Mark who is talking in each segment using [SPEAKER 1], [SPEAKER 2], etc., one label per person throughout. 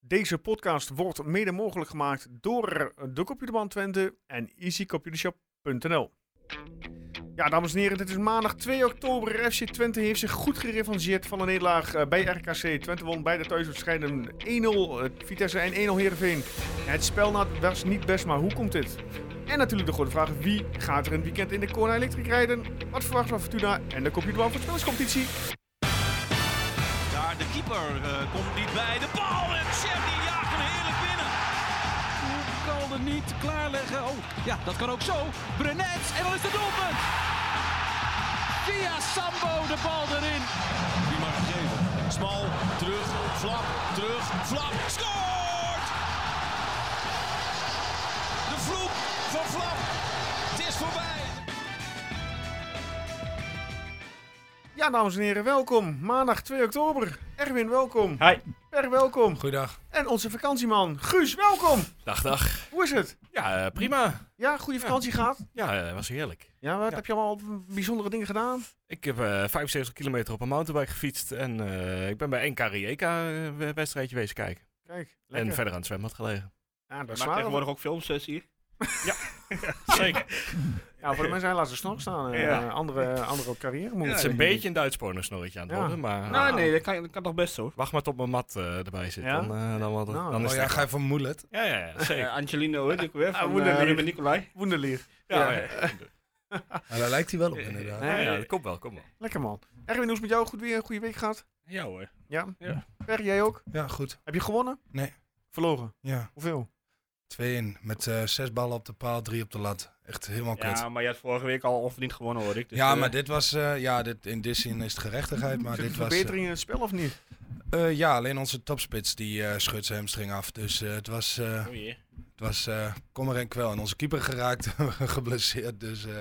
[SPEAKER 1] Deze podcast wordt mede mogelijk gemaakt door de Computerman Twente en easycomputershop.nl. Ja, dames en heren, dit is maandag 2 oktober. FC Twente heeft zich goed gerevancheerd van een nederlaag eh, bij RKC. Twente won beide thuiswedstrijden 1-0 eh, Vitesse en 1-0 Heerenveen. Het spel na- was niet best, maar hoe komt dit? En natuurlijk de grote vraag, wie gaat er een weekend in de Corona Electric rijden? Wat verwacht van Fortuna en de Computerman Voorspellingscompetitie?
[SPEAKER 2] Daar de keeper eh, komt niet bij. De bal en Chef die jaagt hem heerlijk binnen.
[SPEAKER 3] kan er niet klaarleggen. Oh, ja, dat kan ook zo. Brenet, en dan is het doelpunt. Via Sambo de bal erin.
[SPEAKER 2] Die mag geven. Smal, terug, flap, terug, flap. Scoort! De vloek van flap. Het is voorbij.
[SPEAKER 1] Ja, dames en heren, welkom. Maandag 2 oktober. Erwin, welkom.
[SPEAKER 4] Hi.
[SPEAKER 1] Per, welkom.
[SPEAKER 4] Goeiedag.
[SPEAKER 1] En onze vakantieman, Guus, welkom.
[SPEAKER 4] Dag, dag.
[SPEAKER 1] Hoe is het?
[SPEAKER 4] Ja, eh, prima.
[SPEAKER 1] Ja, goede vakantie gehad?
[SPEAKER 4] Ja, eh, was heerlijk.
[SPEAKER 1] Ja, wat
[SPEAKER 4] Ja.
[SPEAKER 1] heb je allemaal bijzondere dingen gedaan?
[SPEAKER 4] Ik heb eh 75 kilometer op een mountainbike gefietst en eh, ik ben bij NK Rijeka eh, we- wedstrijdje wezen kijken.
[SPEAKER 1] Kijk,
[SPEAKER 4] En
[SPEAKER 1] lekker.
[SPEAKER 4] verder aan het zwembad gelegen.
[SPEAKER 1] ja, dat is
[SPEAKER 5] Maakt
[SPEAKER 1] waar.
[SPEAKER 5] tegenwoordig ook films eh, hier.
[SPEAKER 4] Zeker.
[SPEAKER 1] Ja, voor de mensen laten ze snor staan. eh,
[SPEAKER 5] Ja.
[SPEAKER 1] andere, andere carrière moeten.
[SPEAKER 4] het is een beetje een Duits pornosnorretje aan het
[SPEAKER 1] Ja.
[SPEAKER 4] worden, maar
[SPEAKER 5] Nou, nee, dat kan, dat kan toch best hoor.
[SPEAKER 4] wacht maar tot mijn mat eh, erbij zit.
[SPEAKER 1] Ja?
[SPEAKER 4] Dan, eh, dan, wat-
[SPEAKER 1] Nou,
[SPEAKER 4] dan
[SPEAKER 6] Oh
[SPEAKER 4] is het
[SPEAKER 6] ja,
[SPEAKER 4] echt-
[SPEAKER 6] ga je van Moelet.
[SPEAKER 4] ja, ja, ja,
[SPEAKER 5] Eh,
[SPEAKER 4] zeker.
[SPEAKER 5] Angelino, hè, die ook weer,
[SPEAKER 1] Ah,
[SPEAKER 5] van
[SPEAKER 1] moeder
[SPEAKER 5] eh,
[SPEAKER 1] lief.
[SPEAKER 5] Ruben Nicolai.
[SPEAKER 1] Wonderleer.
[SPEAKER 4] Ja, ja.
[SPEAKER 6] Nou, daar lijkt hij wel op inderdaad.
[SPEAKER 4] Ja, ja, dat komt wel, komt wel.
[SPEAKER 1] Lekker man. Erwin, hoe is het met jou? Goed weer, goede week gehad?
[SPEAKER 5] Ja hoor.
[SPEAKER 1] Ja?
[SPEAKER 5] Ja.
[SPEAKER 1] Per, jij ook?
[SPEAKER 6] Ja, goed.
[SPEAKER 1] Heb je gewonnen?
[SPEAKER 6] Nee.
[SPEAKER 1] Verloren?
[SPEAKER 6] Ja,
[SPEAKER 1] Hoeveel?
[SPEAKER 6] 2-1. Met eh, zes ballen op de paal, drie op de lat. Echt helemaal kut.
[SPEAKER 5] Ja, maar je had vorige week al onverdiend gewonnen hoor ik. Dus,
[SPEAKER 6] ja,
[SPEAKER 5] eh,
[SPEAKER 6] maar dit was, eh, ja, dit, in dit zin is het gerechtigheid, maar
[SPEAKER 1] Zit er
[SPEAKER 6] dit was,
[SPEAKER 1] verbetering in het spel of niet?
[SPEAKER 6] eh, eh, ja, alleen onze topspits die eh schudt zijn hamstring af, dus eh, het was, eh
[SPEAKER 5] oh jee.
[SPEAKER 6] het was eh kommer en kwel. En onze keeper geraakt, geblesseerd, dus eh,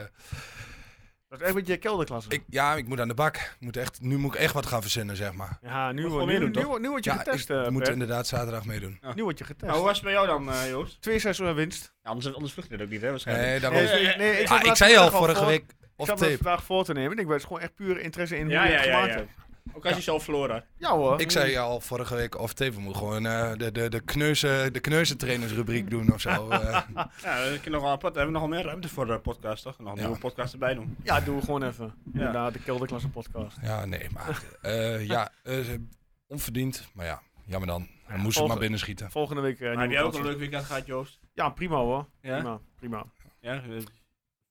[SPEAKER 1] Dat is echt met je kelderklasse.
[SPEAKER 6] ik, ja, ik moet aan de bak. Ik Moet echt, nu moet ik echt wat gaan verzinnen, zeg maar.
[SPEAKER 1] ja, nu,
[SPEAKER 5] Moet
[SPEAKER 1] nu,
[SPEAKER 5] gewoon
[SPEAKER 1] nu,
[SPEAKER 5] weer doen, toch?
[SPEAKER 1] nu, word je
[SPEAKER 6] ja,
[SPEAKER 1] getest,
[SPEAKER 6] ik
[SPEAKER 1] eh,
[SPEAKER 6] moet
[SPEAKER 1] Per.
[SPEAKER 6] inderdaad zaterdag meedoen.
[SPEAKER 1] Nu word je getest.
[SPEAKER 5] Nou, hoe was het bij jou dan, eh, Joost?
[SPEAKER 1] Twee seizoenen winst.
[SPEAKER 5] Ja, anders, anders vlucht dit ook niet, hè, waarschijnlijk.
[SPEAKER 6] Nee, daarom.
[SPEAKER 1] Nee, nee, nee, ik, zat
[SPEAKER 6] Ah,
[SPEAKER 1] me
[SPEAKER 6] ik
[SPEAKER 1] dat
[SPEAKER 6] zei al
[SPEAKER 1] vandaag
[SPEAKER 6] vorige
[SPEAKER 1] voor-
[SPEAKER 6] week,
[SPEAKER 1] Ik
[SPEAKER 6] of
[SPEAKER 1] zat me dat
[SPEAKER 6] tape.
[SPEAKER 1] vandaag voor te nemen. Ik was gewoon echt puur interesse in
[SPEAKER 5] Ja,
[SPEAKER 1] hoe je
[SPEAKER 5] ja,
[SPEAKER 1] het
[SPEAKER 5] ja,
[SPEAKER 1] gemaakt
[SPEAKER 5] Eh, ja.
[SPEAKER 1] hebt.
[SPEAKER 5] Ook als je zelf verloren had.
[SPEAKER 1] Ja hoor.
[SPEAKER 6] Ik zei al vorige week, of Teven moet gewoon eh, de, de, de, kneuzen, de kneuzentrainersrubriek doen of zo. eh.
[SPEAKER 5] Ja, dat kun je nogal apart. Daar hebben we nogal meer ruimte voor de podcast, toch? Nog een
[SPEAKER 6] Ja.
[SPEAKER 5] nieuwe podcast erbij doen.
[SPEAKER 1] Ja, doe gewoon even.
[SPEAKER 5] Ja.
[SPEAKER 1] Inderdaad, de kelderklasse podcast.
[SPEAKER 6] ja, nee, maar eh, ja, eh, onverdiend. Maar ja, jammer dan. Dan moest ze maar
[SPEAKER 1] volgende-
[SPEAKER 6] binnenschieten.
[SPEAKER 1] Volgende week eh,
[SPEAKER 5] Maar heb
[SPEAKER 1] nieuwe
[SPEAKER 5] jij ook
[SPEAKER 1] kansen.
[SPEAKER 5] een leuk weekend gehad, Joost?
[SPEAKER 1] Ja, prima hoor.
[SPEAKER 5] Ja?
[SPEAKER 1] Prima, prima.
[SPEAKER 5] Ja, eh,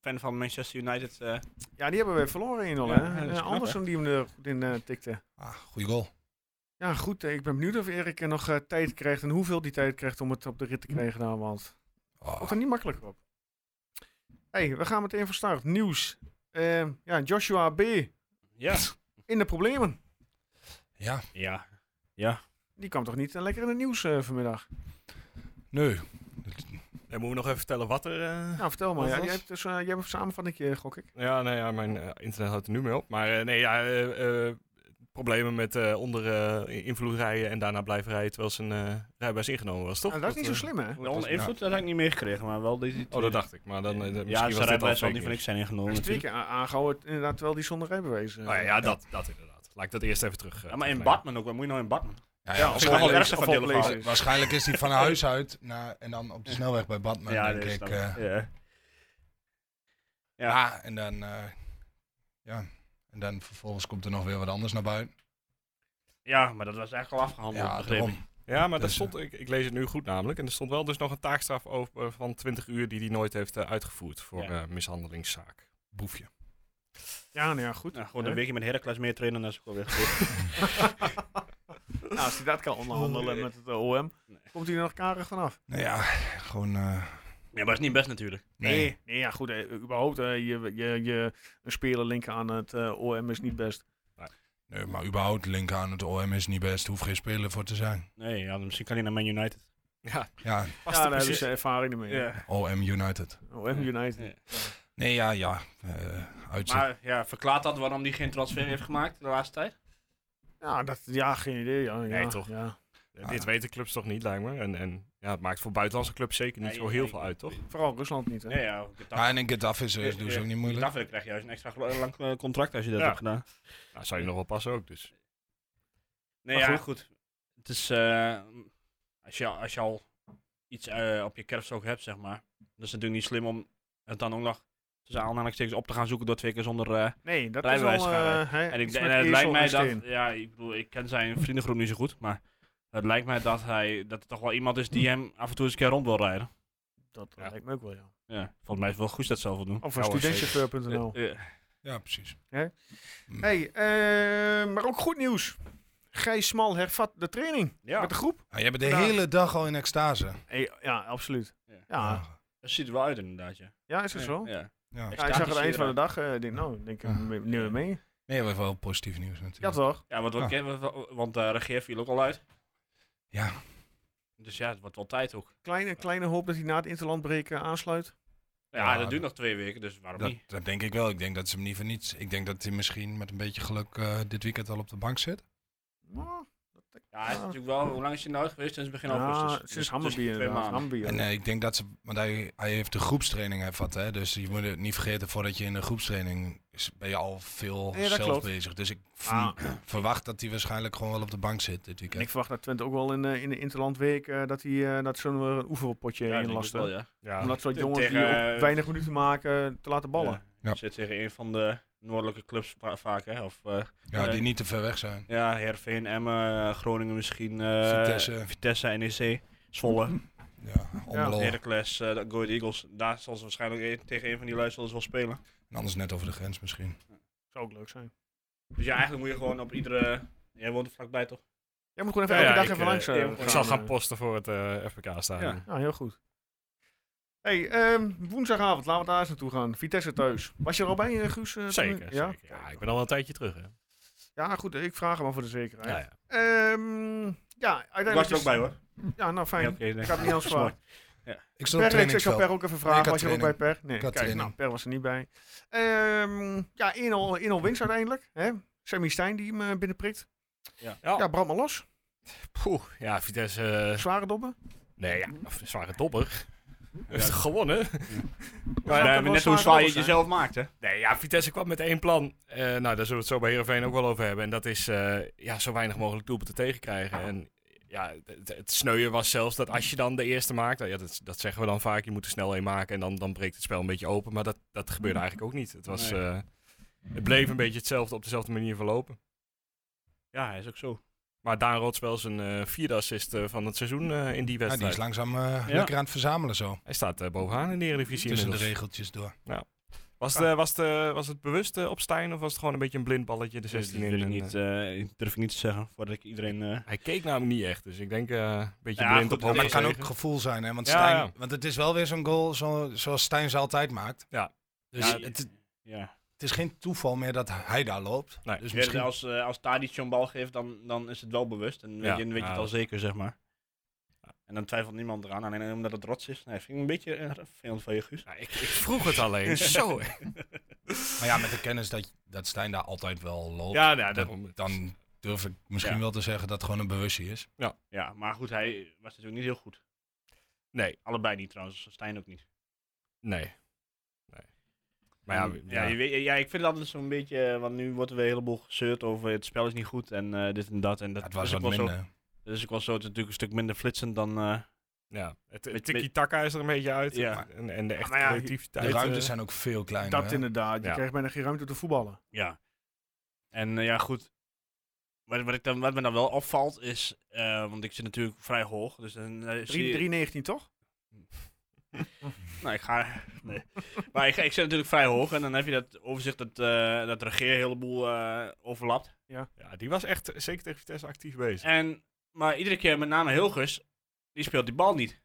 [SPEAKER 5] fan van Manchester United. eh,
[SPEAKER 1] Ja, die hebben we verloren 1-0
[SPEAKER 5] Ja,
[SPEAKER 1] hè.
[SPEAKER 5] dat is
[SPEAKER 1] Eh,
[SPEAKER 5] knap,
[SPEAKER 1] Andersson die hem er goed in eh, tikte.
[SPEAKER 6] Ah, goeie goal.
[SPEAKER 1] Ja, goed. eh, ik ben benieuwd of Erik eh, nog eh, tijd krijgt en hoeveel die tijd krijgt om het op de rit te krijgen daar, want
[SPEAKER 6] Oh,
[SPEAKER 1] Wordt er niet makkelijk op. hey, we gaan meteen van start. Nieuws. Eh, ja, Joshua B.
[SPEAKER 5] Ja.
[SPEAKER 1] In de problemen.
[SPEAKER 6] ja,
[SPEAKER 5] Ja.
[SPEAKER 1] Die kwam toch niet eh, lekker in het nieuws eh, vanmiddag?
[SPEAKER 6] nee.
[SPEAKER 4] Dan moeten we nog even vertellen wat er... eh,
[SPEAKER 1] Nou, vertel maar.
[SPEAKER 4] Wat
[SPEAKER 1] Ja,
[SPEAKER 4] was?
[SPEAKER 1] jij hebt dus, eh, jij hebt een samenvatting, gok ik.
[SPEAKER 4] Ja, nee, ja, mijn eh, internet houdt er nu mee op. Maar eh, nee, ja, eh, eh, problemen met eh onder eh, invloed rijden en daarna blijven rijden terwijl zijn eh rijbewijs ingenomen was, toch?
[SPEAKER 1] Nou, dat is niet zo
[SPEAKER 4] eh,
[SPEAKER 1] slim, hè?
[SPEAKER 5] Onder invloed, dat heb ik niet meegekregen, maar wel deze
[SPEAKER 4] Oh, dat dacht ik. Maar dan, eh, misschien
[SPEAKER 5] Ja,
[SPEAKER 4] was
[SPEAKER 5] ze
[SPEAKER 4] dat al
[SPEAKER 5] rijbewijs zal
[SPEAKER 4] fake
[SPEAKER 5] niet van
[SPEAKER 4] news.
[SPEAKER 5] niks zijn ingenomen.
[SPEAKER 1] Hij is twee
[SPEAKER 5] natuurlijk.
[SPEAKER 1] keer a- aangehouden, inderdaad, terwijl die zonder rijbewijs. eh,
[SPEAKER 4] Oh, ja, ja, dat, dat inderdaad. Laat ik dat eerst even terug. eh,
[SPEAKER 5] Ja, maar in
[SPEAKER 4] terugleggen.
[SPEAKER 5] Batman ook, wat moet je nou in Batman?
[SPEAKER 6] Ja, ja,
[SPEAKER 5] Ja, als ik nog wel
[SPEAKER 6] waarschijnlijk,
[SPEAKER 5] ergens van deel
[SPEAKER 1] oplezen.
[SPEAKER 5] van.
[SPEAKER 6] waarschijnlijk is hij van huis uit naar, en dan op de snelweg bij Batman,
[SPEAKER 5] Ja, dat
[SPEAKER 6] denk
[SPEAKER 5] is
[SPEAKER 6] ik.
[SPEAKER 5] dan.
[SPEAKER 6] eh.
[SPEAKER 5] Ja.
[SPEAKER 6] ja.
[SPEAKER 5] Ja,
[SPEAKER 6] en dan... eh, ja, en dan vervolgens komt er nog weer wat anders naar buiten.
[SPEAKER 5] ja, maar dat was eigenlijk al afgehandeld.
[SPEAKER 6] Ja,
[SPEAKER 5] begreep ik.
[SPEAKER 6] daarom.
[SPEAKER 4] Ja, maar
[SPEAKER 6] Dus,
[SPEAKER 4] dat stond, ik, ik lees het nu goed namelijk. En er stond wel dus nog een taakstraf over, van 20 uur die hij nooit heeft eh, uitgevoerd voor
[SPEAKER 5] Ja.
[SPEAKER 4] eh, mishandelingszaak.
[SPEAKER 6] Boefje.
[SPEAKER 1] Ja, nou ja, goed.
[SPEAKER 5] Nou, gewoon
[SPEAKER 1] Hè?
[SPEAKER 5] een weekje met Heracles meer trainen, dan is ook alweer goed.
[SPEAKER 1] Nou, als hij dat kan onderhandelen met het eh, OM, komt hij er nog karig vanaf.
[SPEAKER 6] Nou ja, gewoon... eh,
[SPEAKER 5] ja, maar dat is niet best natuurlijk.
[SPEAKER 6] nee.
[SPEAKER 1] Nee, ja, goed. eh, überhaupt, eh, je, je, je een speler linken aan het eh, OM is niet best.
[SPEAKER 6] Nee, maar überhaupt link aan het OM is niet best. Hoeft geen speler voor te zijn.
[SPEAKER 5] Nee, ja, dan misschien kan hij naar Man United. dus,
[SPEAKER 4] Ja,
[SPEAKER 6] Ja,
[SPEAKER 4] past
[SPEAKER 1] ja,
[SPEAKER 4] er
[SPEAKER 1] daar hebben
[SPEAKER 4] precies.
[SPEAKER 1] ze ervaring mee.
[SPEAKER 5] eh,
[SPEAKER 6] OM United.
[SPEAKER 1] OM United.
[SPEAKER 5] Ja.
[SPEAKER 6] Nee, ja, ja. eh uitzet.
[SPEAKER 5] Maar ja, verklaart dat waarom hij geen transfer heeft gemaakt de laatste tijd?
[SPEAKER 1] Ja, dat, ja, geen idee. Ja,
[SPEAKER 4] Nee,
[SPEAKER 1] ja,
[SPEAKER 4] toch?
[SPEAKER 1] ja.
[SPEAKER 4] Eh, Dit weten clubs toch niet, lijkt me. En, en ja, het maakt voor buitenlandse clubs zeker niet
[SPEAKER 5] Nee,
[SPEAKER 4] zo heel
[SPEAKER 5] nee.
[SPEAKER 4] veel uit, toch?
[SPEAKER 1] Vooral Rusland niet, hè?
[SPEAKER 5] Nee, ja. Getafe,
[SPEAKER 6] ja, en in Getafe is
[SPEAKER 5] eh,
[SPEAKER 6] is dus
[SPEAKER 5] eh,
[SPEAKER 6] ook niet moeilijk.
[SPEAKER 5] Getafe krijg je juist een extra gro- lang eh, contract als je dat
[SPEAKER 4] Ja.
[SPEAKER 5] hebt gedaan.
[SPEAKER 4] Nou, zou je nog wel passen ook, dus.
[SPEAKER 5] Nee,
[SPEAKER 1] Maar
[SPEAKER 5] ja,
[SPEAKER 1] goed.
[SPEAKER 5] goed. Het is... eh, Als je, als je al iets eh, op je kerfstok hebt, zeg maar. Dan is het natuurlijk niet slim om het dan ook nog tussen aanhalingstekens op te gaan zoeken door twee keer zonder... eh,
[SPEAKER 1] Nee, dat is
[SPEAKER 5] Rijbewijs
[SPEAKER 1] wel...
[SPEAKER 5] gaan,
[SPEAKER 1] eh, hè,
[SPEAKER 5] en ik,
[SPEAKER 1] iets
[SPEAKER 5] en
[SPEAKER 1] met
[SPEAKER 5] het
[SPEAKER 1] ezel
[SPEAKER 5] lijkt
[SPEAKER 1] en
[SPEAKER 5] mij
[SPEAKER 1] steen.
[SPEAKER 5] dat... Ja, ik bedoel, ik ken zijn vriendengroep niet zo goed, maar... Het lijkt mij dat hij dat het toch wel iemand is die hem af en toe eens een keer rond wil rijden.
[SPEAKER 1] Dat
[SPEAKER 4] Ja.
[SPEAKER 1] lijkt me ook wel, ja.
[SPEAKER 5] Ja, volgens mij is het wel goed dat zelf wil doen.
[SPEAKER 1] Of
[SPEAKER 4] Ja, hoor,
[SPEAKER 1] studentchauffeur.nl.
[SPEAKER 5] Eh, eh,
[SPEAKER 6] Ja, precies.
[SPEAKER 1] Hè?
[SPEAKER 6] Mm.
[SPEAKER 1] Hey, eh, maar ook goed nieuws. Gijs Smal hervat de training
[SPEAKER 5] ja,
[SPEAKER 1] met de groep.
[SPEAKER 6] Ah, jij bent de
[SPEAKER 1] Vandaag.
[SPEAKER 6] hele dag al in extase.
[SPEAKER 1] Hey, ja, absoluut.
[SPEAKER 5] Ja.
[SPEAKER 1] Ja,
[SPEAKER 5] dat ziet er wel uit inderdaad, ja.
[SPEAKER 1] ja is dat zo? Ja,
[SPEAKER 5] Ja.
[SPEAKER 6] Ja.
[SPEAKER 5] Echt
[SPEAKER 1] ik zag het
[SPEAKER 5] statische,
[SPEAKER 1] eind van de
[SPEAKER 5] eh,
[SPEAKER 1] dag. eh, Ik denk, nou, ik denk,
[SPEAKER 6] Ja.
[SPEAKER 1] neem me mee.
[SPEAKER 6] Nee, we hebben wel positief nieuws
[SPEAKER 1] Ja,
[SPEAKER 6] natuurlijk.
[SPEAKER 1] toch?
[SPEAKER 5] Ja, want, wat- wat- want de regeer viel ook al uit.
[SPEAKER 6] Ja.
[SPEAKER 5] Dus ja, het wordt wel tijd ook.
[SPEAKER 1] Kleine, kleine hoop dat hij na het interlandbreken aansluit.
[SPEAKER 5] Ja, dat
[SPEAKER 6] Ja,
[SPEAKER 5] duurt
[SPEAKER 6] dat-
[SPEAKER 5] nog twee weken, dus waarom
[SPEAKER 6] Dat,
[SPEAKER 5] niet?
[SPEAKER 6] dat denk ik wel. Ik denk dat ze hem niet voor niets. Ik denk dat hij misschien met een beetje geluk eh, dit weekend al op de bank zit.
[SPEAKER 1] Nou,
[SPEAKER 5] Ja, hij is
[SPEAKER 1] Ja.
[SPEAKER 5] natuurlijk wel... Hoe lang is hij nou uit geweest? Sinds begin augustus.
[SPEAKER 1] ja,
[SPEAKER 5] Dus
[SPEAKER 1] sinds
[SPEAKER 5] tussen
[SPEAKER 1] Hammerbier.
[SPEAKER 5] twee
[SPEAKER 1] inderdaad,
[SPEAKER 5] maanden.
[SPEAKER 1] Hammerbier.
[SPEAKER 6] En eh, ik denk dat ze. Want hij, hij heeft de groepstraining hervat. Hè? Dus je moet het niet vergeten voordat je in de groepstraining. Is, ben je al veel
[SPEAKER 1] Nee, dat
[SPEAKER 6] zelf
[SPEAKER 1] klopt.
[SPEAKER 6] bezig. Dus ik v-
[SPEAKER 1] Ah,
[SPEAKER 6] verwacht dat hij waarschijnlijk gewoon wel op de bank zit dit
[SPEAKER 1] en
[SPEAKER 6] weekend.
[SPEAKER 1] ik verwacht dat Twente ook wel in, eh, in de interlandweek eh, dat, hij, eh dat zo'n eh, oefenpotje
[SPEAKER 5] Ja, ik denk het
[SPEAKER 1] inlasten.
[SPEAKER 5] wel, ja.
[SPEAKER 4] Ja,
[SPEAKER 1] Om dat soort jongens
[SPEAKER 5] Tegen,
[SPEAKER 1] die ook
[SPEAKER 5] eh,
[SPEAKER 1] weinig minuten maken te laten ballen.
[SPEAKER 5] Ja.
[SPEAKER 6] Ja.
[SPEAKER 5] Zit tegen een van de noordelijke clubs va- vaak, hè? Of eh,
[SPEAKER 6] ja,
[SPEAKER 5] nee.
[SPEAKER 6] die niet te ver weg zijn.
[SPEAKER 5] ja, Heerenveen, Emmen, eh, Groningen misschien. eh,
[SPEAKER 6] Vitesse.
[SPEAKER 5] Vitesse, NEC, Zwolle,
[SPEAKER 6] Ja, Omelo.
[SPEAKER 5] Heracles, eh, de Go Ahead Eagles. Daar zal ze waarschijnlijk een- tegen een van die lui zullen ze wel spelen.
[SPEAKER 6] En anders net over de grens misschien.
[SPEAKER 1] Zou ook leuk zijn.
[SPEAKER 5] Dus ja, eigenlijk moet je gewoon op iedere... Jij woont er vlakbij, toch?
[SPEAKER 1] Jij moet gewoon
[SPEAKER 4] Ja,
[SPEAKER 1] even elke dag
[SPEAKER 4] ja, ik,
[SPEAKER 1] even
[SPEAKER 4] eh,
[SPEAKER 1] langs. eh,
[SPEAKER 5] ik zal
[SPEAKER 4] ik zal
[SPEAKER 1] eh,
[SPEAKER 4] gaan posten voor het eh FBK-stadion.
[SPEAKER 5] Ja.
[SPEAKER 1] Ja, heel goed. Hey, ehm, woensdagavond, laten we daar eens naartoe gaan. Vitesse thuis. Was je er al bij, eh, Guus? eh, toen-
[SPEAKER 4] Zeker,
[SPEAKER 1] Ja?
[SPEAKER 4] zeker. Ja, ik ben al een tijdje terug, hè.
[SPEAKER 1] ja, goed, ik vraag hem maar voor de zekerheid.
[SPEAKER 4] Ja,
[SPEAKER 1] Ja,
[SPEAKER 4] ja.
[SPEAKER 1] ja uiteindelijk.
[SPEAKER 5] Ik was er ook
[SPEAKER 1] is-
[SPEAKER 5] bij, hoor.
[SPEAKER 1] Ja, nou fijn.
[SPEAKER 5] Ja, oké, nee.
[SPEAKER 1] Ik had het niet anders
[SPEAKER 5] Dat is mooi.
[SPEAKER 1] verwacht.
[SPEAKER 6] Ik stond op
[SPEAKER 1] Per, ik- ik zou
[SPEAKER 6] trainingsveld.
[SPEAKER 1] Per ook even
[SPEAKER 6] Nee, ik
[SPEAKER 1] vragen.
[SPEAKER 6] had
[SPEAKER 1] was je er ook bij
[SPEAKER 6] training.
[SPEAKER 1] Per? Nee,
[SPEAKER 6] Ik had
[SPEAKER 1] kijk,
[SPEAKER 6] training.
[SPEAKER 1] nou, Per was er niet bij. Ehm, ja, 1-0 1-0 winst uiteindelijk. Hè? Sammy Stein die hem eh, binnenprikt.
[SPEAKER 6] Oh.
[SPEAKER 4] Ja,
[SPEAKER 1] Ja, brand maar los.
[SPEAKER 4] poeh. Ja, Vitesse... eh,
[SPEAKER 1] Zware dobben.
[SPEAKER 4] nee, ja, of een zware dobber. Heeft Gewonnen.
[SPEAKER 5] Maar
[SPEAKER 1] dat
[SPEAKER 5] we hebben
[SPEAKER 1] wel
[SPEAKER 5] net
[SPEAKER 1] zware
[SPEAKER 5] hoe zwaar je het
[SPEAKER 1] dobbels zijn.
[SPEAKER 5] jezelf maakt, hè?
[SPEAKER 4] Nee, ja, Vitesse kwam met één plan. Eh, nou, daar zullen we het zo bij Heerenveen ook wel over hebben. En dat is eh, ja, zo weinig mogelijk doelpunten tegenkrijgen. En ja, het, het sneuien was zelfs dat als je dan de eerste maakt... nou ja, dat, dat zeggen we dan vaak, je moet er snel één maken en dan, dan breekt het spel een beetje open. Maar dat, dat gebeurde eigenlijk ook niet. Het, was,
[SPEAKER 5] Nee.
[SPEAKER 4] eh, het bleef een beetje hetzelfde, op dezelfde manier verlopen.
[SPEAKER 5] Ja, hij is ook zo.
[SPEAKER 4] Maar Daan Rotswel zijn eh, vierde assist eh, van het seizoen eh, in
[SPEAKER 6] Ja, die
[SPEAKER 4] die wedstrijd.
[SPEAKER 6] is langzaam eh,
[SPEAKER 5] Ja.
[SPEAKER 6] lekker aan het verzamelen zo.
[SPEAKER 4] Hij staat eh, bovenaan in de Eredivisie
[SPEAKER 6] Tussen de
[SPEAKER 4] inmiddels.
[SPEAKER 6] regeltjes door.
[SPEAKER 4] Was, het, eh, was, het, eh, was het bewust eh, op Stijn of was het gewoon een beetje een blind balletje de 16 in?
[SPEAKER 5] durf Dus ik,
[SPEAKER 4] en,
[SPEAKER 5] niet,
[SPEAKER 4] eh,
[SPEAKER 5] eh, ik durf niet te zeggen voordat ik iedereen... eh,
[SPEAKER 4] Hij keek namelijk niet echt, dus ik denk eh, een beetje
[SPEAKER 5] Ja,
[SPEAKER 4] blind
[SPEAKER 5] goed,
[SPEAKER 4] op hoofd.
[SPEAKER 5] maar
[SPEAKER 6] Maar het kan ook
[SPEAKER 4] gezeten.
[SPEAKER 6] gevoel zijn, hè? Want,
[SPEAKER 4] Ja,
[SPEAKER 6] Stijn,
[SPEAKER 4] ja.
[SPEAKER 6] want het is wel weer zo'n goal zo, zoals Stijn ze altijd maakt.
[SPEAKER 4] Ja.
[SPEAKER 6] Dus
[SPEAKER 5] Ja,
[SPEAKER 6] het,
[SPEAKER 5] ja.
[SPEAKER 6] het is geen toeval meer dat hij daar loopt.
[SPEAKER 4] Nee.
[SPEAKER 6] Dus
[SPEAKER 5] Dus
[SPEAKER 6] misschien...
[SPEAKER 5] Als, eh als Tadic zo'n bal geeft, dan, dan is het wel bewust. En weet
[SPEAKER 4] Ja.
[SPEAKER 5] je, dan weet je
[SPEAKER 4] Ja.
[SPEAKER 5] het al zeker, zeg maar. En dan twijfelt niemand eraan. Alleen omdat het rots is. Nee, vind ik een beetje eh, vervelend van je, Guus.
[SPEAKER 4] Nou, ik, ik vroeg het alleen. Zo. hè.
[SPEAKER 6] Maar ja, met de kennis dat, dat Stijn daar altijd wel loopt,
[SPEAKER 4] Ja, nou,
[SPEAKER 6] dan, dan durf ik misschien
[SPEAKER 5] Ja.
[SPEAKER 6] wel te zeggen dat het gewoon een bewustzijn is.
[SPEAKER 5] Ja, maar goed, hij was natuurlijk niet heel goed.
[SPEAKER 4] Nee,
[SPEAKER 5] Allebei niet trouwens, Stijn ook niet.
[SPEAKER 4] nee. nee. Maar ja,
[SPEAKER 5] ja, je weet- ja, ik vind het altijd zo'n beetje... eh, Want nu wordt er weer een heleboel gezeurd over het spel is niet goed en eh, dit en dat. En dat
[SPEAKER 6] Het was
[SPEAKER 5] is ook
[SPEAKER 6] wat
[SPEAKER 5] wel zo.
[SPEAKER 6] minder.
[SPEAKER 5] Dat is ook wel zo. Het is natuurlijk een stuk minder flitsend dan... eh,
[SPEAKER 4] ja. Het, het
[SPEAKER 5] Met-
[SPEAKER 4] tiki-taka is er een beetje uit.
[SPEAKER 5] Ja.
[SPEAKER 4] En, en de echte
[SPEAKER 1] maar ja,
[SPEAKER 4] creativiteit.
[SPEAKER 6] De ruimtes
[SPEAKER 4] eh,
[SPEAKER 6] zijn ook veel kleiner.
[SPEAKER 1] Dat
[SPEAKER 6] hè.
[SPEAKER 1] inderdaad. Je
[SPEAKER 4] Ja.
[SPEAKER 1] krijgt bijna geen ruimte te voetballen.
[SPEAKER 5] Ja. En eh, ja, goed. Wat, wat, ik dan, wat me dan wel opvalt is, eh, want ik zit natuurlijk vrij hoog, dus dan eh, zie je-
[SPEAKER 1] 3-19 toch?
[SPEAKER 5] Nou, ik ga... Nee. maar ik, ik zit natuurlijk vrij hoog en dan heb je dat overzicht dat, eh dat de regeer een heleboel eh, overlapt.
[SPEAKER 4] ja, die was echt eh, zeker tegen Vitesse actief bezig.
[SPEAKER 5] En, maar iedere keer, met name Hilgers, die speelt die bal niet.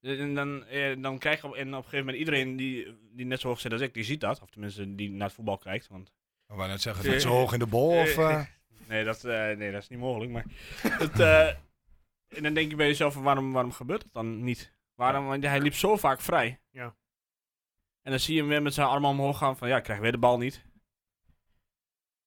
[SPEAKER 5] En dan, eh, dan krijg je op, en op een gegeven moment iedereen die, die net zo hoog zit als ik, die ziet dat. Of tenminste, die naar het voetbal kijkt, want
[SPEAKER 6] Maar wou net zeggen, net zo hoog in de bol of... eh,
[SPEAKER 5] Nee, dat, eh, nee, dat is niet mogelijk. Maar dat, eh, en dan denk je bij jezelf, van, waarom, waarom gebeurt dat dan niet? Waarom, want hij liep zo vaak vrij.
[SPEAKER 1] Ja.
[SPEAKER 5] En dan zie je hem weer met zijn armen omhoog gaan van, ja, ik krijg weer de bal niet.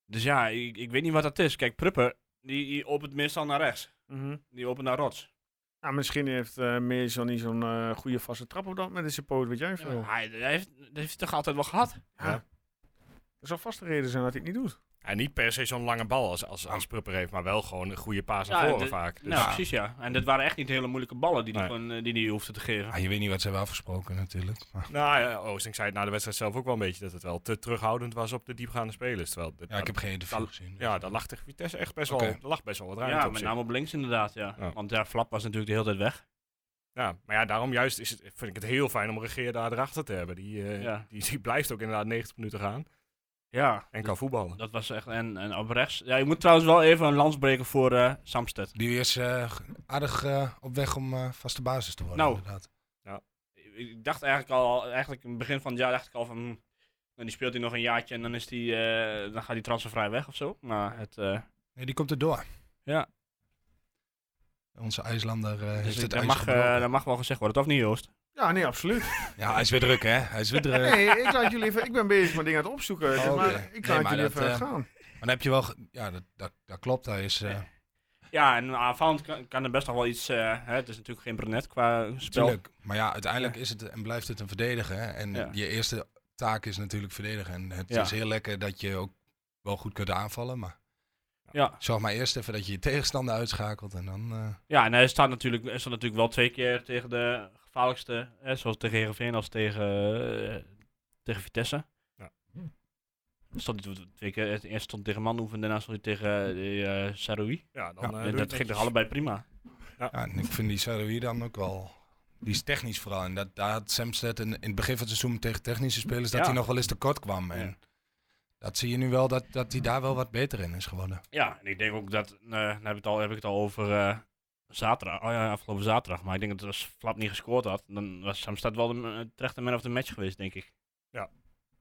[SPEAKER 5] Dus ja, ik, ik weet niet wat dat is. Kijk, Pruppen, die, die opent meestal naar rechts.
[SPEAKER 1] Mhm.
[SPEAKER 5] Die opent naar rots.
[SPEAKER 1] Ja, misschien heeft eh Meersel niet zo'n eh, goede vaste trap op dat moment in zijn poot, weet jij veel.
[SPEAKER 5] hij, hij heeft, dat heeft hij toch altijd wel gehad?
[SPEAKER 1] Er zal vast een reden zijn dat hij het niet doet.
[SPEAKER 4] En niet per se zo'n lange bal als, als, als Prupper heeft, maar wel gewoon een goede paas naar
[SPEAKER 5] Oh. Ja,
[SPEAKER 4] voren
[SPEAKER 5] de-
[SPEAKER 4] vaak. Dus
[SPEAKER 5] Nou, precies ja. En dit waren echt niet hele moeilijke ballen die hij
[SPEAKER 4] Nee.
[SPEAKER 5] gewoon, eh, die die hoefde te geven.
[SPEAKER 6] Ja, Ah, je weet niet wat ze hebben afgesproken natuurlijk. Maar
[SPEAKER 4] Nou ja, Oosting zei het na de wedstrijd zelf ook wel een beetje dat het wel te terughoudend was op de diepgaande spelers. Terwijl dat-
[SPEAKER 6] ja, ik heb geen interview gezien.
[SPEAKER 4] ja, daar lag tegen Vitesse echt best
[SPEAKER 6] Oké.
[SPEAKER 4] wel, daar lag best wel wat ruimte
[SPEAKER 5] Ja,
[SPEAKER 4] op
[SPEAKER 5] met
[SPEAKER 4] zich.
[SPEAKER 5] name nou op links inderdaad, ja.
[SPEAKER 4] Ja.
[SPEAKER 5] Want ja, Flap was natuurlijk de hele tijd weg.
[SPEAKER 4] Ja, maar ja, daarom juist is het, vind ik het heel fijn om Regeer daar erachter te hebben. Die, eh,
[SPEAKER 5] Ja.
[SPEAKER 4] die, die blijft ook inderdaad 90 minuten gaan
[SPEAKER 5] Dus- Ja.
[SPEAKER 4] en kan voetballen.
[SPEAKER 5] Dat was echt, en, en op rechts. Ja, ik moet trouwens wel even een lans breken voor eh Samsted.
[SPEAKER 6] Die is eh, aardig eh, op weg om eh, vaste basis te worden
[SPEAKER 5] Nou.
[SPEAKER 6] inderdaad.
[SPEAKER 5] Ik- Ik dacht eigenlijk al, eigenlijk in het begin van het jaar dacht ik al van, hm, nou, die speelt hij nog een jaartje en dan, is die, eh, dan gaat hij transfervrij weg of zo. Maar het, eh,
[SPEAKER 6] Nee, die komt erdoor.
[SPEAKER 5] Ja.
[SPEAKER 6] Onze IJslander eh
[SPEAKER 5] dus
[SPEAKER 6] heeft
[SPEAKER 5] ik,
[SPEAKER 6] het
[SPEAKER 5] dat,
[SPEAKER 6] ijs
[SPEAKER 5] mag, eh, nou-
[SPEAKER 6] gebroken.
[SPEAKER 5] dat mag wel gezegd worden, toch niet Joost?
[SPEAKER 1] Ja, nee, absoluut.
[SPEAKER 6] Ja, hij is weer druk hè. Hij is weer druk.
[SPEAKER 1] Nee, ik laat jullie even. Ik ben bezig met dingen aan het opzoeken. dus
[SPEAKER 6] Eh. Oh, oké.
[SPEAKER 1] maar
[SPEAKER 6] Nee,
[SPEAKER 1] ik laat
[SPEAKER 6] maar
[SPEAKER 1] jullie
[SPEAKER 6] dat,
[SPEAKER 1] even
[SPEAKER 6] eh,
[SPEAKER 1] gaan.
[SPEAKER 6] Maar dan heb je wel... ge- Ja, dat, dat, dat klopt. Hij is... eh,
[SPEAKER 5] Ja, en aanvallend kan, kan er best nog wel iets, eh, hè, het is natuurlijk geen brunet qua spel.
[SPEAKER 6] Tuurlijk. Maar ja, uiteindelijk is het en blijft het een verdediger. hè. En
[SPEAKER 5] Ja.
[SPEAKER 6] je eerste taak is natuurlijk verdedigen. En het
[SPEAKER 5] Ja.
[SPEAKER 6] is heel lekker dat je ook wel goed kunt aanvallen. Maar
[SPEAKER 5] Ja.
[SPEAKER 6] zorg maar eerst even dat je je tegenstander uitschakelt. En dan... eh,
[SPEAKER 5] Ja, en hij staat natuurlijk, hij staat natuurlijk wel twee keer tegen de gevaarlijkste, hè, zoals tegen Heerenveen als tegen, eh, tegen Vitesse.
[SPEAKER 4] Ja.
[SPEAKER 5] Stond hij toen twee keer, het eerst stond hij tegen Manhoeven, daarna stond hij tegen eh, die, eh, Saroui.
[SPEAKER 4] Ja, dan,
[SPEAKER 6] Ja,
[SPEAKER 4] eh, doe
[SPEAKER 5] en
[SPEAKER 4] je
[SPEAKER 5] dat
[SPEAKER 4] het
[SPEAKER 5] ging
[SPEAKER 4] netjes.
[SPEAKER 5] toch allebei prima.
[SPEAKER 6] Ja, en ik vind die Saroui dan ook wel... Die is technisch vooral. En dat, daar had Samsted in, in het begin van het seizoen tegen technische spelers... dat
[SPEAKER 5] Ja.
[SPEAKER 6] hij nog wel eens tekort kwam. En
[SPEAKER 5] Ja.
[SPEAKER 6] dat zie je nu wel, dat, dat hij daar wel wat beter in is geworden.
[SPEAKER 5] Ja, en ik denk ook dat, eh nou heb ik het al, heb ik het al over eh, zaterdag, oh ja, afgelopen zaterdag, maar ik denk dat als Flap niet gescoord had, dan was Samstad wel de, eh, terecht de man of the match geweest, denk ik.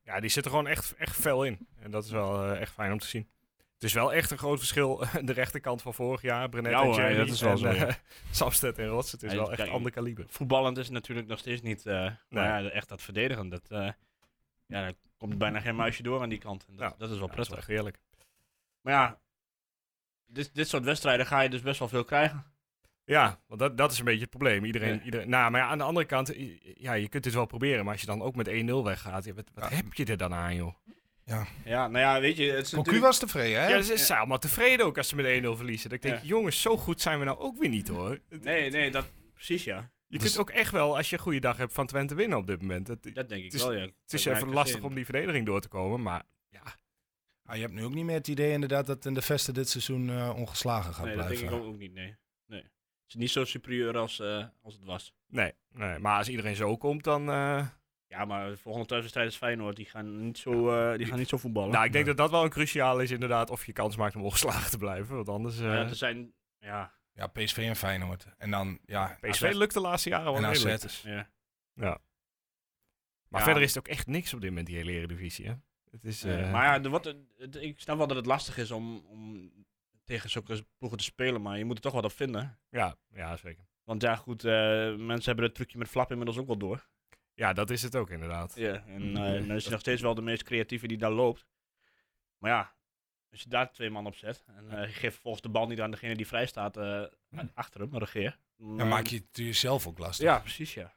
[SPEAKER 4] Ja, die zit er gewoon echt, echt fel in. En dat is wel eh, echt fijn om te zien. Het is wel echt een groot verschil. de rechterkant van vorig jaar, Brenet
[SPEAKER 5] Ja,
[SPEAKER 4] en
[SPEAKER 5] hoor,
[SPEAKER 4] Jeremy.
[SPEAKER 5] dat is wel
[SPEAKER 4] en,
[SPEAKER 5] zo, ja.
[SPEAKER 4] eh, Samsted en Rots. Het is
[SPEAKER 5] Ja,
[SPEAKER 4] wel
[SPEAKER 5] je-
[SPEAKER 4] echt een
[SPEAKER 5] kijk,
[SPEAKER 4] ander kaliber.
[SPEAKER 5] voetballend is het natuurlijk nog steeds niet. eh, maar
[SPEAKER 4] Nee.
[SPEAKER 5] ja, echt dat verdedigen. Dat, eh, ja, daar komt bijna geen muisje door aan die kant. En dat,
[SPEAKER 4] Ja,
[SPEAKER 5] dat is wel
[SPEAKER 4] Ja, dat
[SPEAKER 5] prettig.
[SPEAKER 4] is wel echt heerlijk.
[SPEAKER 5] Maar ja, dit, dit soort wedstrijden ga je dus best wel veel krijgen.
[SPEAKER 4] Ja, want dat, dat is een beetje het probleem. Iedereen,
[SPEAKER 5] Ja.
[SPEAKER 4] iedereen, nou, maar ja, aan de andere kant, i- ja, je kunt dit wel proberen. Maar als je dan ook met 1-0 weggaat, ja, wat, wat
[SPEAKER 6] Ja.
[SPEAKER 4] heb je er dan aan, joh?
[SPEAKER 5] Ja, nou ja, weet je, het is
[SPEAKER 6] Cocu was tevreden, hè?
[SPEAKER 4] Ja, ze zijn allemaal tevreden ook als ze met 1-0 verliezen. Dat ik denk,
[SPEAKER 5] Ja.
[SPEAKER 4] jongens, zo goed zijn we nou ook weer niet hoor. Het-
[SPEAKER 5] Nee, nee, dat precies ja.
[SPEAKER 4] Je
[SPEAKER 6] Dus-
[SPEAKER 4] kunt ook echt wel, als je een goede dag hebt, van Twente winnen op dit moment. Het, het
[SPEAKER 5] Dat denk ik
[SPEAKER 4] Het is-
[SPEAKER 5] wel ja.
[SPEAKER 4] is even lastig om die verdediging door te komen, maar
[SPEAKER 6] Ah, je hebt nu ook niet meer het idee inderdaad dat in de Vesten dit seizoen eh, ongeslagen gaat
[SPEAKER 5] Nee, dat
[SPEAKER 6] blijven.
[SPEAKER 5] denk ik ook, ook niet. Nee. nee. Het is niet zo superieur als, eh, als het was.
[SPEAKER 4] nee. nee. Maar als iedereen zo komt, dan... eh,
[SPEAKER 5] Ja, maar de volgende thuiswedstrijd is Feyenoord. Die gaan niet zo, eh, die gaan niet zo voetballen.
[SPEAKER 4] nou, ik denk dat dat wel een cruciaal is inderdaad, of je kans maakt om ongeslagen te blijven. Want anders... eh
[SPEAKER 5] Ja, er zijn, ja,
[SPEAKER 6] Ja, PSV en Feyenoord. En dan, ja,
[SPEAKER 4] PSV
[SPEAKER 5] AZ.
[SPEAKER 4] lukt de laatste jaren wel
[SPEAKER 6] en AZ.
[SPEAKER 4] redelijk.
[SPEAKER 5] ja.
[SPEAKER 4] Maar
[SPEAKER 5] Ja.
[SPEAKER 4] verder is het ook echt niks op dit moment, die hele Eredivisie. Hè? Het is...
[SPEAKER 5] Eh,
[SPEAKER 4] eh,
[SPEAKER 5] maar ja, er wordt, een- het- ik snap wel dat het lastig is om, om tegen zulke ploegen te spelen, maar je moet er toch wat op vinden.
[SPEAKER 4] ja, ja, zeker.
[SPEAKER 5] Want ja, goed, eh, mensen hebben het trucje met flap inmiddels ook wel door.
[SPEAKER 4] Ja, dat is het ook inderdaad.
[SPEAKER 5] Ja. En eh, dan is hij nog steeds wel de meest creatieve die daar loopt. Maar ja, als je daar twee man op zet en eh je geeft vervolgens de bal niet aan degene die vrij staat eh, achter hem, regeer. eh,
[SPEAKER 6] Dan maak je het jezelf ook lastig.
[SPEAKER 5] Ja, precies ja.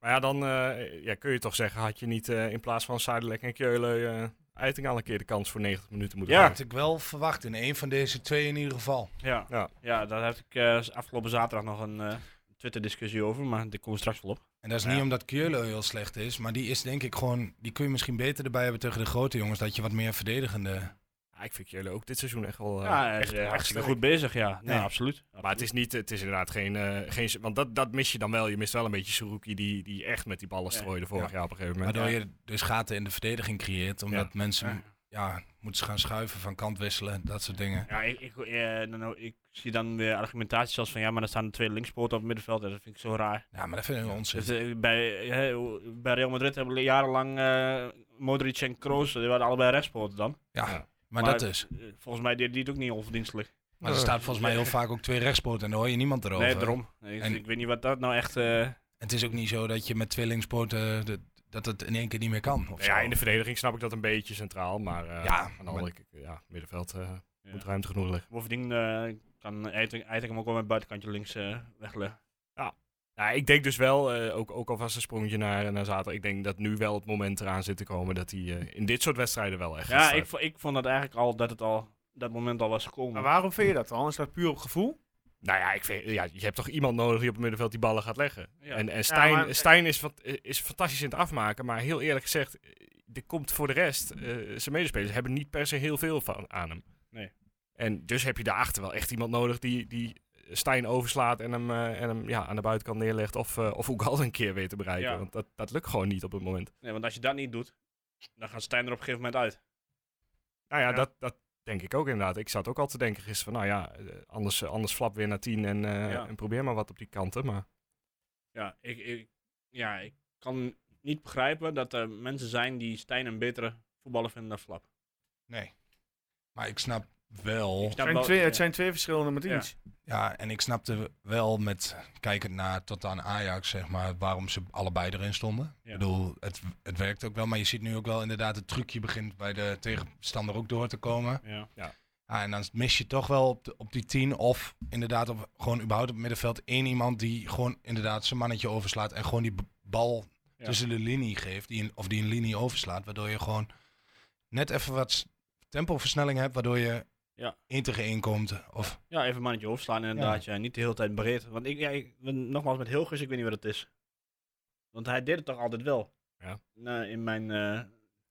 [SPEAKER 4] Maar ja, dan eh, ja, kun je toch zeggen, had je niet eh, in plaats van Zuidelijk en Keulen eh Eiting al een keer de kans voor 90 minuten moeten
[SPEAKER 5] Ja.
[SPEAKER 6] Dat had ik wel verwacht in een van deze twee in ieder geval.
[SPEAKER 5] Ja,
[SPEAKER 4] Ja.
[SPEAKER 5] ja. daar heb ik eh, afgelopen zaterdag nog een eh, Twitter-discussie over, maar daar komen we straks wel op.
[SPEAKER 6] En dat is niet omdat Keulen heel slecht is, maar die is denk ik gewoon, die kun je misschien beter erbij hebben tegen de grote jongens, dat je wat meer verdedigende...
[SPEAKER 4] Ja, ik vind jullie ook dit seizoen echt wel eh,
[SPEAKER 5] ja,
[SPEAKER 4] echt,
[SPEAKER 5] echt,
[SPEAKER 4] echt
[SPEAKER 5] hartstikke
[SPEAKER 4] sterk.
[SPEAKER 5] goed bezig, ja.
[SPEAKER 6] Nee.
[SPEAKER 5] Nee, absoluut.
[SPEAKER 4] Maar het is, niet, het is inderdaad geen... eh, geen want dat, dat mis je dan wel. Je mist wel een beetje Suruki die, die echt met die ballen
[SPEAKER 5] Ja.
[SPEAKER 4] strooide vorig
[SPEAKER 6] Ja.
[SPEAKER 4] jaar op een gegeven moment.
[SPEAKER 6] Waardoor je dus gaten in de verdediging creëert, omdat mensen,
[SPEAKER 5] Ja.
[SPEAKER 6] ja. moeten ze gaan schuiven, van kant wisselen, dat soort dingen.
[SPEAKER 5] Ja, ik, ik, eh, nou, nou, ik zie dan weer argumentaties als van ja, maar er staan de twee linkspoten op het middenveld. Ja, dat vind ik zo raar.
[SPEAKER 6] Ja, maar dat vind ik onzin.
[SPEAKER 5] Dus, eh, bij, eh, bij Real Madrid hebben we jarenlang eh, Modric en Kroos, die waren allebei rechtspoten dan.
[SPEAKER 6] Ja,
[SPEAKER 4] Ja.
[SPEAKER 6] maar, dat is.
[SPEAKER 5] eh, volgens mij deed die het ook niet onverdienstelijk.
[SPEAKER 6] Maar er staat volgens mij heel vaak ook twee rechtspoten en daar hoor je niemand erover.
[SPEAKER 5] Nee, daarom. Ik,
[SPEAKER 6] En-
[SPEAKER 5] ik weet niet wat dat nou echt... eh,
[SPEAKER 6] Het is ook niet zo dat je met tweelingspoten de- dat het in één keer niet meer kan. Of
[SPEAKER 4] Nou ja,
[SPEAKER 6] zo.
[SPEAKER 4] in de verdediging snap ik dat een beetje centraal. Maar eh,
[SPEAKER 6] Ja,
[SPEAKER 4] aan de andere kant, ja, middenveld eh,
[SPEAKER 5] ja.
[SPEAKER 4] moet ruimte genoeg liggen.
[SPEAKER 5] Bovendien eh, kan Eiting Eiting hem ook wel met het buitenkantje links eh, wegleggen.
[SPEAKER 4] Ja. Nou, ik denk dus wel, eh, ook, ook alvast een sprongetje naar, naar zaterdag. Ik denk dat nu wel het moment eraan zit te komen dat hij eh, in dit soort wedstrijden wel echt. eh, gaat
[SPEAKER 5] Ja, ik,
[SPEAKER 4] starten.
[SPEAKER 5] vo- ik vond dat eigenlijk al dat het al dat moment al was gekomen.
[SPEAKER 1] Maar waarom vind je dat dan? Is dat puur op gevoel?
[SPEAKER 4] Nou ja, ik vind, ja, je hebt toch iemand nodig die op het middenveld die ballen gaat leggen.
[SPEAKER 5] Ja.
[SPEAKER 4] En, en Stijn,
[SPEAKER 1] maar-
[SPEAKER 4] Stijn is, fant- is fantastisch in het afmaken, maar heel eerlijk gezegd, eh, er komt voor de rest, eh, zijn medespelers hebben niet per se heel veel van, aan hem.
[SPEAKER 5] Nee.
[SPEAKER 4] En dus heb je daarachter wel echt iemand nodig die, die Stijn overslaat en hem, eh, en hem ja, aan de buitenkant neerlegt of, eh of Oegal een keer weer te bereiken.
[SPEAKER 5] Ja.
[SPEAKER 4] Want dat, dat lukt gewoon niet op het moment.
[SPEAKER 5] Nee, want als je dat niet doet, dan gaat Stijn er op een gegeven moment uit.
[SPEAKER 4] Nou ja,
[SPEAKER 1] Ja.
[SPEAKER 4] Dat, dat denk ik ook inderdaad. Ik zat ook al te denken gisteren van, nou ja, eh, anders, eh, anders flap weer naar tien en, eh,
[SPEAKER 5] Ja.
[SPEAKER 4] en probeer maar wat op die kanten. Maar
[SPEAKER 5] Ja, ik, ik, ja, ik kan niet begrijpen dat er mensen zijn die Stijn een betere voetballer vinden dan Flap.
[SPEAKER 6] Nee. Maar ik snap
[SPEAKER 5] Ik
[SPEAKER 6] wel.
[SPEAKER 5] snap
[SPEAKER 1] Het zijn
[SPEAKER 5] wel-
[SPEAKER 1] twee,
[SPEAKER 5] ja.
[SPEAKER 1] het zijn twee verschillende matiens.
[SPEAKER 6] Ja, en ik snapte wel met kijkend naar tot aan Ajax, zeg maar, waarom ze allebei erin stonden.
[SPEAKER 5] Ja.
[SPEAKER 6] Ik bedoel, het, het werkt ook wel, maar je ziet nu ook wel inderdaad het trucje begint bij de tegenstander ook door te komen.
[SPEAKER 5] Ja.
[SPEAKER 6] Ja, en dan mis je toch wel op, de- op die tien of inderdaad op, gewoon überhaupt op het middenveld één iemand die gewoon inderdaad zijn mannetje overslaat en gewoon die b- bal
[SPEAKER 5] Ja.
[SPEAKER 6] tussen de linie geeft, die een, of die een linie overslaat, waardoor je gewoon net even wat s- tempoversnelling hebt, waardoor je
[SPEAKER 5] Ja.
[SPEAKER 6] één tegen één komt. Of,
[SPEAKER 5] Ja, even een mannetje overslaan inderdaad. Ja. Niet de hele tijd breed. Want ik, ja, ik, nogmaals, met Hilgers, ik weet niet wat het is. Want hij deed het toch altijd wel?
[SPEAKER 4] Ja.
[SPEAKER 5] Nou, in mijn... eh,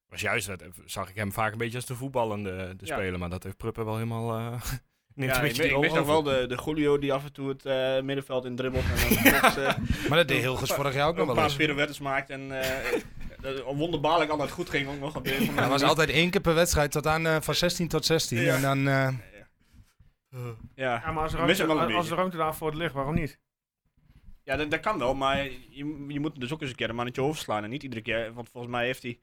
[SPEAKER 4] was juist, dat, zag ik hem vaak een beetje als de voetballende eh, de
[SPEAKER 5] Ja.
[SPEAKER 4] speler. Maar dat heeft Pruppen wel helemaal... eh neemt
[SPEAKER 5] ja, ik,
[SPEAKER 4] een beetje
[SPEAKER 5] weet- ik
[SPEAKER 4] die
[SPEAKER 5] wist
[SPEAKER 4] rol
[SPEAKER 5] nog wel
[SPEAKER 4] over.
[SPEAKER 5] de, de Julio die af en toe het eh, middenveld in dribbelt. En dan vervolgens, eh,
[SPEAKER 6] maar dat deed Hilgers vorig jaar ook nog
[SPEAKER 5] een
[SPEAKER 6] wel
[SPEAKER 5] paar
[SPEAKER 6] eens.
[SPEAKER 5] pirouettes maakt. En eh, dat wonderbaarlijk altijd goed ging. Ook nog op deze
[SPEAKER 6] Ja,
[SPEAKER 5] manier.
[SPEAKER 6] dat was altijd één keer per wedstrijd, tot aan, eh, van 16 tot 16.
[SPEAKER 5] Ja.
[SPEAKER 6] En dan, eh,
[SPEAKER 5] Ja,
[SPEAKER 1] Ja, maar als de
[SPEAKER 5] Ik mis
[SPEAKER 1] ruimte,
[SPEAKER 5] hem wel een
[SPEAKER 1] als
[SPEAKER 5] beetje.
[SPEAKER 1] de ruimte daarvoor ligt, waarom niet?
[SPEAKER 5] ja dat, dat kan wel. Maar je, je moet dus ook eens een keer een mannetje overslaan. En niet iedere keer. Want volgens mij heeft hij...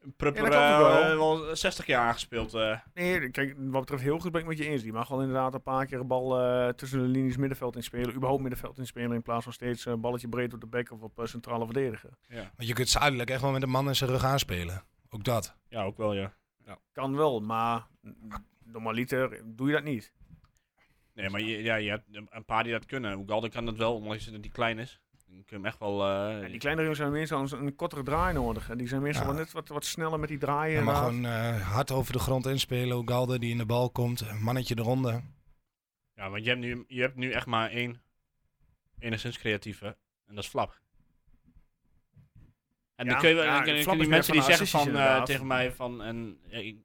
[SPEAKER 5] een Prupper
[SPEAKER 1] Ja, dat kan toch
[SPEAKER 5] eh,
[SPEAKER 1] wel?
[SPEAKER 5] wel 60 jaar aangespeeld. eh.
[SPEAKER 1] Nee, kijk, wat betreft heel goed ben ik met je eens. Die mag wel inderdaad een paar keer een bal eh, tussen de linies middenveld inspelen. Überhaupt middenveld inspelen in plaats van steeds een balletje breed op de bek of op eh, centrale verdediger.
[SPEAKER 6] want je kunt zuidelijk echt wel met een man in zijn rug aanspelen. Ook dat.
[SPEAKER 5] Ja, ook wel ja.
[SPEAKER 1] Kan wel, maar mm, normaliter doe je dat niet.
[SPEAKER 5] Nee, maar je, ja, je hebt een paar die dat kunnen. Ugalde kan dat wel, omdat hij die klein is. Dan kun je hem echt wel... eh,
[SPEAKER 1] En die kleinere jongens hebben meestal een, een kortere draai nodig. En die zijn meestal
[SPEAKER 6] Ja.
[SPEAKER 1] wel net wat, wat sneller met die draaien.
[SPEAKER 6] Ja, maar
[SPEAKER 1] inderdaad.
[SPEAKER 6] gewoon eh, hard over de grond inspelen. Galde die in de bal komt. Mannetje eronder.
[SPEAKER 5] Ja, want je hebt, nu, je hebt nu echt maar één enigszins creatieve. En dat is Flap. En
[SPEAKER 1] Ja,
[SPEAKER 5] dan kun je, wel-
[SPEAKER 1] ja,
[SPEAKER 5] dan kun je-
[SPEAKER 1] Flap
[SPEAKER 5] kun je
[SPEAKER 1] is
[SPEAKER 5] die mensen
[SPEAKER 1] meer
[SPEAKER 5] die
[SPEAKER 1] van de
[SPEAKER 5] zeggen
[SPEAKER 1] assisties
[SPEAKER 5] van, eh,
[SPEAKER 1] inderdaad.
[SPEAKER 5] tegen mij van... En, ja, ik,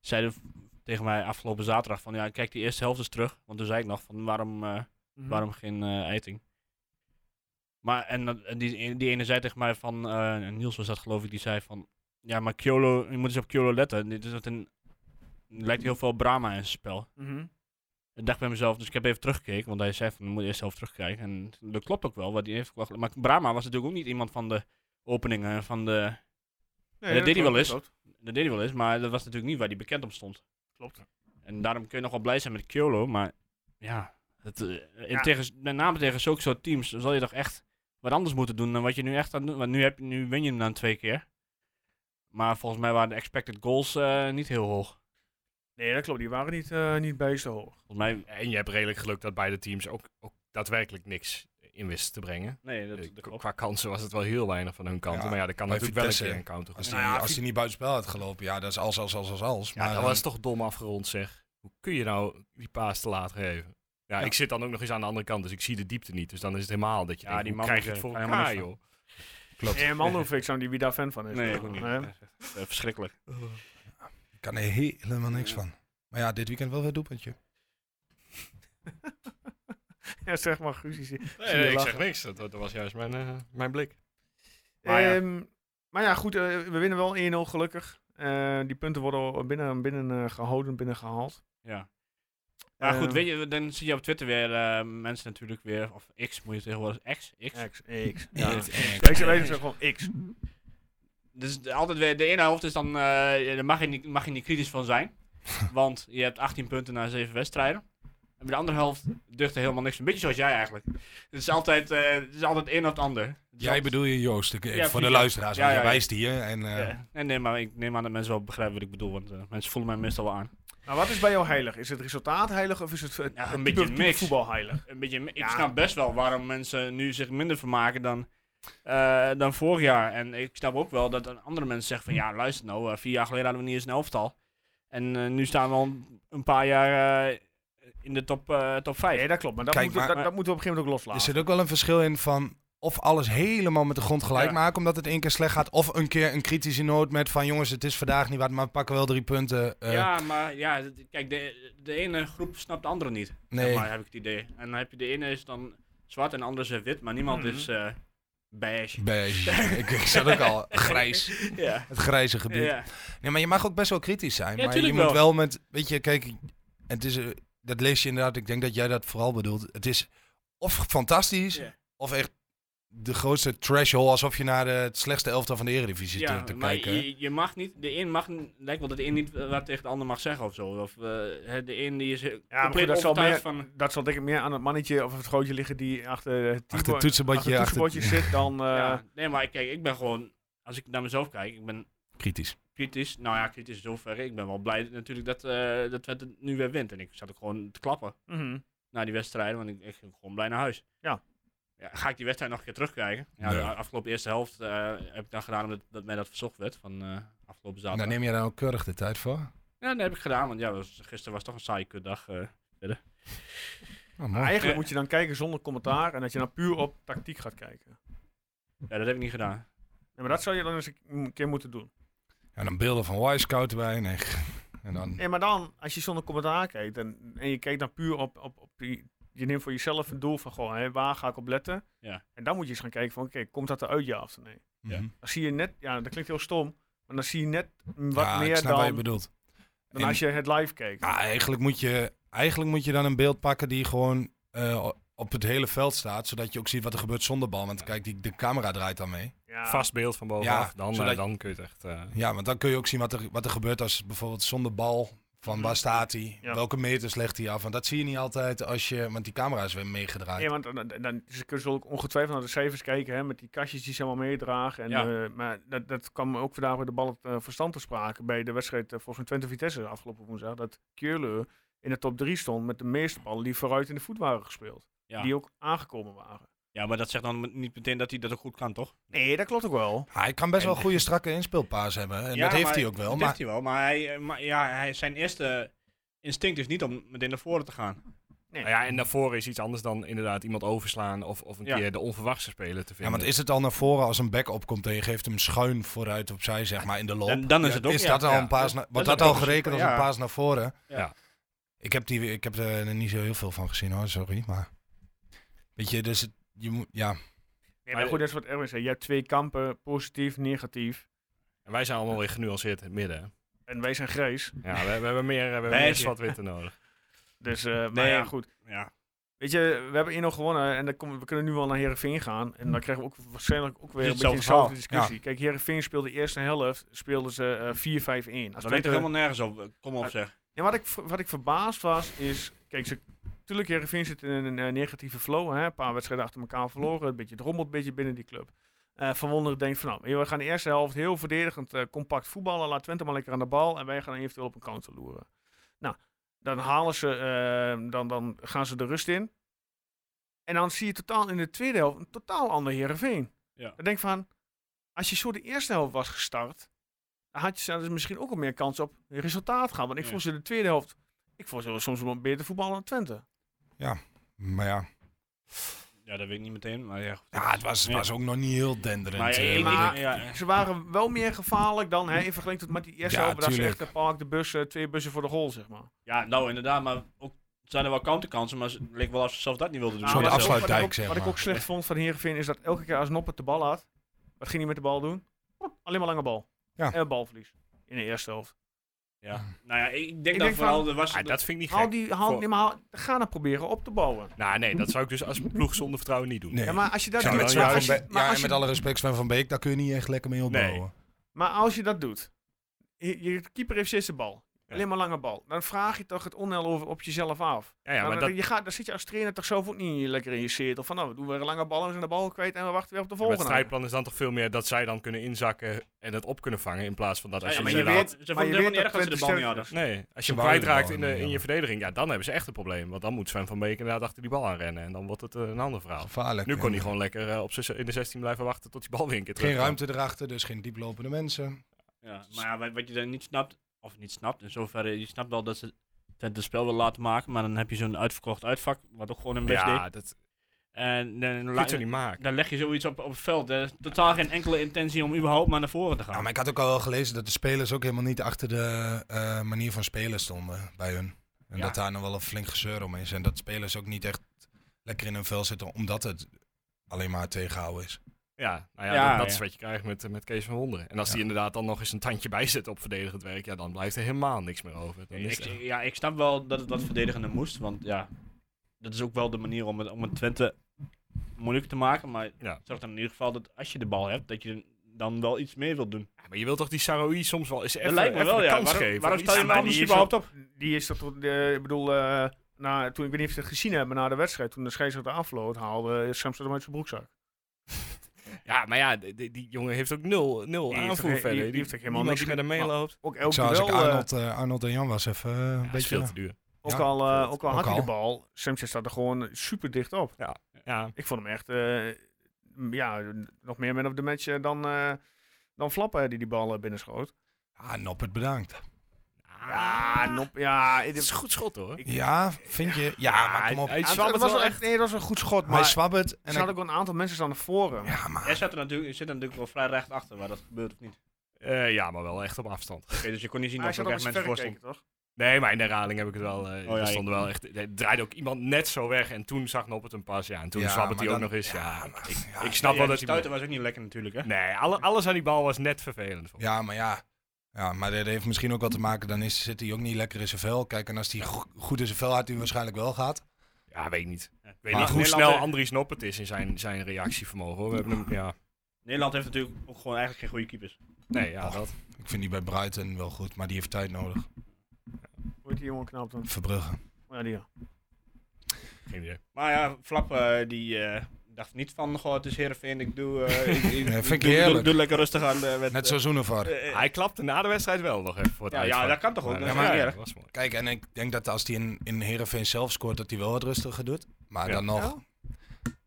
[SPEAKER 5] zeiden v- tegen mij afgelopen zaterdag van... Ja, kijk die eerste helft eens terug. Want toen zei ik nog van waarom... eh,
[SPEAKER 1] Mhm.
[SPEAKER 5] Waarom geen eh eiting? Maar en, dat- en die, die ene zei tegen mij van, eh, Niels was dat geloof ik, die zei van, ja maar Kyolo, je moet eens op Kyolo letten. Dit is wat een, lijkt heel veel op Brahma in zijn spel.
[SPEAKER 1] Mhm.
[SPEAKER 5] Ik dacht bij mezelf, dus ik heb even teruggekeken, want hij zei van, je moet eerst zelf terugkijken. En dat klopt ook wel, want die heeft ook wel gelijk. maar Brahma was natuurlijk ook niet iemand van de openingen, en van de,
[SPEAKER 1] Nee,
[SPEAKER 5] deed hij wel
[SPEAKER 1] klopt,
[SPEAKER 5] eens.
[SPEAKER 1] klopt.
[SPEAKER 5] dat deed hij wel eens, maar dat was natuurlijk niet waar hij bekend om stond.
[SPEAKER 1] Klopt.
[SPEAKER 5] En daarom kun je nog wel blij zijn met Kyolo, maar ja, het, eh, in
[SPEAKER 1] Ja.
[SPEAKER 5] Tegen, met name tegen zulke soort teams zal je toch echt wat anders moeten doen dan wat je nu echt aan doet. Want nu, heb, je- nu win je hem dan twee keer. Maar volgens mij waren de expected goals eh, niet heel hoog.
[SPEAKER 1] Nee, dat klopt. Die waren niet, eh niet bij zo hoog.
[SPEAKER 5] Volgens mij,
[SPEAKER 4] En je hebt redelijk geluk dat beide teams ook, ook daadwerkelijk niks in wisten te brengen.
[SPEAKER 5] nee, dat,
[SPEAKER 4] Eh,
[SPEAKER 5] dat
[SPEAKER 4] Qua
[SPEAKER 5] klopt.
[SPEAKER 4] qua kansen was het wel heel weinig van hun kant.
[SPEAKER 6] Ja,
[SPEAKER 4] maar ja, dat kan
[SPEAKER 6] bij
[SPEAKER 4] natuurlijk wel een
[SPEAKER 6] Vitesse,
[SPEAKER 4] keer een counter.
[SPEAKER 6] Als
[SPEAKER 4] goed.
[SPEAKER 6] die,
[SPEAKER 1] Nou ja,
[SPEAKER 6] als die niet buitenspel had gelopen. Ja, dat is als, als, als, als, als.
[SPEAKER 4] Ja,
[SPEAKER 6] maar eh,
[SPEAKER 4] dat
[SPEAKER 6] dan-
[SPEAKER 4] was toch dom afgerond zeg. Hoe kun je nou die paas te laat geven? Ja,
[SPEAKER 6] Ja.
[SPEAKER 4] ik zit dan ook nog eens aan de andere kant, dus ik zie de diepte niet. Dus dan is het helemaal dat je
[SPEAKER 5] Ja,
[SPEAKER 4] denkt,
[SPEAKER 5] die
[SPEAKER 4] hoe
[SPEAKER 5] man
[SPEAKER 4] krijg
[SPEAKER 5] is,
[SPEAKER 4] je
[SPEAKER 5] eh,
[SPEAKER 4] het voor
[SPEAKER 5] kan helemaal
[SPEAKER 4] elkaar,
[SPEAKER 5] niks
[SPEAKER 4] joh.
[SPEAKER 1] Klopt. En man hoef ik zo niet wie daar fan van is.
[SPEAKER 5] Nee, ik ook niet.
[SPEAKER 1] Hè?
[SPEAKER 5] Eh, verschrikkelijk.
[SPEAKER 6] Ik kan er helemaal niks van. Maar ja, dit weekend wel weer doelpuntje.
[SPEAKER 1] Ja, zeg maar, Guus.
[SPEAKER 4] Nee, nee, ik zeg niks. Dat, dat was juist mijn, eh, mijn blik.
[SPEAKER 1] Maar
[SPEAKER 4] Maar
[SPEAKER 1] ja,
[SPEAKER 4] ja.
[SPEAKER 1] Ehm, maar ja goed, eh, we winnen wel 1-0 gelukkig. Eh, die punten worden al binnen, binnen eh, gehouden, binnengehaald.
[SPEAKER 5] Ja. Maar goed,
[SPEAKER 1] Eh,
[SPEAKER 5] weet je, dan zie je op Twitter weer eh, mensen natuurlijk weer, of X moet je tegenwoordig, X, X.
[SPEAKER 1] X, X. Ja.
[SPEAKER 5] Ja.
[SPEAKER 6] Eh,
[SPEAKER 1] Wij zeggen gewoon X.
[SPEAKER 5] Dus de- altijd weer de ene helft is dan, eh, ja, daar mag je, niet, mag je niet kritisch van zijn. want je hebt 18 punten na 7 wedstrijden. En bij de andere helft ducht er helemaal niks. Een beetje zoals jij eigenlijk. Het is altijd, eh, het is altijd een of het ander. Dus- Het is
[SPEAKER 6] Jij
[SPEAKER 5] altijd-
[SPEAKER 6] bedoel je Joost, ik-
[SPEAKER 5] Ja,
[SPEAKER 6] voor de
[SPEAKER 5] precies.
[SPEAKER 6] luisteraars.
[SPEAKER 5] Ja,
[SPEAKER 6] want
[SPEAKER 5] ja,
[SPEAKER 6] jij
[SPEAKER 5] ja.
[SPEAKER 6] wijst hier. En, eh,
[SPEAKER 5] Ja. En nee, maar ik neem aan dat mensen wel begrijpen wat ik bedoel. Want eh, mensen voelen mij meestal wel aan.
[SPEAKER 1] Maar Nou, wat is bij jou heilig? Is het resultaat heilig of is het, het,
[SPEAKER 5] Ja,
[SPEAKER 1] het
[SPEAKER 5] een
[SPEAKER 1] type-
[SPEAKER 5] beetje
[SPEAKER 1] type
[SPEAKER 5] mix.
[SPEAKER 1] voetbal heilig?
[SPEAKER 5] Een beetje, ik
[SPEAKER 1] Ja.
[SPEAKER 5] snap best wel waarom mensen nu zich minder vermaken dan, eh, dan vorig jaar. En ik snap ook wel dat een andere mensen zeggen van ja, luister nou, eh, vier jaar geleden hadden we niet eens een elftal. En eh, nu staan we al een- een paar jaar eh, in de top, eh, top 5.
[SPEAKER 1] Nee, dat klopt. Maar dat,
[SPEAKER 6] Kijk,
[SPEAKER 1] moeten,
[SPEAKER 6] maar-
[SPEAKER 1] dat, dat moeten we op een gegeven moment ook
[SPEAKER 6] Er
[SPEAKER 1] loslaten.
[SPEAKER 6] zit ook wel een verschil in van of alles helemaal met de grond gelijk
[SPEAKER 5] Ja.
[SPEAKER 6] maken omdat het één keer slecht gaat. Of een keer een kritische noot met van jongens, het is vandaag niet wat, maar we pakken wel drie punten. eh,
[SPEAKER 5] ja, maar ja, dat- kijk, de, de ene groep snapt de andere niet.
[SPEAKER 6] nee.
[SPEAKER 5] Zeg maar, heb ik het idee. En dan heb je de ene is dan zwart en de andere is wit, maar niemand
[SPEAKER 1] Mhm.
[SPEAKER 5] is eh beige.
[SPEAKER 6] Beige. ik, ik zat ook al grijs.
[SPEAKER 5] ja.
[SPEAKER 6] Het grijze gebied.
[SPEAKER 5] ja.
[SPEAKER 6] Nee, maar je mag ook best wel kritisch zijn.
[SPEAKER 5] Ja,
[SPEAKER 6] maar je
[SPEAKER 5] tuurlijk
[SPEAKER 6] moet
[SPEAKER 5] wel.
[SPEAKER 6] wel met, weet je, kijk, het is, eh, dat lees je inderdaad. Ik denk dat jij dat vooral bedoelt. Het is of fantastisch,
[SPEAKER 5] Ja.
[SPEAKER 6] of echt de grootste trash hole, alsof je naar de, het slechtste elftal van de Eredivisie
[SPEAKER 5] Ja,
[SPEAKER 6] te, te
[SPEAKER 5] maar
[SPEAKER 6] kijken.
[SPEAKER 5] Je, je mag niet, de een mag, n- lijkt wel dat de een niet eh, wat tegen de ander mag zeggen of zo. Of eh, hè, de een die is eh,
[SPEAKER 1] maar
[SPEAKER 5] compleet
[SPEAKER 1] goed, dat zal
[SPEAKER 5] overtuigd
[SPEAKER 1] meer-
[SPEAKER 5] van.
[SPEAKER 1] Dat zal denk ik meer aan het mannetje of het gootje liggen die achter eh, het
[SPEAKER 6] Achter het
[SPEAKER 1] toetsenbordje,
[SPEAKER 6] toetsenbordje,
[SPEAKER 1] achter het toetsenbordje
[SPEAKER 6] achter-
[SPEAKER 1] zit. Dan, eh,
[SPEAKER 5] ja, nee, maar ik- kijk, ik ben gewoon, als ik naar mezelf kijk, ik ben
[SPEAKER 6] kritisch.
[SPEAKER 5] kritisch. Nou ja, kritisch in zoverre. Ik ben wel blij natuurlijk dat, eh dat we het nu weer wint. En ik zat ook gewoon te klappen
[SPEAKER 1] mhm.
[SPEAKER 5] na die wedstrijden, want ik, ik ging gewoon blij naar huis.
[SPEAKER 1] Ja.
[SPEAKER 5] Ja, ga ik die wedstrijd nog een keer terugkijken? Ja,
[SPEAKER 6] Nee.
[SPEAKER 5] de afgelopen eerste helft eh, heb ik dan gedaan omdat dat mij dat verzocht werd van eh, afgelopen
[SPEAKER 6] En
[SPEAKER 5] zaterdag.
[SPEAKER 6] daar Nou, neem je dan ook keurig de tijd voor.
[SPEAKER 5] Ja, dat heb ik gedaan, want ja, was, gisteren was toch een saaie kutdag. eh.
[SPEAKER 6] Oh,
[SPEAKER 1] Maar
[SPEAKER 6] mooi.
[SPEAKER 1] Eigenlijk
[SPEAKER 5] Ja.
[SPEAKER 1] moet je dan kijken zonder commentaar en dat je dan puur op tactiek gaat kijken.
[SPEAKER 5] ja, dat heb ik niet gedaan.
[SPEAKER 1] Nee, maar dat zou je dan eens een keer moeten doen.
[SPEAKER 6] En dan beelden van Wisecout erbij. Nee. En dan,
[SPEAKER 1] Nee, maar dan, als je zonder commentaar kijkt en, en je kijkt dan puur op, op, op die, je neemt voor jezelf een doel van gewoon, hè, waar ga ik op letten?
[SPEAKER 5] Ja.
[SPEAKER 1] En dan moet je eens gaan kijken van, oké, komt dat eruit ja of nee?
[SPEAKER 5] Ja.
[SPEAKER 6] Mhm.
[SPEAKER 1] Dan zie je net, ja, dat klinkt heel stom, maar dan zie je net wat
[SPEAKER 6] Ja, ik
[SPEAKER 1] meer
[SPEAKER 6] snap wat je
[SPEAKER 1] dan,
[SPEAKER 6] bedoelt. Ah,
[SPEAKER 1] dan als je het live kijkt.
[SPEAKER 6] Ja, Nou, eigenlijk, moet je, eigenlijk moet je dan een beeld pakken die gewoon eh, op het hele veld staat. Zodat je ook ziet wat er gebeurt zonder bal. Want kijk, die, de camera draait dan mee.
[SPEAKER 1] Ja.
[SPEAKER 4] Vast beeld van bovenaf,
[SPEAKER 6] Ja,
[SPEAKER 4] dan, eh,
[SPEAKER 6] zodat-
[SPEAKER 4] dan kun je het echt... eh,
[SPEAKER 6] Ja, want dan kun je ook zien wat er, wat er gebeurt als bijvoorbeeld zonder bal.
[SPEAKER 5] Mhm.
[SPEAKER 6] Van waar staat hij?
[SPEAKER 1] Ja.
[SPEAKER 6] Welke meters legt hij af? Want dat zie je niet altijd als je. Want die camera is weer meegedraaid.
[SPEAKER 1] Ja, want dan, dan, dan- ze kunnen zo ook ongetwijfeld naar de cijfers kijken, hè, met die kastjes die ze allemaal meedragen. En,
[SPEAKER 5] Ja.
[SPEAKER 1] eh, maar dat, dat kwam ook vandaag bij de bal het eh, verstand te sprake bij de wedstrijd eh, volgens mij Twente Vitesse afgelopen woensdag, dat Keurle in de top 3 stond met de meeste ballen die vooruit in de voet waren gespeeld.
[SPEAKER 5] Ja.
[SPEAKER 1] Die ook aangekomen waren.
[SPEAKER 5] Ja, maar dat zegt dan met- niet meteen dat hij dat ook goed kan, toch?
[SPEAKER 1] Nee, dat klopt ook wel.
[SPEAKER 6] Hij kan best wel een goede strakke inspeelpaas hebben. En
[SPEAKER 5] Ja,
[SPEAKER 6] dat heeft
[SPEAKER 5] maar-
[SPEAKER 6] hij ook wel.
[SPEAKER 5] dat
[SPEAKER 6] Maar
[SPEAKER 5] heeft hij wel, maar, hij, eh, maar ja, hij, zijn eerste instinct is niet om meteen naar voren te gaan.
[SPEAKER 4] Nou ja, en daarvoor is iets anders dan inderdaad iemand overslaan of, of een
[SPEAKER 5] Ja.
[SPEAKER 4] keer de onverwachte speler te
[SPEAKER 6] Ja,
[SPEAKER 4] vinden.
[SPEAKER 6] want is het al naar voren als een back opkomt en je geeft hem schuin vooruit opzij, zeg maar, in de loop?
[SPEAKER 5] Dan, dan is het ook,
[SPEAKER 6] Is
[SPEAKER 5] ja.
[SPEAKER 6] dat al
[SPEAKER 5] Ja.
[SPEAKER 6] een paas? na-
[SPEAKER 5] dat
[SPEAKER 6] wordt dat
[SPEAKER 5] is
[SPEAKER 6] al
[SPEAKER 5] ook-
[SPEAKER 6] gerekend als
[SPEAKER 5] ja.
[SPEAKER 6] een paas naar voren?
[SPEAKER 5] Ja.
[SPEAKER 6] Ik heb, die, ik heb er eh, niet zo heel veel van gezien hoor, sorry. Maar weet je, dus het, je moet, ja.
[SPEAKER 1] Nee,
[SPEAKER 4] Maar
[SPEAKER 1] maar
[SPEAKER 4] de-
[SPEAKER 1] goed, dat is wat Erwin zei. Je hebt twee kampen, positief, negatief.
[SPEAKER 4] En wij zijn allemaal weer genuanceerd in het midden. hè.
[SPEAKER 1] En wij zijn grijs.
[SPEAKER 4] Ja, we, we hebben meer, we hebben
[SPEAKER 5] Wij-
[SPEAKER 4] meer zwart-witte nodig.
[SPEAKER 1] Dus, eh, maar
[SPEAKER 5] Nee.
[SPEAKER 1] ja, goed.
[SPEAKER 5] Ja.
[SPEAKER 1] Weet je, we hebben 1-0 gewonnen en dan kom- we kunnen nu al naar Herenveen gaan. En dan krijgen we ook waarschijnlijk ook weer een beetje
[SPEAKER 5] Hetzelfde
[SPEAKER 1] dezelfde
[SPEAKER 6] verhaal.
[SPEAKER 1] discussie. Kijk, Herenveen speelde de eerste helft, speelden ze eh, 4-5-1. Als
[SPEAKER 5] Dat lijkt
[SPEAKER 1] Twente-
[SPEAKER 5] er helemaal nergens op. Kom op, zeg.
[SPEAKER 1] En wat ik, ver- wat ik verbaasd was, is... Kijk, ze, natuurlijk, Heerenveen zit in een eh, negatieve flow. Hè? Een paar wedstrijden achter elkaar verloren. Een beetje, het rommelt een beetje binnen die club. Eh van Wonderen denkt van, nou, weet je, we gaan de eerste helft heel verdedigend eh, compact voetballen. Laat Twente maar lekker aan de bal. En wij gaan eventueel op een counter loeren. Nou, dan halen ze... eh, dan, dan gaan ze de rust in. En dan zie je totaal in de tweede helft een totaal ander Heerenveen.
[SPEAKER 5] Ja.
[SPEAKER 1] Dan denk ik van, als je zo de eerste helft was gestart dan had je zelfs misschien ook al meer kans op resultaat gaan. Want ik
[SPEAKER 5] Ja.
[SPEAKER 1] vond ze de tweede helft. Ik vond ze wel soms wel beter voetballen dan Twente.
[SPEAKER 6] Maar ja,
[SPEAKER 5] Ja, dat weet ik niet meteen, maar ja. goed.
[SPEAKER 6] ja het was,
[SPEAKER 5] Ja.
[SPEAKER 6] was ook nog niet heel denderend.
[SPEAKER 5] Maar ja,
[SPEAKER 6] eh,
[SPEAKER 5] ik-
[SPEAKER 6] maar-
[SPEAKER 1] maar-
[SPEAKER 5] ik- ja,
[SPEAKER 1] Ze waren wel meer gevaarlijk dan hè, in vergelijking tot met die eerste
[SPEAKER 6] Ja,
[SPEAKER 1] helft. Dat ze
[SPEAKER 6] tuurlijk.
[SPEAKER 1] echt eh, park de bus, eh, twee bussen voor de goal, zeg maar.
[SPEAKER 5] ja, nou inderdaad, maar ook, het zijn er wel counterkansen, maar het leek wel alsof ze zelf dat niet wilden doen.
[SPEAKER 6] Zo'n
[SPEAKER 1] Nou, wat ik
[SPEAKER 5] Ja,
[SPEAKER 1] ook-
[SPEAKER 6] afsluit-
[SPEAKER 1] wat
[SPEAKER 6] afsluitdijk,
[SPEAKER 1] ik ook-
[SPEAKER 6] zeg
[SPEAKER 1] Wat ik
[SPEAKER 6] maar.
[SPEAKER 1] ook slecht vond van Heerenveen is dat elke keer als Noppert de bal had, wat ging hij met de bal doen? Alleen maar lange bal.
[SPEAKER 6] Ja.
[SPEAKER 1] En balverlies. In de eerste helft.
[SPEAKER 5] Ja. Nou ja, ik denk
[SPEAKER 1] denk
[SPEAKER 5] dat vooral
[SPEAKER 1] van-
[SPEAKER 5] de was.
[SPEAKER 4] Ah, dat vind ik niet
[SPEAKER 1] Haal
[SPEAKER 4] gek.
[SPEAKER 1] die, haal,
[SPEAKER 4] Voor-
[SPEAKER 1] nee, maar haal, ga dat proberen op te bouwen.
[SPEAKER 4] Nou nee, dat zou ik dus als ploeg zonder vertrouwen niet doen.
[SPEAKER 6] nee.
[SPEAKER 1] Ja, maar als je dat
[SPEAKER 4] Ja,
[SPEAKER 6] Ja,
[SPEAKER 1] doet,
[SPEAKER 6] met,
[SPEAKER 4] maar
[SPEAKER 6] Sven
[SPEAKER 1] maar
[SPEAKER 6] van
[SPEAKER 4] ja,
[SPEAKER 1] als
[SPEAKER 4] juist-
[SPEAKER 1] je-
[SPEAKER 6] Beek-
[SPEAKER 1] maar
[SPEAKER 6] ja,
[SPEAKER 1] als
[SPEAKER 6] en
[SPEAKER 1] je
[SPEAKER 6] met alle respect, Sven van Beek, daar kun je niet echt lekker mee opbouwen.
[SPEAKER 1] Maar als je dat doet, je, je keeper heeft steeds de bal. Alleen maar lange bal. Dan vraag je toch het onheil over op jezelf af.
[SPEAKER 4] Ja, ja,
[SPEAKER 1] maar
[SPEAKER 4] maar
[SPEAKER 1] dan,
[SPEAKER 4] dat,
[SPEAKER 1] je gaat, dan zit je als trainer toch zo voet niet lekker in je zetel. Van nou, we doen weer een lange bal en we zijn de bal kwijt en we wachten weer op de
[SPEAKER 4] maar het
[SPEAKER 1] volgende.
[SPEAKER 4] strijdplan is dan toch veel meer dat zij dan kunnen inzakken en het op kunnen vangen. In plaats van dat als
[SPEAKER 5] Ja,
[SPEAKER 4] je
[SPEAKER 5] maar
[SPEAKER 1] ze
[SPEAKER 5] je
[SPEAKER 4] inderdaad-
[SPEAKER 5] weet, ze
[SPEAKER 1] maar Dus je
[SPEAKER 5] vonden het helemaal
[SPEAKER 1] weet dat
[SPEAKER 5] niet erg dat ze de bal niet hadden.
[SPEAKER 1] twintig
[SPEAKER 4] Nee, als
[SPEAKER 6] Ze
[SPEAKER 4] je hem
[SPEAKER 6] wouden
[SPEAKER 4] kwijtraakt
[SPEAKER 6] wel,
[SPEAKER 4] in, de, in
[SPEAKER 6] ja.
[SPEAKER 4] je verdediging, ja, dan hebben ze echt een probleem. Want dan moet Sven van Beek inderdaad achter die bal aanrennen. En dan wordt het eh, een ander verhaal.
[SPEAKER 6] Gevaarlijk.
[SPEAKER 4] Nu kon hij gewoon lekker eh, op z'n- in de 16 blijven wachten tot die bal weer een keer terug.
[SPEAKER 6] Geen ruimte erachter, dus geen dieplopende mensen.
[SPEAKER 5] Ja, maar ja, wat- wat je dan niet snapt, of niet snapt, in zoverre, je snapt wel dat ze Twente het spel wil laten maken, maar dan heb je zo'n uitverkocht uitvak, wat ook gewoon een best deed.
[SPEAKER 4] Ja, dat
[SPEAKER 5] En dan, la-
[SPEAKER 4] kun je niet maken.
[SPEAKER 5] dan leg je zoiets op, op het veld. Er is totaal geen enkele intentie om überhaupt maar naar voren te gaan.
[SPEAKER 6] Ja, maar ik had ook al wel gelezen dat de spelers ook helemaal niet achter de eh, manier van spelen stonden bij hun. En
[SPEAKER 5] Ja.
[SPEAKER 6] dat daar nog wel een flink gezeur om is. En dat spelers ook niet echt lekker in hun vel zitten, omdat het alleen maar tegenhouden is.
[SPEAKER 4] Ja, nou ja,
[SPEAKER 5] Ja,
[SPEAKER 4] dat, dat
[SPEAKER 5] ja.
[SPEAKER 4] is wat je krijgt met, eh, met Kees van Wonderen. En als
[SPEAKER 6] Ja.
[SPEAKER 4] die inderdaad dan nog eens een tandje bij zit op verdedigend werk, ja, dan blijft er helemaal niks meer over. Dan is
[SPEAKER 5] ik,
[SPEAKER 4] het-
[SPEAKER 5] ja, ik snap wel dat het wat verdedigender moest, want ja, dat is ook wel de manier om het, om het Twente moeilijk te maken. Maar
[SPEAKER 4] Ja.
[SPEAKER 5] zorg dan in ieder geval dat als je de bal hebt, dat je dan wel iets meer wilt doen.
[SPEAKER 4] maar je wilt toch die Saroui soms wel eens even,
[SPEAKER 5] dat lijkt me
[SPEAKER 4] even
[SPEAKER 5] wel,
[SPEAKER 4] de
[SPEAKER 5] ja.
[SPEAKER 4] kans
[SPEAKER 5] Waarom,
[SPEAKER 4] geven?
[SPEAKER 5] waarom
[SPEAKER 4] Of
[SPEAKER 5] stel je
[SPEAKER 4] iets-
[SPEAKER 5] hem
[SPEAKER 1] maar die is
[SPEAKER 5] anders überhaupt op?
[SPEAKER 1] Die is dat tot, eh, ik bedoel, eh, na, toen, ik weet niet of je het gezien hebben na de wedstrijd, toen de scheidsrechter afloot, haalde eh, Samson hem uit zijn broekzak.
[SPEAKER 4] Ja, maar ja, die, die- die jongen heeft ook nul, nul
[SPEAKER 1] Die heeft
[SPEAKER 4] aanvoer
[SPEAKER 1] toch- die-
[SPEAKER 4] verder.
[SPEAKER 1] die
[SPEAKER 4] Die,
[SPEAKER 1] heeft ook helemaal
[SPEAKER 4] niemand
[SPEAKER 1] niks
[SPEAKER 4] die met hem
[SPEAKER 1] gedaan.
[SPEAKER 4] meeloopt.
[SPEAKER 1] Ook elk
[SPEAKER 6] Ik zou als ik
[SPEAKER 1] duel, eh,
[SPEAKER 6] Arnold, eh, Arnold en Jan was even eh, een
[SPEAKER 4] Ja, dat is
[SPEAKER 6] beetje...
[SPEAKER 4] veel te duur.
[SPEAKER 1] ook,
[SPEAKER 6] Ja,
[SPEAKER 1] al, eh, ook al
[SPEAKER 6] ook
[SPEAKER 1] had hij
[SPEAKER 6] al.
[SPEAKER 1] de bal, Samson staat er gewoon super dicht op.
[SPEAKER 4] Ja,
[SPEAKER 1] Ik vond hem echt, eh, m- ja, n- nog meer man of the match eh, dan, eh, dan Flappen die die bal eh, binnenschoot.
[SPEAKER 6] Ah, Noppert bedankt.
[SPEAKER 1] Ah, Ja, nop, ja.
[SPEAKER 4] Ah, het is een goed schot hoor.
[SPEAKER 6] Ja, vind je? Ja,
[SPEAKER 4] Ja,
[SPEAKER 6] maar kom op. Hij,
[SPEAKER 4] hij- hij-
[SPEAKER 1] het
[SPEAKER 4] zwabbert
[SPEAKER 1] was
[SPEAKER 4] wel
[SPEAKER 1] wel echt, nee, dat was een goed schot, maar er
[SPEAKER 6] zwabbert. En
[SPEAKER 1] zaten
[SPEAKER 6] hij,
[SPEAKER 1] ook wel een aantal mensen staan er voor hem.
[SPEAKER 6] ja, maar
[SPEAKER 5] Jij zat er natuurlijk, je zit er natuurlijk wel vrij recht achter waar dat gebeurt of niet.
[SPEAKER 4] Eh, ja, maar wel echt op afstand.
[SPEAKER 5] Oké, dus je kon niet zien
[SPEAKER 1] Hij
[SPEAKER 5] dat
[SPEAKER 1] zat
[SPEAKER 5] er
[SPEAKER 1] ook
[SPEAKER 5] ook
[SPEAKER 1] eens
[SPEAKER 5] echt mensen
[SPEAKER 1] verder
[SPEAKER 5] voor
[SPEAKER 1] gekeken,
[SPEAKER 5] stonden.
[SPEAKER 1] toch?
[SPEAKER 4] Nee, maar in de herhaling heb ik het wel. eh
[SPEAKER 5] Oh ja,
[SPEAKER 4] er
[SPEAKER 5] ik-
[SPEAKER 4] stonden wel echt. Er draaide ook iemand net zo weg. En toen zag Noppert een pas. Ja, en toen
[SPEAKER 6] Ja,
[SPEAKER 4] zwabbert
[SPEAKER 6] maar
[SPEAKER 4] hij ook
[SPEAKER 6] dan-
[SPEAKER 4] nog eens. Ja,
[SPEAKER 6] ja, maar-
[SPEAKER 4] ik,
[SPEAKER 6] ja,
[SPEAKER 4] ik snap
[SPEAKER 5] Ja,
[SPEAKER 4] wel
[SPEAKER 5] die
[SPEAKER 4] dat hij.
[SPEAKER 5] stuiten was ook niet lekker natuurlijk, hè?
[SPEAKER 4] Nee, alle, alles aan die bal was net vervelend. vond ik.
[SPEAKER 6] Ja, maar ja. Ja, maar dat heeft misschien ook wat te maken. Dan is, zit hij ook niet lekker in zijn vel. Kijk, en als hij go- goed in zijn vel had, hij waarschijnlijk wel gehad.
[SPEAKER 4] Ja, weet ik niet. Weet
[SPEAKER 6] Maar
[SPEAKER 4] niet hoe
[SPEAKER 5] Nederland,
[SPEAKER 4] snel
[SPEAKER 5] eh,
[SPEAKER 4] Andries Noppert is in zijn, zijn reactievermogen. Hoor. We hebben hem, ja.
[SPEAKER 5] Nederland heeft natuurlijk ook gewoon eigenlijk geen goede keepers.
[SPEAKER 4] Nee, ja,
[SPEAKER 6] Och.
[SPEAKER 4] dat.
[SPEAKER 6] Ik vind die bij Bruiten wel goed, maar die heeft tijd nodig.
[SPEAKER 1] Hoe heet die jongen knap dan?
[SPEAKER 6] Verbrugge.
[SPEAKER 1] Ja, die. ja.
[SPEAKER 4] Geen idee.
[SPEAKER 5] Maar ja, Flap eh, die eh, dacht niet van, goh, het is Heerenveen, ik doe, eh, ik, ik-
[SPEAKER 6] Ja, vind
[SPEAKER 5] doe-
[SPEAKER 6] ik
[SPEAKER 5] doe-
[SPEAKER 6] heerlijk.
[SPEAKER 5] doe- doe lekker rustig aan de wedstrijd.
[SPEAKER 6] Net zo Zoenevar.
[SPEAKER 5] Eh, eh,
[SPEAKER 4] Hij klapte na de wedstrijd wel nog even voor het
[SPEAKER 5] ja, ja,
[SPEAKER 4] uitvak.
[SPEAKER 5] dat kan toch ook.
[SPEAKER 4] Maar
[SPEAKER 5] dat is
[SPEAKER 4] dat-
[SPEAKER 5] niet
[SPEAKER 4] ja,
[SPEAKER 5] erg.
[SPEAKER 4] dat was mooi.
[SPEAKER 6] Kijk, en ik denk dat als hij in, in Heerenveen zelf scoort, dat hij wel wat rustiger doet. Maar
[SPEAKER 4] Ja.
[SPEAKER 6] dan nog...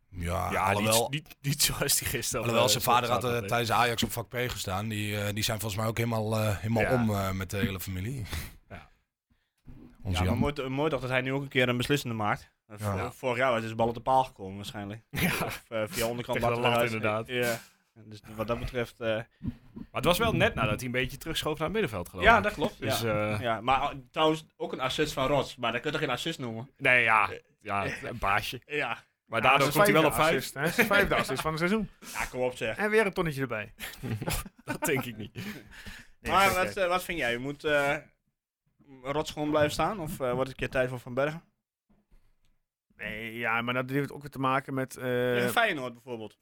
[SPEAKER 6] Ja,
[SPEAKER 4] Ja,
[SPEAKER 6] alhoewel,
[SPEAKER 4] niet, niet, niet zoals die gisteren.
[SPEAKER 6] alhoewel
[SPEAKER 4] eh,
[SPEAKER 6] zijn vader had eh,
[SPEAKER 4] zaterdag deed.
[SPEAKER 6] tijdens Ajax op vak P gestaan. Die, eh, die zijn volgens mij ook helemaal, eh, helemaal
[SPEAKER 4] Ja.
[SPEAKER 6] om eh, met de hele familie.
[SPEAKER 4] Ja.
[SPEAKER 6] Onze
[SPEAKER 5] ja, maar
[SPEAKER 6] Jan.
[SPEAKER 5] mooi, to- mooi toch dat hij nu ook een keer een beslissende maakt. Eh,
[SPEAKER 6] Ja.
[SPEAKER 5] vor- Vorig jaar was dus bal op de paal gekomen waarschijnlijk.
[SPEAKER 4] Ja.
[SPEAKER 5] Of eh, via onderkant
[SPEAKER 4] Tegen
[SPEAKER 5] laten
[SPEAKER 4] de lat,
[SPEAKER 5] eruit.
[SPEAKER 4] inderdaad.
[SPEAKER 5] Ja. Dus wat dat betreft... eh,
[SPEAKER 4] Maar het was wel net nadat hij een beetje terugschoof naar het middenveld, geloof ik.
[SPEAKER 5] ja, dat klopt.
[SPEAKER 4] Dus,
[SPEAKER 5] ja.
[SPEAKER 4] eh,
[SPEAKER 5] Ja, maar eh, trouwens ook een assist van Rots. Maar dat kun je toch geen assist noemen?
[SPEAKER 4] nee, ja, ja, een baasje.
[SPEAKER 5] Ja,
[SPEAKER 4] Maar
[SPEAKER 1] Ja, dat
[SPEAKER 4] daardoor
[SPEAKER 1] is
[SPEAKER 4] komt hij wel op
[SPEAKER 1] vijfde
[SPEAKER 4] vijf.
[SPEAKER 1] assist, hè. Dat is de Vijfde assist van het seizoen.
[SPEAKER 5] ja kom op zeg.
[SPEAKER 1] En weer een tonnetje erbij.
[SPEAKER 4] Dat denk ik niet.
[SPEAKER 1] Nee,
[SPEAKER 5] maar
[SPEAKER 1] gek,
[SPEAKER 5] wat,
[SPEAKER 1] gek.
[SPEAKER 5] eh, wat vind jij? Moet eh Rots gewoon blijven staan? Of eh, wordt het een keer tijd voor Van Bergen?
[SPEAKER 1] nee, ja, maar dat heeft ook weer te maken met... eh,
[SPEAKER 5] Tegen Feyenoord bijvoorbeeld.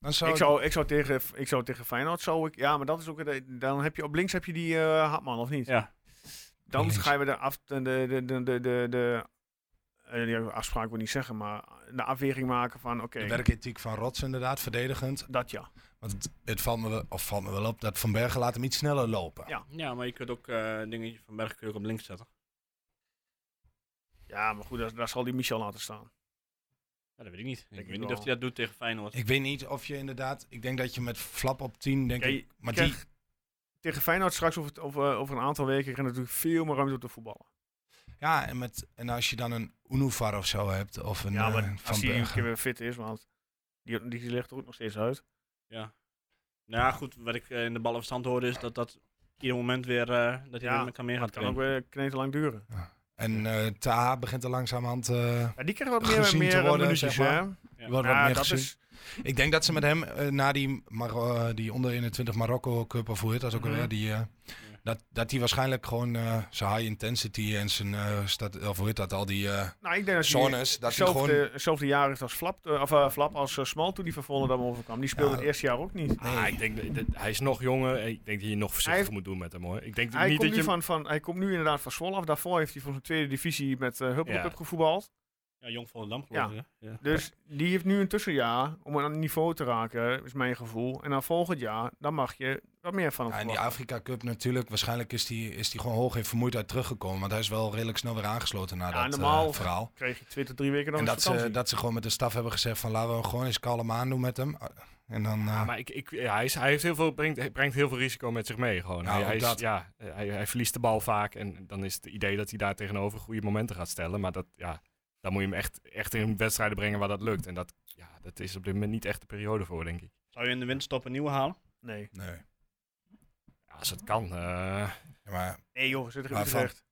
[SPEAKER 6] Dan zou
[SPEAKER 1] ik,
[SPEAKER 6] ik-
[SPEAKER 1] zou, ik, zou tegen, ik zou tegen Feyenoord zou ik... Ja, maar dat is ook... het- e- Dan heb je op links heb je die eh Hartman, of niet?
[SPEAKER 5] Ja.
[SPEAKER 1] Dan
[SPEAKER 6] Links.
[SPEAKER 1] ga je weer de, af, de, de, de, de, de, de, de eh, ja, afspraak wil ik niet zeggen, maar de afweging maken van oké,
[SPEAKER 6] De werkethiek van Rots inderdaad, verdedigend.
[SPEAKER 1] dat ja.
[SPEAKER 6] Want het, het valt, me wel, of valt me wel op dat Van Bergen laat hem iets sneller lopen.
[SPEAKER 1] Ja.
[SPEAKER 5] Ja, maar je kunt ook eh dingetje Van Bergen kun je ook op links zetten.
[SPEAKER 1] Ja, maar goed, daar, daar zal die Michel laten staan.
[SPEAKER 5] Ja, dat weet ik niet. Ik
[SPEAKER 1] ik
[SPEAKER 5] weet niet
[SPEAKER 1] wel.
[SPEAKER 5] of hij dat doet tegen Feyenoord.
[SPEAKER 6] Ik weet niet of je inderdaad... Ik denk dat je met Flap op 10, denk
[SPEAKER 1] Ja, je
[SPEAKER 6] ik... Maar die,
[SPEAKER 1] krijgt Tegen Feyenoord straks over, het- over, over een aantal weken krijg je natuurlijk veel meer ruimte op te voetballen.
[SPEAKER 6] ja, en, met, en als je dan een Unuvar of zo hebt, of een
[SPEAKER 1] ja, maar
[SPEAKER 6] eh,
[SPEAKER 1] als
[SPEAKER 6] Van
[SPEAKER 1] die een keer
[SPEAKER 6] Bergen.
[SPEAKER 1] weer fit is, want die, die ligt er ook nog steeds uit.
[SPEAKER 5] Nou ja, goed, wat ik eh, in de ballenverstand hoorde is dat dat ieder moment weer eh, dat hij
[SPEAKER 1] Ja,
[SPEAKER 5] weer met kan meer gaat
[SPEAKER 1] Dat kan ook weer kneten lang duren.
[SPEAKER 6] En eh Taha begint er langzamerhand... eh
[SPEAKER 1] Ja, die krijgt wat meer,
[SPEAKER 6] Gezien te
[SPEAKER 1] meer eh,
[SPEAKER 6] worden,
[SPEAKER 1] minuutjes,
[SPEAKER 6] zeg maar.
[SPEAKER 1] hè?
[SPEAKER 5] Ja.
[SPEAKER 6] wordt wat
[SPEAKER 1] Ja,
[SPEAKER 6] meer
[SPEAKER 1] dat
[SPEAKER 6] gezien.
[SPEAKER 1] is,
[SPEAKER 6] Ik denk dat ze met hem eh, na die, Mar- eh, die onder 21 Marokko Cup, of hoe heet dat ook alweer?
[SPEAKER 1] Mhm.
[SPEAKER 6] Die, eh, Dat, dat hij waarschijnlijk gewoon eh, zijn high intensity en zijn, eh stad, of hoe heet dat, al die eh
[SPEAKER 1] Nou, ik denk dat hij
[SPEAKER 6] zones, dat hij gewoon...
[SPEAKER 1] hetzelfde hetzelfde jaar heeft als Flap, eh, of, eh, Flap als eh, Smal toen die van Volendam overkwam. Die speelde
[SPEAKER 6] Ja.
[SPEAKER 1] het eerste jaar ook niet.
[SPEAKER 4] Ah, ik denk, dat- dat- hij is nog jonger. en Ik denk dat je nog voorzichtig
[SPEAKER 1] Hij-
[SPEAKER 4] moet doen met hem hoor. Ik denk
[SPEAKER 1] Hij
[SPEAKER 4] niet
[SPEAKER 1] komt,
[SPEAKER 4] dat
[SPEAKER 1] nu
[SPEAKER 4] je.
[SPEAKER 1] van, van, hij komt nu inderdaad van Zwolle af. Daarvoor heeft hij van zijn tweede divisie met eh Huppelcup
[SPEAKER 4] Ja.
[SPEAKER 1] gevoetbald.
[SPEAKER 5] Ja, Jong Volendam
[SPEAKER 1] Ja.
[SPEAKER 5] geloof ik, hè? Ja.
[SPEAKER 1] Dus die heeft nu een tussenjaar om aan een niveau te raken, is mijn gevoel. En dan volgend jaar, dan mag je wat meer van hem
[SPEAKER 6] Ja, en die
[SPEAKER 1] verwachten.
[SPEAKER 6] Afrika Cup natuurlijk, waarschijnlijk is die, is die gewoon hoog in vermoeidheid teruggekomen. Want hij is wel redelijk snel weer aangesloten na
[SPEAKER 1] Ja,
[SPEAKER 6] dat eh,
[SPEAKER 1] normaal
[SPEAKER 6] verhaal.
[SPEAKER 1] Kreeg je 20, drie weken dan
[SPEAKER 6] En
[SPEAKER 1] eens
[SPEAKER 6] dat ze,
[SPEAKER 1] vakantie.
[SPEAKER 6] dat ze gewoon met de staf hebben gezegd van laten we hem gewoon eens kalm aan doen met hem. En dan, eh,
[SPEAKER 4] Maar ik, ik, ja, hij, is, hij heeft heel veel, brengt, hij brengt heel veel risico met zich mee. Gewoon.
[SPEAKER 6] Ja,
[SPEAKER 4] hij,
[SPEAKER 6] ook
[SPEAKER 4] hij, is-
[SPEAKER 6] dat.
[SPEAKER 4] ja, hij, hij verliest de bal vaak. En dan is het idee dat hij daar tegenover goede momenten gaat stellen. Maar dat, ja, dan moet je hem echt, echt in wedstrijden brengen waar dat lukt. En dat, ja, dat is op dit moment niet echt de periode voor, denk ik.
[SPEAKER 5] Zou je in de winterstop een nieuwe halen?
[SPEAKER 1] Nee.
[SPEAKER 6] nee.
[SPEAKER 4] Ja, als het kan. eh.
[SPEAKER 6] Ja, maar
[SPEAKER 1] Nee joh, we zijn tegen
[SPEAKER 6] Maar van-
[SPEAKER 1] Utrecht.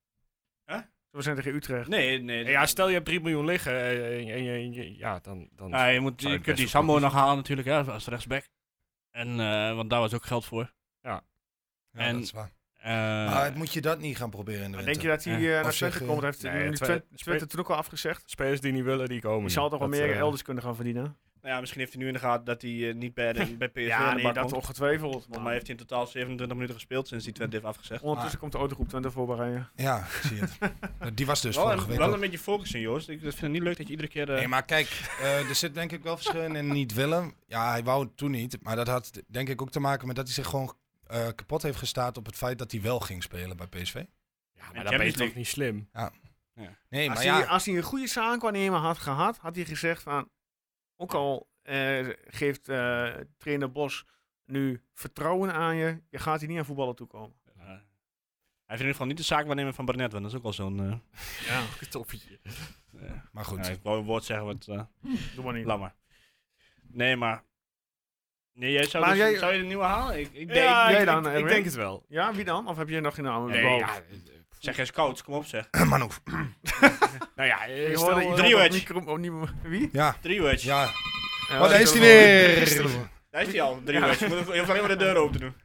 [SPEAKER 5] Huh?
[SPEAKER 1] We zijn tegen Utrecht.
[SPEAKER 5] Nee, nee.
[SPEAKER 4] ja, stel je hebt 3 miljoen liggen. eh, en, je- en je- ja, dan, dan
[SPEAKER 5] Ja, je, moet,
[SPEAKER 4] zou
[SPEAKER 5] je
[SPEAKER 4] je
[SPEAKER 5] kunt die
[SPEAKER 4] best wel
[SPEAKER 5] Sambo
[SPEAKER 4] goed-
[SPEAKER 5] nog halen natuurlijk, hè, als rechtsback. En, eh, want daar was ook geld voor.
[SPEAKER 6] ja,
[SPEAKER 5] En-
[SPEAKER 6] dat is waar.
[SPEAKER 5] Eh,
[SPEAKER 6] Maar Ah, het moet je dat niet gaan proberen in de
[SPEAKER 1] Maar
[SPEAKER 6] winter.
[SPEAKER 1] denk je dat hij
[SPEAKER 5] Ja.
[SPEAKER 1] eh, naar
[SPEAKER 6] Of
[SPEAKER 1] Twente
[SPEAKER 6] zeg, eh,
[SPEAKER 1] komt? Heeft
[SPEAKER 4] nee,
[SPEAKER 1] nee,
[SPEAKER 4] Twe-
[SPEAKER 1] Twente,
[SPEAKER 4] Twe-
[SPEAKER 1] Twente toen ook al afgezegd.
[SPEAKER 4] Spelers die niet willen, die komen
[SPEAKER 1] Die
[SPEAKER 4] niet.
[SPEAKER 1] zal toch wel
[SPEAKER 4] Dat,
[SPEAKER 1] meer
[SPEAKER 4] eh,
[SPEAKER 1] elders kunnen gaan verdienen?
[SPEAKER 5] nou ja, misschien heeft hij nu in de gaten dat hij eh, niet bij, de, bij PSV
[SPEAKER 1] Ja,
[SPEAKER 5] aan de
[SPEAKER 1] nee,
[SPEAKER 5] bak
[SPEAKER 1] dat
[SPEAKER 5] komt.
[SPEAKER 1] ongetwijfeld.
[SPEAKER 5] Want
[SPEAKER 6] Ah.
[SPEAKER 1] Maar
[SPEAKER 5] mij heeft hij in totaal 27 minuten gespeeld sinds die Twente heeft afgezegd.
[SPEAKER 1] ondertussen komt de autogroep Twente voorbij rijden.
[SPEAKER 6] Ja, ik zie het. Nou, die was dus
[SPEAKER 5] wel,
[SPEAKER 6] vorige
[SPEAKER 5] een,
[SPEAKER 6] week
[SPEAKER 5] wel
[SPEAKER 6] ook.
[SPEAKER 5] een beetje focussen, Joost. Ik vind het niet leuk dat je iedere keer... eh,
[SPEAKER 6] Nee, maar kijk, eh, er zit denk ik wel verschil in en niet willen. Ja, hij wou het toen niet. Maar dat had denk ik ook te maken met dat hij zich gewoon eh, kapot heeft gestaat op het feit dat hij wel ging spelen bij PSV.
[SPEAKER 4] Ja, maar
[SPEAKER 5] Champions
[SPEAKER 4] dan ben je toch
[SPEAKER 5] League.
[SPEAKER 4] niet slim.
[SPEAKER 6] Nee,
[SPEAKER 1] Als,
[SPEAKER 6] maar
[SPEAKER 1] hij,
[SPEAKER 6] ja,
[SPEAKER 1] als hij een goede zaakwaarnemer had gehad, had hij gezegd van... Ook al eh, geeft eh, trainer Bos nu vertrouwen aan je, je gaat hier niet aan voetballen toekomen.
[SPEAKER 5] eh, hij heeft in ieder geval niet de zaak waarnemen van Barnett, want dat is ook wel zo'n... eh,
[SPEAKER 1] Ja,
[SPEAKER 4] Toppie.
[SPEAKER 5] eh,
[SPEAKER 6] maar goed.
[SPEAKER 5] ja, ik wou een woord zeggen, wat eh
[SPEAKER 1] doe maar niet.
[SPEAKER 5] laat maar. Nee, maar... Nee, jij zou,
[SPEAKER 1] Maar
[SPEAKER 5] dus-
[SPEAKER 1] jij-
[SPEAKER 5] zou je de nieuwe halen? Ik, ik denk,
[SPEAKER 1] jij
[SPEAKER 4] ik,
[SPEAKER 1] dan,
[SPEAKER 4] ik- ik
[SPEAKER 1] Erwin?
[SPEAKER 4] denk het wel.
[SPEAKER 1] Ja, wie dan? Of heb je nog geen naam? in de
[SPEAKER 4] Nee,
[SPEAKER 1] bal?
[SPEAKER 4] ja, eh,
[SPEAKER 5] Zeg eens coach, kom op zeg.
[SPEAKER 6] Manhoef.
[SPEAKER 4] nou ja, eh,
[SPEAKER 1] Je
[SPEAKER 4] stel,
[SPEAKER 1] hoorde
[SPEAKER 4] eh,
[SPEAKER 1] iedereen
[SPEAKER 5] drie
[SPEAKER 1] op
[SPEAKER 5] wedge.
[SPEAKER 1] micro- op nieuwe- Wie?
[SPEAKER 6] Ja,
[SPEAKER 5] Drie wedge.
[SPEAKER 6] ja.
[SPEAKER 1] Ja,
[SPEAKER 6] Maar daar is
[SPEAKER 1] die
[SPEAKER 6] hij
[SPEAKER 1] ook
[SPEAKER 6] weer.
[SPEAKER 5] Daar is hij al, drie wedge. Je moet je hoeft alleen maar de deur open te doen.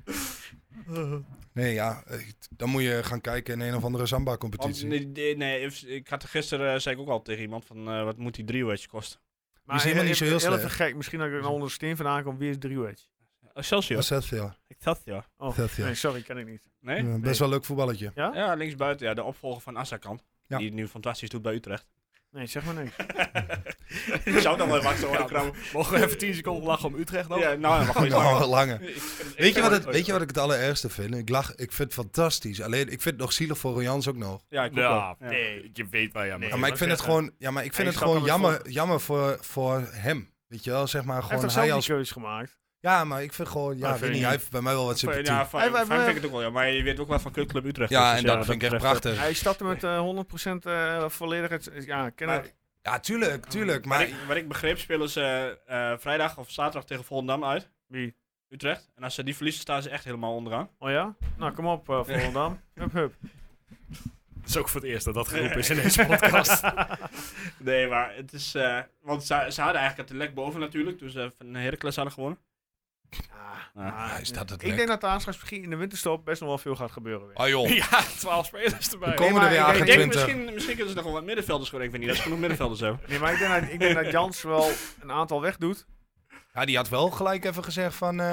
[SPEAKER 1] wel.
[SPEAKER 6] Nee, ja, eh, dan moet je gaan kijken in een of andere
[SPEAKER 5] Want,
[SPEAKER 6] samba-competitie.
[SPEAKER 5] nee, nee, nee, if- ik had er gisteren, eh, zei ik ook al tegen iemand, van eh, wat moet die drie wedge kosten?
[SPEAKER 1] Maar
[SPEAKER 6] helemaal niet zo heel
[SPEAKER 1] even- heel
[SPEAKER 6] slecht.
[SPEAKER 1] even gek, misschien dat ik er onder de steen vandaan kom. Wie is Driewedge?
[SPEAKER 5] Excelsior.
[SPEAKER 6] Was dat veel?
[SPEAKER 5] Eh, Ik dacht ja.
[SPEAKER 1] Oh,
[SPEAKER 6] Dat, ja.
[SPEAKER 1] nee, sorry, ken ik niet.
[SPEAKER 5] Nee?
[SPEAKER 6] Ja, Best wel leuk voetballetje.
[SPEAKER 1] Ja?
[SPEAKER 5] Ja, linksbuiten. Ja, de opvolger van Assakan.
[SPEAKER 6] Ja.
[SPEAKER 5] Die het nu fantastisch doet bij Utrecht.
[SPEAKER 1] Nee, zeg maar niks.
[SPEAKER 5] Ik zou dan wel even zo krabben.
[SPEAKER 4] Mogen we even 10 seconden lachen om Utrecht nog?
[SPEAKER 5] Ja, nou, dat mag niet
[SPEAKER 6] Oh,
[SPEAKER 5] langer.
[SPEAKER 6] lange.
[SPEAKER 5] Ik- ik-
[SPEAKER 6] Weet je,
[SPEAKER 5] ik-
[SPEAKER 6] wat het, weet je wat ik het allerergste vind? Ik lach, ik vind het fantastisch. Alleen, ik vind het nog zielig voor Rojans ook nog.
[SPEAKER 5] Ja, ik ook
[SPEAKER 4] Ja,
[SPEAKER 5] wel. Ja.
[SPEAKER 4] Nou, nee, je weet wel, ja.
[SPEAKER 1] Nee,
[SPEAKER 4] Maar,
[SPEAKER 6] Ja, maar ik
[SPEAKER 1] wou
[SPEAKER 6] vind het
[SPEAKER 1] zeggen.
[SPEAKER 6] gewoon, ja, maar ik
[SPEAKER 1] Hij
[SPEAKER 6] vind het
[SPEAKER 1] snapt
[SPEAKER 6] gewoon
[SPEAKER 1] hem
[SPEAKER 6] jammer, jammer voor, voor hem. Weet je wel, zeg maar
[SPEAKER 1] Hij heeft
[SPEAKER 6] gewoon
[SPEAKER 1] toch zelf
[SPEAKER 6] hij
[SPEAKER 1] die
[SPEAKER 6] als...
[SPEAKER 1] keuze gemaakt?
[SPEAKER 6] Ja, maar ik vind gewoon,
[SPEAKER 1] dat
[SPEAKER 6] ja,
[SPEAKER 1] vind
[SPEAKER 6] weet
[SPEAKER 1] ik
[SPEAKER 6] niet, hij
[SPEAKER 1] niet.
[SPEAKER 6] heeft bij mij wel wat
[SPEAKER 5] Van-
[SPEAKER 6] sympathie.
[SPEAKER 5] Ja,
[SPEAKER 6] Ja,
[SPEAKER 5] van,
[SPEAKER 1] Hey, wij-
[SPEAKER 5] van
[SPEAKER 1] wij-
[SPEAKER 5] vind ik het ook wel, ja. Maar je weet ook wel van Club Utrecht. Dus
[SPEAKER 6] en dat vind ik echt prachtig.
[SPEAKER 1] Hij stapte met eh, 100% eh volledig het... Ja, ken
[SPEAKER 5] Maar-
[SPEAKER 6] Ja, tuurlijk, tuurlijk.
[SPEAKER 5] Maar
[SPEAKER 6] Maar
[SPEAKER 5] ik, wat ik begreep, spelen ze eh, eh, vrijdag of zaterdag tegen Volendam uit.
[SPEAKER 1] Wie?
[SPEAKER 5] Utrecht. En als ze die verliezen, staan ze echt helemaal onderaan.
[SPEAKER 1] Oh ja? Nou, kom op, eh Volendam. hup, hup.
[SPEAKER 4] het is ook voor het eerst dat dat geroepen is in deze podcast.
[SPEAKER 5] Nee, maar het is... eh, want ze, ze hadden eigenlijk het lek boven natuurlijk. Toen ze van Heracles hadden gewonnen.
[SPEAKER 1] Ja,
[SPEAKER 5] Ah,
[SPEAKER 1] ah,
[SPEAKER 6] is dat het
[SPEAKER 1] Ik
[SPEAKER 6] lek?
[SPEAKER 1] denk dat de aanschrijf misschien in de winterstop best nog wel veel gaat gebeuren weer.
[SPEAKER 6] Ah joh,
[SPEAKER 4] ja, 12 spelers erbij.
[SPEAKER 1] Kom-
[SPEAKER 6] komen er weer
[SPEAKER 1] maar ik
[SPEAKER 5] Ik denk
[SPEAKER 6] 28.
[SPEAKER 5] misschien, misschien kunnen ze nog wel wat middenvelders gewoon. Ik weet niet, dat ze genoeg middenvelders hebben.
[SPEAKER 1] Nee, maar ik denk, dat, ik denk dat Jans wel een aantal wegdoet.
[SPEAKER 6] Ja, die had wel gelijk even gezegd van, eh,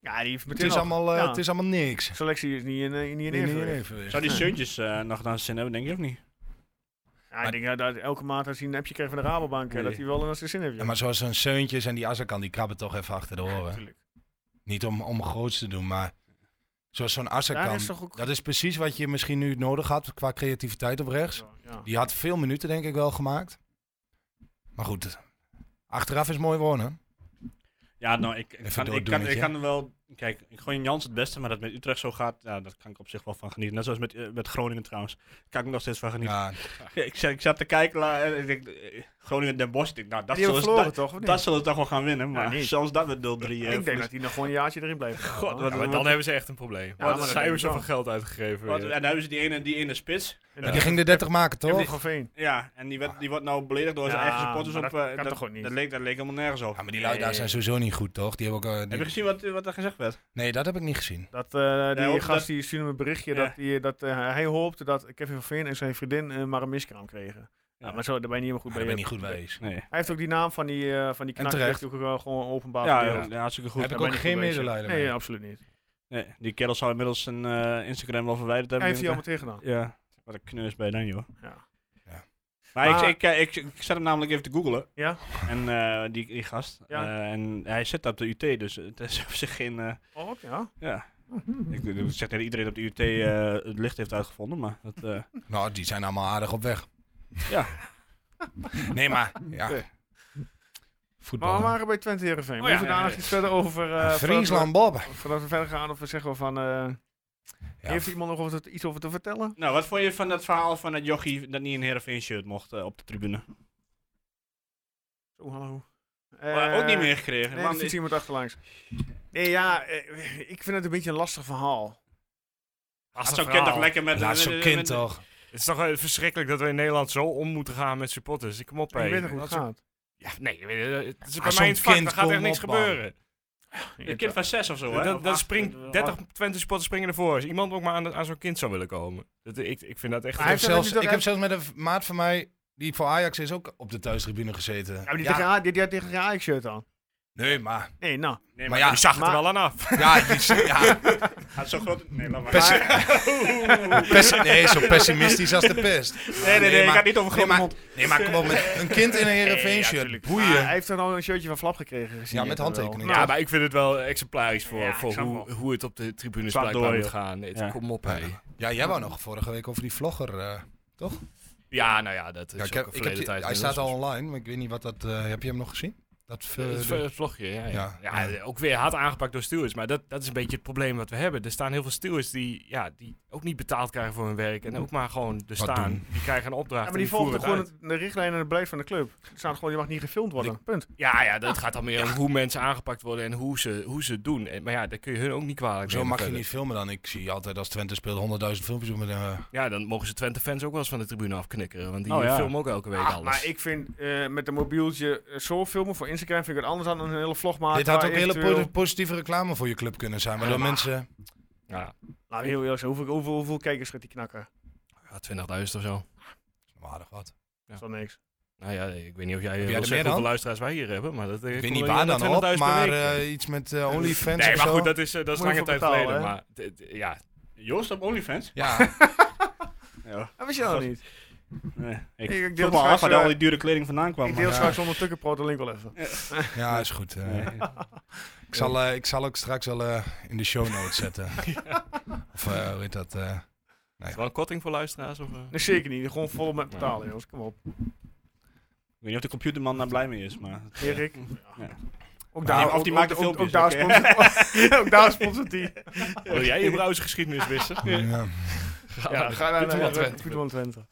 [SPEAKER 1] Ja, die heeft
[SPEAKER 6] het,
[SPEAKER 1] meteen
[SPEAKER 6] is
[SPEAKER 1] al-
[SPEAKER 6] allemaal, eh,
[SPEAKER 1] ja.
[SPEAKER 6] het is allemaal niks.
[SPEAKER 1] Selectie is niet in, eh, niet in
[SPEAKER 6] Nee, nee,
[SPEAKER 1] evenwicht.
[SPEAKER 6] even weer.
[SPEAKER 5] Zou die Suntjes eh, nog naar zin hebben, denk je of niet?
[SPEAKER 1] Ja, ik denk ja, dat elke maand als hij een appje krijgt van de Rabobank, eh,
[SPEAKER 5] Nee.
[SPEAKER 1] dat hij wel een zijn zin heeft.
[SPEAKER 6] Ja, maar zoals een Seuntjes en die Azarkan, die krabben toch even achter de oren.
[SPEAKER 1] natuurlijk.
[SPEAKER 6] Niet om, om groots te doen, maar zoals zo'n
[SPEAKER 1] Daar
[SPEAKER 6] Azarkan,
[SPEAKER 1] is toch ook...
[SPEAKER 6] dat is precies wat je misschien nu nodig had qua creativiteit op rechts.
[SPEAKER 1] Ja.
[SPEAKER 6] Die had veel minuten, denk ik, wel gemaakt. Maar goed, achteraf is mooi wonen.
[SPEAKER 5] Ja, nou, ik, ik,
[SPEAKER 6] Even
[SPEAKER 5] kan, ik,
[SPEAKER 6] doordoen
[SPEAKER 5] kan,
[SPEAKER 6] met
[SPEAKER 5] ik
[SPEAKER 6] je.
[SPEAKER 5] kan wel... Kijk, ik gooi Jans het beste, maar dat met Utrecht zo gaat, ja, dat kan ik op zich wel van genieten. Net zoals met, eh, met Groningen trouwens. Daar kan ik nog steeds van genieten.
[SPEAKER 6] Ja,
[SPEAKER 5] Ik, zat, ik zat te kijken la- en ik denk, eh, Groningen Den Bosch, ik denk, nou, dat
[SPEAKER 1] die
[SPEAKER 5] zullen,
[SPEAKER 1] hebben verloren
[SPEAKER 5] ze, dat,
[SPEAKER 1] toch? of niet?
[SPEAKER 5] dat zullen ze toch wel gaan winnen. Maar
[SPEAKER 1] niet.
[SPEAKER 5] zelfs dat met 0-3. eh,
[SPEAKER 1] ik denk
[SPEAKER 5] verlies.
[SPEAKER 1] dat hij nog gewoon een jaartje erin blijft.
[SPEAKER 5] God,
[SPEAKER 1] Ja.
[SPEAKER 5] wat,
[SPEAKER 4] Ja, maar dan hebben ze echt een probleem.
[SPEAKER 1] maar dat
[SPEAKER 4] Wat zijn
[SPEAKER 1] denk
[SPEAKER 4] we
[SPEAKER 1] ik
[SPEAKER 4] zoveel
[SPEAKER 1] wel.
[SPEAKER 4] geld uitgegeven? eh,
[SPEAKER 5] wat- en
[SPEAKER 4] weer?
[SPEAKER 5] dan hebben ze die ene, die ene spits.
[SPEAKER 1] Ja.
[SPEAKER 6] Die ging de 30 maken,
[SPEAKER 1] Emily
[SPEAKER 6] toch?
[SPEAKER 1] van Veen.
[SPEAKER 5] Ja, en die, werd, die wordt nou beledigd door zijn
[SPEAKER 1] Ah. Ja,
[SPEAKER 5] eigen supporters.
[SPEAKER 1] maar
[SPEAKER 5] op,
[SPEAKER 1] Eh, dat
[SPEAKER 5] eh,
[SPEAKER 1] kan toch ook niet?
[SPEAKER 5] Dat leek, dat leek helemaal nergens over.
[SPEAKER 6] Ja, maar die lui daar zijn sowieso niet goed, toch? Die hebben ook... eh, die-
[SPEAKER 5] Heb je gezien wat, eh, wat er gezegd werd.
[SPEAKER 6] Nee, dat heb ik niet gezien.
[SPEAKER 1] Dat eh, die
[SPEAKER 5] hoop
[SPEAKER 1] gast
[SPEAKER 5] dat-
[SPEAKER 1] die stuurde me een berichtje
[SPEAKER 5] Ja.
[SPEAKER 1] dat, die, dat eh, hij hoopte dat Kevin van Veen en zijn vriendin eh, maar een miskraam kregen. Ja,
[SPEAKER 5] Ja.
[SPEAKER 1] maar zo, daar ben je niet helemaal goed
[SPEAKER 6] Maar Ah, daar ben
[SPEAKER 1] bij.
[SPEAKER 6] ik niet goed bij eens.
[SPEAKER 5] Nee.
[SPEAKER 1] Hij heeft ook die naam van die, eh van die
[SPEAKER 6] En
[SPEAKER 1] knak, die
[SPEAKER 6] terecht.
[SPEAKER 1] heeft ook eh, gewoon openbaar
[SPEAKER 5] Ja,
[SPEAKER 1] verdeeld.
[SPEAKER 5] ja, ja, hartstikke goed.
[SPEAKER 6] Heb
[SPEAKER 1] Daar
[SPEAKER 6] ik
[SPEAKER 1] ben
[SPEAKER 6] ook
[SPEAKER 1] ik
[SPEAKER 6] geen
[SPEAKER 1] goed bezig.
[SPEAKER 6] medelijden
[SPEAKER 1] Nee,
[SPEAKER 6] mee.
[SPEAKER 1] ja, absoluut niet.
[SPEAKER 5] Nee, die kerel zal inmiddels zijn eh, Instagram wel verwijderd
[SPEAKER 1] Hij
[SPEAKER 5] hebben.
[SPEAKER 1] heeft hij
[SPEAKER 5] denk
[SPEAKER 1] allemaal tegen gedaan.
[SPEAKER 5] ik. Ja, wat een knus bij dan, joh.
[SPEAKER 1] Ja.
[SPEAKER 5] Maar,
[SPEAKER 1] Maar-
[SPEAKER 5] Ik, ik, eh, ik, ik zat hem namelijk even te googlen.
[SPEAKER 1] Ja?
[SPEAKER 5] En eh, die, die gast.
[SPEAKER 1] Ja.
[SPEAKER 5] Eh, en hij zit op de UT, dus het is op zich geen... eh,
[SPEAKER 1] Oh, wat? ja.
[SPEAKER 5] ja. Ik, ik zeg dat iedereen op de UT eh, het licht heeft uitgevonden, maar dat... eh,
[SPEAKER 6] Nou, die zijn allemaal aardig op weg.
[SPEAKER 5] Ja.
[SPEAKER 6] nee, maar... Ja.
[SPEAKER 1] Maar
[SPEAKER 6] Voetbal.
[SPEAKER 1] we waren bij Twente Heerenveen.
[SPEAKER 4] Oh,
[SPEAKER 1] Moeten
[SPEAKER 4] ja.
[SPEAKER 1] we daar nog iets verder over... eh, voordat we-
[SPEAKER 6] Friesland Bob.
[SPEAKER 1] Voordat we verder gaan of we zeggen van... eh,
[SPEAKER 6] Ja.
[SPEAKER 1] Heeft iemand nog wat- iets over te vertellen?
[SPEAKER 5] Nou, wat vond je van dat verhaal van dat jochie dat niet een Heerenveen shirt mocht eh, op de tribune?
[SPEAKER 1] Zo, hallo.
[SPEAKER 5] Maar ook
[SPEAKER 1] Eh,
[SPEAKER 5] niet meer gekregen.
[SPEAKER 1] Nee,
[SPEAKER 5] man.
[SPEAKER 1] er fietst iemand achterlangs. Nee, ja, eh, ik vind het een beetje een lastig verhaal.
[SPEAKER 5] Had
[SPEAKER 4] Lastig
[SPEAKER 5] zo'n kind toch
[SPEAKER 4] verhaal.
[SPEAKER 5] lekker met...
[SPEAKER 6] Laat zo'n
[SPEAKER 5] met-
[SPEAKER 6] kind
[SPEAKER 5] met-
[SPEAKER 6] toch.
[SPEAKER 4] Het is toch eh, verschrikkelijk dat we in Nederland zo om moeten gaan met supporters. Ik kom op,
[SPEAKER 1] ik
[SPEAKER 4] hé.
[SPEAKER 1] weet nog hoe het
[SPEAKER 4] Dat is-
[SPEAKER 1] gaat.
[SPEAKER 4] Ja, nee, je weet het, het is
[SPEAKER 6] Ah,
[SPEAKER 4] bij
[SPEAKER 6] zo'n
[SPEAKER 4] mij in het vak,
[SPEAKER 6] kind,
[SPEAKER 4] daar gaat
[SPEAKER 6] kom
[SPEAKER 4] echt niks
[SPEAKER 6] op, man.
[SPEAKER 4] gebeuren.
[SPEAKER 5] Een kind van zes of zo, hè?
[SPEAKER 4] Dan,
[SPEAKER 5] Of
[SPEAKER 4] dan
[SPEAKER 5] acht.
[SPEAKER 4] springt 30 Twente supporters springen ervoor. Als iemand ook maar aan, dat- aan zo'n kind zou willen komen. Dat, ik, ik vind dat echt...
[SPEAKER 1] Maar
[SPEAKER 6] Ik
[SPEAKER 1] hij
[SPEAKER 6] heb,
[SPEAKER 1] heeft
[SPEAKER 6] zelfs,
[SPEAKER 1] dat niet
[SPEAKER 6] ik heb
[SPEAKER 1] dat
[SPEAKER 6] zelfs met een v- maat van mij, die voor Ajax is, ook op de thuistribune gezeten.
[SPEAKER 1] Ja, maar die, Tegen, A- die, die had tegen Ajax shirt aan.
[SPEAKER 6] Nee, maar...
[SPEAKER 1] Nee, nou.
[SPEAKER 5] Nee,
[SPEAKER 6] Maar
[SPEAKER 5] maar
[SPEAKER 6] ja,
[SPEAKER 4] die zag het
[SPEAKER 1] maar-
[SPEAKER 4] er wel aan af.
[SPEAKER 6] ja, die- ja
[SPEAKER 5] Gaat zo groot... Nee, laat maar.
[SPEAKER 6] pessi- pessi- nee, zo pessimistisch als de pest.
[SPEAKER 5] Nee, nee, nee, ik
[SPEAKER 6] maar-
[SPEAKER 5] had niet over
[SPEAKER 6] Nee
[SPEAKER 5] grote
[SPEAKER 6] maar,
[SPEAKER 5] mond.
[SPEAKER 6] nee, maar kom op, met een kind in een Heerenveen shirt.
[SPEAKER 1] Maar
[SPEAKER 6] boeien.
[SPEAKER 1] Hij heeft er nou een shirtje van Flap gekregen. gezien
[SPEAKER 6] Ja,
[SPEAKER 1] je
[SPEAKER 6] met
[SPEAKER 1] het wel.
[SPEAKER 6] handtekening.
[SPEAKER 4] Ja, Nou, maar ik vind het wel exemplarisch voor,
[SPEAKER 1] Ja, ik
[SPEAKER 4] voor
[SPEAKER 1] snap
[SPEAKER 4] hoe, hoe het op de tribunes
[SPEAKER 5] Slaat
[SPEAKER 4] blijkbaar
[SPEAKER 5] door,
[SPEAKER 4] moet
[SPEAKER 5] joh.
[SPEAKER 4] gaan. Het-
[SPEAKER 5] Ja.
[SPEAKER 4] Kom op, hé.
[SPEAKER 6] Ja, jij wou nog vorige week over die vlogger. eh, dus
[SPEAKER 4] Ja, nou ja, dat is
[SPEAKER 6] ja, ik heb,
[SPEAKER 4] ook een
[SPEAKER 6] ik heb
[SPEAKER 4] verleden
[SPEAKER 6] die-
[SPEAKER 4] tijd.
[SPEAKER 6] hij staat al online, maar ik weet niet wat dat... eh, heb je hem nog gezien? Dat, eh,
[SPEAKER 4] Het
[SPEAKER 6] de-
[SPEAKER 4] het vlogje, ja. ja.
[SPEAKER 6] Ja.
[SPEAKER 4] Ja, ook weer hard aangepakt door stewards. Maar dat, dat is een beetje het probleem wat we hebben. Er staan heel veel stewards die, ja, die ook niet betaald krijgen voor hun werk. En ook maar gewoon er
[SPEAKER 6] Wat
[SPEAKER 4] staan.
[SPEAKER 6] doen.
[SPEAKER 4] Die krijgen een opdracht.
[SPEAKER 1] Ja,
[SPEAKER 4] en
[SPEAKER 1] maar die
[SPEAKER 4] voeren
[SPEAKER 1] volgt
[SPEAKER 4] het
[SPEAKER 1] gewoon
[SPEAKER 4] uit.
[SPEAKER 1] het- de richtlijn en het beleid van de club. Er staat gewoon, je mag niet gefilmd worden. Punt.
[SPEAKER 4] Ja, ja,
[SPEAKER 1] Ah.
[SPEAKER 4] dat gaat dan meer om hoe mensen aangepakt worden en hoe ze, hoe ze het doen. En, maar ja, daar kun je hun ook niet kwalijk
[SPEAKER 6] Zo
[SPEAKER 4] nemen
[SPEAKER 6] mag je
[SPEAKER 4] verder.
[SPEAKER 6] niet filmen dan. Ik zie altijd als Twente speelt 100.000 filmpjes om... eh,
[SPEAKER 4] Ja, dan mogen ze Twente-fans ook wel eens van de tribune afknikkeren. Want die
[SPEAKER 5] Oh, ja.
[SPEAKER 4] filmen ook elke week
[SPEAKER 1] Ah,
[SPEAKER 4] alles.
[SPEAKER 1] maar ik vind eh, met een mobieltje eh, zo filmen voor Instagram vind ik het anders dan een hele vlog maken.
[SPEAKER 6] dit had
[SPEAKER 1] waar
[SPEAKER 6] ook hele
[SPEAKER 1] eventueel-
[SPEAKER 6] po- positieve reclame voor je club kunnen zijn. Waardoor mensen...
[SPEAKER 4] Ja,
[SPEAKER 1] Nou, heel eerlijk, hoeveel, hoeveel, hoeveel kijkers gaat die knakken?
[SPEAKER 4] ja, 20.000 of zo.
[SPEAKER 6] Waardig wat.
[SPEAKER 1] Dat is dan niks.
[SPEAKER 4] Nou ja, ik weet niet of jij, eh,
[SPEAKER 6] jij
[SPEAKER 4] wil
[SPEAKER 6] er
[SPEAKER 4] zeggen
[SPEAKER 6] meer dan?
[SPEAKER 4] hoeveel luisteraars wij hier hebben. Maar dat, eh,
[SPEAKER 6] Ik weet
[SPEAKER 4] komt
[SPEAKER 6] niet
[SPEAKER 4] wel
[SPEAKER 6] waar
[SPEAKER 4] aan de
[SPEAKER 6] dan op,
[SPEAKER 4] 20.000 per
[SPEAKER 6] maar
[SPEAKER 4] week.
[SPEAKER 6] eh, iets met eh, OnlyFans
[SPEAKER 4] Nee,
[SPEAKER 6] of
[SPEAKER 4] maar
[SPEAKER 6] zo.
[SPEAKER 4] goed, dat is, eh, dat is
[SPEAKER 1] Moet je voor
[SPEAKER 4] lange tijd
[SPEAKER 1] betalen,
[SPEAKER 4] geleden.
[SPEAKER 1] hè?
[SPEAKER 4] Maar d- d- ja,
[SPEAKER 5] Joost op OnlyFans?
[SPEAKER 6] Ja,
[SPEAKER 5] Ja.
[SPEAKER 1] Dat wist je nou niet.
[SPEAKER 5] Nee, ik
[SPEAKER 1] Ik- ik
[SPEAKER 5] ik
[SPEAKER 1] deel
[SPEAKER 5] deel me
[SPEAKER 1] straks,
[SPEAKER 5] af waar al
[SPEAKER 1] eh,
[SPEAKER 5] die dure kleding vandaan kwam.
[SPEAKER 1] Ik deel
[SPEAKER 5] maar-
[SPEAKER 1] straks onder Tukkenproot de link wel even.
[SPEAKER 6] ja is goed. eh.
[SPEAKER 5] Nee.
[SPEAKER 6] ik, zal, eh, ik zal ook straks wel eh, in de show notes zetten. Of eh, hoe heet dat? eh,
[SPEAKER 4] is er wel een korting voor luisteraars? Of, eh?
[SPEAKER 1] Nee, zeker niet. Gewoon vol met betalen, jongens. Kom op.
[SPEAKER 5] Ik weet niet of de computerman daar blij mee is, maar...
[SPEAKER 1] Erik.
[SPEAKER 5] Ja.
[SPEAKER 1] Ook
[SPEAKER 5] die- of die maakt de
[SPEAKER 1] ook- ook- Ook
[SPEAKER 5] filmpjes,
[SPEAKER 1] daar
[SPEAKER 5] oké.
[SPEAKER 1] sponsort- ook daar sponsort die.
[SPEAKER 4] Wil jij je browsergeschiedenis wissen?
[SPEAKER 6] ja.
[SPEAKER 1] Ja, ga naar eh,
[SPEAKER 4] Voetbal
[SPEAKER 1] naar-
[SPEAKER 4] Twente.
[SPEAKER 1] Voetbal Twente.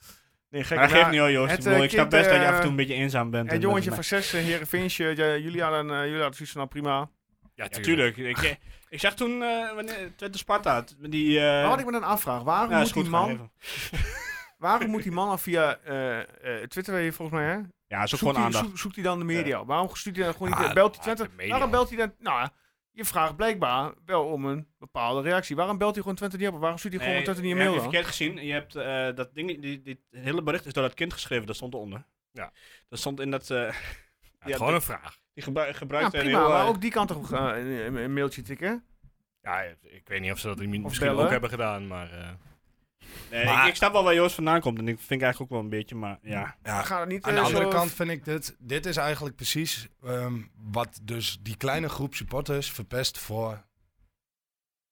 [SPEAKER 1] Nee, gek.
[SPEAKER 5] Maar dat geeft
[SPEAKER 1] nou,
[SPEAKER 5] niet hoor, Joost.
[SPEAKER 1] het,
[SPEAKER 5] Ik bedoel,
[SPEAKER 1] eh,
[SPEAKER 5] Ik snap
[SPEAKER 1] kind,
[SPEAKER 5] best dat je
[SPEAKER 1] eh,
[SPEAKER 5] af en toe een beetje eenzaam bent.
[SPEAKER 1] Het
[SPEAKER 5] en
[SPEAKER 1] jongetje
[SPEAKER 5] dat-
[SPEAKER 1] van 6, Heren Vinsje, jullie hadden eh, jullie hadden zoiets van nou prima.
[SPEAKER 4] Ja,
[SPEAKER 5] Ja, tuurlijk. Ik, eh, ik zag toen eh, wanneer Twente Sparta, had, die... eh,
[SPEAKER 1] Maar wat ik me dan afvraag, waarom,
[SPEAKER 5] ja,
[SPEAKER 1] moet,
[SPEAKER 5] is goed,
[SPEAKER 1] die
[SPEAKER 5] gewoon
[SPEAKER 1] man,
[SPEAKER 5] even.
[SPEAKER 1] waarom moet die man al via eh, eh, Twitter, weet je volgens mij, hè?
[SPEAKER 5] Ja, is ook
[SPEAKER 1] Zoekt
[SPEAKER 5] gewoon
[SPEAKER 1] hij-
[SPEAKER 5] aandacht.
[SPEAKER 1] zoekt- zoekt hij dan de media? Waarom stuurt hij dan gewoon niet?
[SPEAKER 4] Ah,
[SPEAKER 1] belt hij
[SPEAKER 4] ah, de
[SPEAKER 1] Twente?
[SPEAKER 4] media.
[SPEAKER 1] Waarom belt hij dan? Nou, je vraagt blijkbaar wel om een bepaalde reactie. Waarom belt hij gewoon Twente niet op? Waarom stuurt hij gewoon
[SPEAKER 5] Nee,
[SPEAKER 1] Twente niet een
[SPEAKER 5] je
[SPEAKER 1] mail dan?
[SPEAKER 5] hebt verkeerd gezien. Je hebt eh, dat ding, die, die, het hele bericht is door dat kind geschreven, dat stond eronder.
[SPEAKER 4] Ja.
[SPEAKER 5] Dat stond in dat... eh,
[SPEAKER 4] Ja, gewoon een vraag.
[SPEAKER 5] Die gebru
[SPEAKER 1] Ja,
[SPEAKER 5] gebruikt
[SPEAKER 1] Nou, prima, maar ook die kan toch eh, een, een mailtje tikken?
[SPEAKER 4] Ja, ik weet niet of ze dat misschien
[SPEAKER 1] bellen.
[SPEAKER 4] ook hebben gedaan, maar... eh,
[SPEAKER 5] nee,
[SPEAKER 6] Maar-
[SPEAKER 5] ik, ik snap wel waar Joost vandaan komt en ik vind ik eigenlijk ook wel een beetje, maar ja.
[SPEAKER 6] Ja,
[SPEAKER 1] Ga dat niet
[SPEAKER 6] Aan de
[SPEAKER 1] eh,
[SPEAKER 6] andere
[SPEAKER 1] zo-
[SPEAKER 6] kant vind ik dit, dit is eigenlijk precies ehm, wat dus die kleine groep supporters verpest voor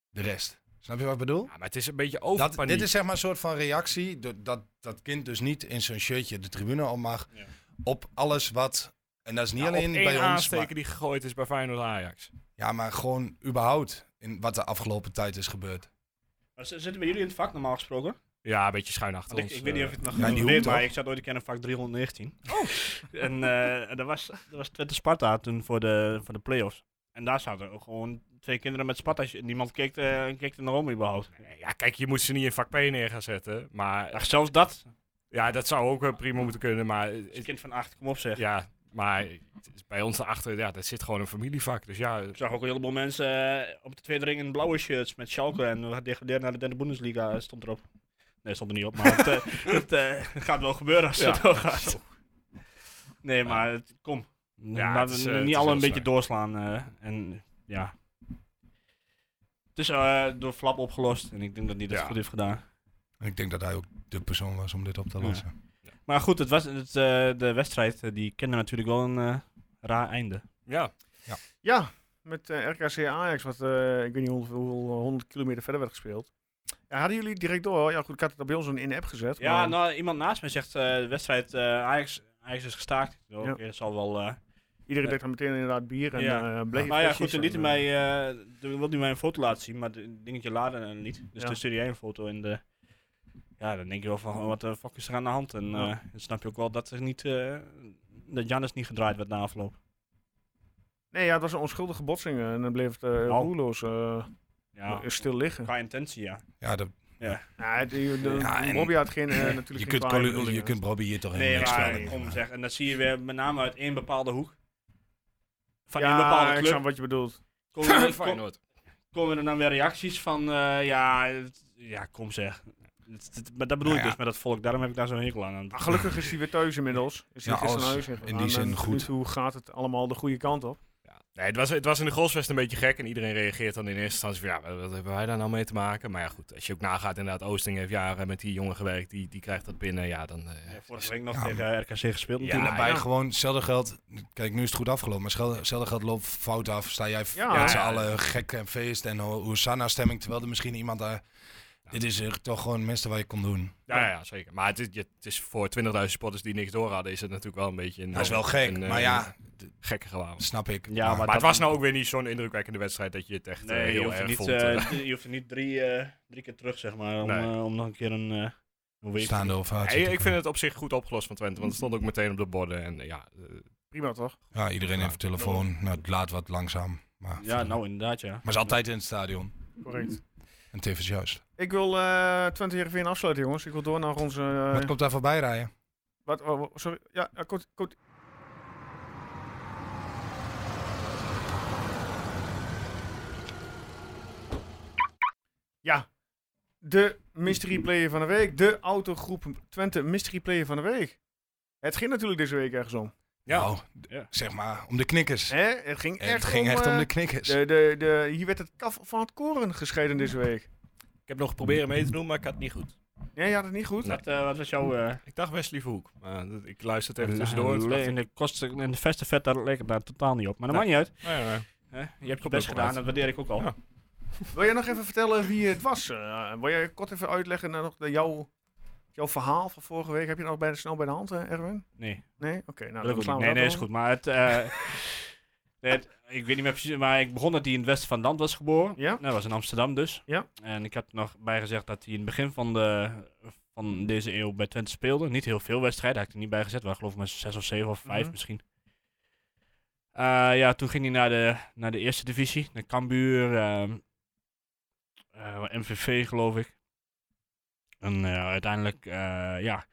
[SPEAKER 6] de rest. Snap je wat ik bedoel?
[SPEAKER 4] ja, maar het is een beetje
[SPEAKER 6] Dat,
[SPEAKER 4] overpaniek.
[SPEAKER 6] dit is zeg maar een soort van reactie, dat- dat dat kind dus niet in zijn shirtje de tribune op mag,
[SPEAKER 5] Ja.
[SPEAKER 6] op alles wat, en dat is niet
[SPEAKER 4] Ja,
[SPEAKER 6] alleen
[SPEAKER 4] op één
[SPEAKER 6] bij ons, maar,
[SPEAKER 4] aansteker die gegooid is bij Feyenoord Ajax.
[SPEAKER 6] ja, maar gewoon überhaupt in wat de afgelopen tijd is gebeurd.
[SPEAKER 5] Maar z- zitten bij jullie in het vak normaal gesproken?
[SPEAKER 4] Ja, een beetje schuin achter
[SPEAKER 5] Want ik,
[SPEAKER 4] ons. eh.
[SPEAKER 5] ik weet niet of je het Nou, nog
[SPEAKER 6] Ja, die
[SPEAKER 5] weet,
[SPEAKER 6] hoeft
[SPEAKER 5] maar
[SPEAKER 6] toch?
[SPEAKER 5] ik zat ooit een keer in vak 319. Oh. en eh dat, was, dat was Twente Sparta toen voor de, voor de play-offs. En daar zaten ook gewoon twee kinderen met Sparta. Niemand keek, eh keek er naar om überhaupt.
[SPEAKER 4] eh. Ja, kijk, je moet ze niet in vak P neer gaan zetten. Maar
[SPEAKER 5] Ach, zelfs dat.
[SPEAKER 4] ja, dat zou ook eh, prima moeten kunnen, maar... eh,
[SPEAKER 5] Een kind van acht, kom op zeg.
[SPEAKER 4] ja, Maar het is bij ons daarachter, ja, dat zit gewoon een familievak. Dus ja,
[SPEAKER 5] Ik zag ook een heleboel mensen eh, op de tweede ring in blauwe shirts met Schalke. En we gaan degraderen naar de derde Bundesliga, eh, stond erop. Nee, stond er niet op, maar het, eh, het eh, gaat wel gebeuren als
[SPEAKER 4] Ja,
[SPEAKER 5] het doorgaat. Nee, maar het- kom.
[SPEAKER 4] Ja,
[SPEAKER 5] Laten
[SPEAKER 4] het
[SPEAKER 5] we
[SPEAKER 4] is, eh, het
[SPEAKER 5] niet
[SPEAKER 4] is
[SPEAKER 5] al
[SPEAKER 4] heel
[SPEAKER 5] een beetje
[SPEAKER 4] zwaar.
[SPEAKER 5] doorslaan. eh, en ja. Het is eh, door Flap opgelost en ik denk dat hij dat
[SPEAKER 4] Ja.
[SPEAKER 5] goed heeft gedaan.
[SPEAKER 6] En ik denk dat hij ook de persoon was om dit op te
[SPEAKER 5] Ja.
[SPEAKER 6] lossen.
[SPEAKER 5] Maar goed, het was, het, eh, de wedstrijd eh, die kende natuurlijk wel een eh, raar einde.
[SPEAKER 4] ja.
[SPEAKER 1] Ja, met eh, RKC Ajax, wat eh, ik weet niet hoeveel, hoeveel, eh, 100 kilometer verder werd gespeeld. Ja, hadden jullie direct door? Ja, goed, ik had het bij ons een in-app gezet.
[SPEAKER 5] Ja,
[SPEAKER 1] maar-
[SPEAKER 5] nou, iemand naast mij zegt, eh, de wedstrijd eh, Ajax, Ajax is gestaakt. Ik dacht,
[SPEAKER 1] Ja.
[SPEAKER 5] Oké, dat zal wel... eh,
[SPEAKER 1] Iedereen deed dan meteen inderdaad bier en
[SPEAKER 5] Ja.
[SPEAKER 1] ja. bleef.
[SPEAKER 5] Nou ja, goed, ze lieten mij, eh er wilde mij een foto laten zien, maar het dingetje laden en niet. Dus
[SPEAKER 1] Ja.
[SPEAKER 5] toen stuurde jij een foto en de, ja, dan denk je wel van, oh, wat de fuck is er aan de hand? En
[SPEAKER 1] Ja.
[SPEAKER 5] eh, dan snap je ook wel dat er niet, eh, dat Jannes niet gedraaid werd na afloop.
[SPEAKER 1] Nee, ja, het was een onschuldige botsing eh, en dan bleef het eh, roerloos eh,
[SPEAKER 5] Nou. Ja,
[SPEAKER 1] stil liggen.
[SPEAKER 5] qua intentie, ja.
[SPEAKER 6] Ja, de-
[SPEAKER 1] Ja, de, de,
[SPEAKER 6] Ja, en-
[SPEAKER 1] Bobby had geen, eh, natuurlijk
[SPEAKER 6] je,
[SPEAKER 1] geen
[SPEAKER 6] kunt
[SPEAKER 1] kwaaie
[SPEAKER 6] Colli- je
[SPEAKER 1] bedoelingen.
[SPEAKER 6] kunt Robbie hier toch
[SPEAKER 5] Nee,
[SPEAKER 6] helemaal niks
[SPEAKER 5] maar
[SPEAKER 6] van doen.
[SPEAKER 5] om zeg, en dat zie je weer met name uit één bepaalde hoek. Van
[SPEAKER 1] ja,
[SPEAKER 5] één bepaalde
[SPEAKER 1] ik
[SPEAKER 5] club
[SPEAKER 1] snap wat je bedoelt.
[SPEAKER 5] komen, er- kom-
[SPEAKER 4] Feyenoord.
[SPEAKER 5] komen er dan weer reacties van, eh, ja, het- ja, kom zeg. Het- het- maar dat bedoel
[SPEAKER 6] Nou
[SPEAKER 5] ik
[SPEAKER 6] ja.
[SPEAKER 5] dus met dat volk, daarom heb ik daar zo'n hekel aan.
[SPEAKER 4] Ah,
[SPEAKER 1] Maar Nou, gelukkig is hij weer thuis inmiddels. Is hij
[SPEAKER 6] Ja,
[SPEAKER 1] gisteren naar huis
[SPEAKER 6] alles
[SPEAKER 1] gegaan. Nou,
[SPEAKER 6] in die zin
[SPEAKER 1] en
[SPEAKER 6] goed.
[SPEAKER 1] Hoe gaat het allemaal de goede kant op?
[SPEAKER 4] Ja. Nee, het, was, het was in de Grosvest een beetje gek en iedereen reageert dan in eerste instantie van ja, wat, wat hebben wij daar nou mee te maken? Maar ja goed, als je ook nagaat inderdaad, Oosting heeft jaren met die jongen gewerkt, die, die krijgt dat binnen, ja dan... eh,
[SPEAKER 5] Ja, vorige week nog
[SPEAKER 6] Ja,
[SPEAKER 5] tegen RKC gespeeld.
[SPEAKER 4] Ja,
[SPEAKER 5] natuurlijk.
[SPEAKER 6] daarbij
[SPEAKER 1] ja.
[SPEAKER 6] nou gewoon hetzelfde geld. Kijk, nu is het goed afgelopen, maar schel- hetzelfde geld loopt fout af. Sta jij
[SPEAKER 1] Ja,
[SPEAKER 6] ja, met z'n
[SPEAKER 4] ja.
[SPEAKER 6] allen gek en feest en Hosanna-stemming, terwijl er misschien iemand daar... Dit is echt toch gewoon het minste wat je kon doen.
[SPEAKER 4] Ja, ja, zeker. Maar het is, je- het is voor 20.000 supporters die niks door hadden, is het natuurlijk wel een beetje een...
[SPEAKER 6] Dat is wel gek,
[SPEAKER 4] een, eh,
[SPEAKER 6] maar ja,
[SPEAKER 4] Gekke gewaar. Maar,
[SPEAKER 6] snap ik.
[SPEAKER 5] Ja, maar-
[SPEAKER 4] het was nou ook weer niet zo'n indrukwekkende wedstrijd dat je het echt eh,
[SPEAKER 5] Nee, je
[SPEAKER 4] heel
[SPEAKER 5] hoeft, er
[SPEAKER 4] erg
[SPEAKER 5] niet,
[SPEAKER 4] vond.
[SPEAKER 5] eh,
[SPEAKER 4] eh.
[SPEAKER 5] d- je hoeft er niet drie, eh, drie keer terug, zeg maar, om,
[SPEAKER 4] Nee.
[SPEAKER 5] eh, om nog een keer een... eh hoe weet je-
[SPEAKER 6] staande ovatie.
[SPEAKER 4] Nee,
[SPEAKER 6] te
[SPEAKER 4] ik vind
[SPEAKER 6] kunnen.
[SPEAKER 4] het op zich goed opgelost van Twente, want het stond ook meteen op de borden en eh, ja... eh,
[SPEAKER 1] Prima toch?
[SPEAKER 6] Ja, iedereen heeft een telefoon. Nou, het laat wat langzaam. Maar,
[SPEAKER 5] Ja, nou inderdaad, ja.
[SPEAKER 6] maar is altijd in het stadion.
[SPEAKER 1] Correct.
[SPEAKER 6] En tevens juist.
[SPEAKER 1] Ik wil eh Twente Heerenveen afsluiten, jongens. Ik wil door naar onze... eh,
[SPEAKER 6] Wat komt daar voorbij rijden?
[SPEAKER 1] wat, oh, oh, sorry. Ja, ja, kort, kort. Ja. De mystery player van de week. De autogroep Twente mystery player van de week. Het ging natuurlijk deze week ergens om.
[SPEAKER 4] ja,
[SPEAKER 6] Nou, d-
[SPEAKER 5] Ja.
[SPEAKER 6] zeg maar, om de knikkers.
[SPEAKER 1] Hè? Het ging echt
[SPEAKER 6] het ging
[SPEAKER 1] om,
[SPEAKER 6] echt om
[SPEAKER 1] eh,
[SPEAKER 6] de knikkers.
[SPEAKER 1] De, de, de, hier werd het kaf van het koren gescheiden deze week.
[SPEAKER 4] ik heb nog proberen mee te doen, maar ik had het niet goed.
[SPEAKER 1] Nee, je had het niet goed.
[SPEAKER 4] Nee.
[SPEAKER 5] Wat, eh, wat was jouw... eh
[SPEAKER 4] Ik dacht Wesley Verhoek, maar dat- ik luister het even tussendoor. en toen dacht ik,
[SPEAKER 5] in de, kosten, in de veste vet, daar leek het daar totaal niet op. Maar dat
[SPEAKER 4] Nee.
[SPEAKER 5] maakt niet uit.
[SPEAKER 4] nou ja, nou,
[SPEAKER 5] Hè? Je hebt je
[SPEAKER 4] Komt
[SPEAKER 5] best
[SPEAKER 4] ook wel
[SPEAKER 5] gedaan,
[SPEAKER 4] uit.
[SPEAKER 5] dat waardeer ik ook al.
[SPEAKER 4] Ja.
[SPEAKER 1] Wil jij nog even vertellen wie het was? Eh, wil jij kort even uitleggen naar nog de, jouw, jouw verhaal van vorige week? Heb je nog bij de snel bij de hand, eh, Erwin?
[SPEAKER 5] Nee,
[SPEAKER 1] Nee? Oké, nou
[SPEAKER 5] dat
[SPEAKER 1] dan
[SPEAKER 5] ook
[SPEAKER 1] slaan
[SPEAKER 5] niet.
[SPEAKER 1] we dat
[SPEAKER 5] nee, nee, is
[SPEAKER 1] over.
[SPEAKER 5] goed. Maar het... eh, het- ik weet niet meer precies, maar ik begon dat hij in het westen van het land was geboren.
[SPEAKER 1] Ja?
[SPEAKER 5] Nou, Dat was in Amsterdam dus.
[SPEAKER 1] Ja.
[SPEAKER 5] En ik had er nog bij gezegd dat hij in het begin van, de, van deze eeuw bij Twente speelde. Niet heel veel wedstrijden, had ik er niet bij gezet. Waar geloof ik maar zes of zeven of vijf
[SPEAKER 1] Mhm.
[SPEAKER 5] misschien. Eh, ja, toen ging hij naar de, naar de eerste divisie. Naar Cambuur, ehm, eh, MVV geloof ik. En eh, uiteindelijk, eh, ja.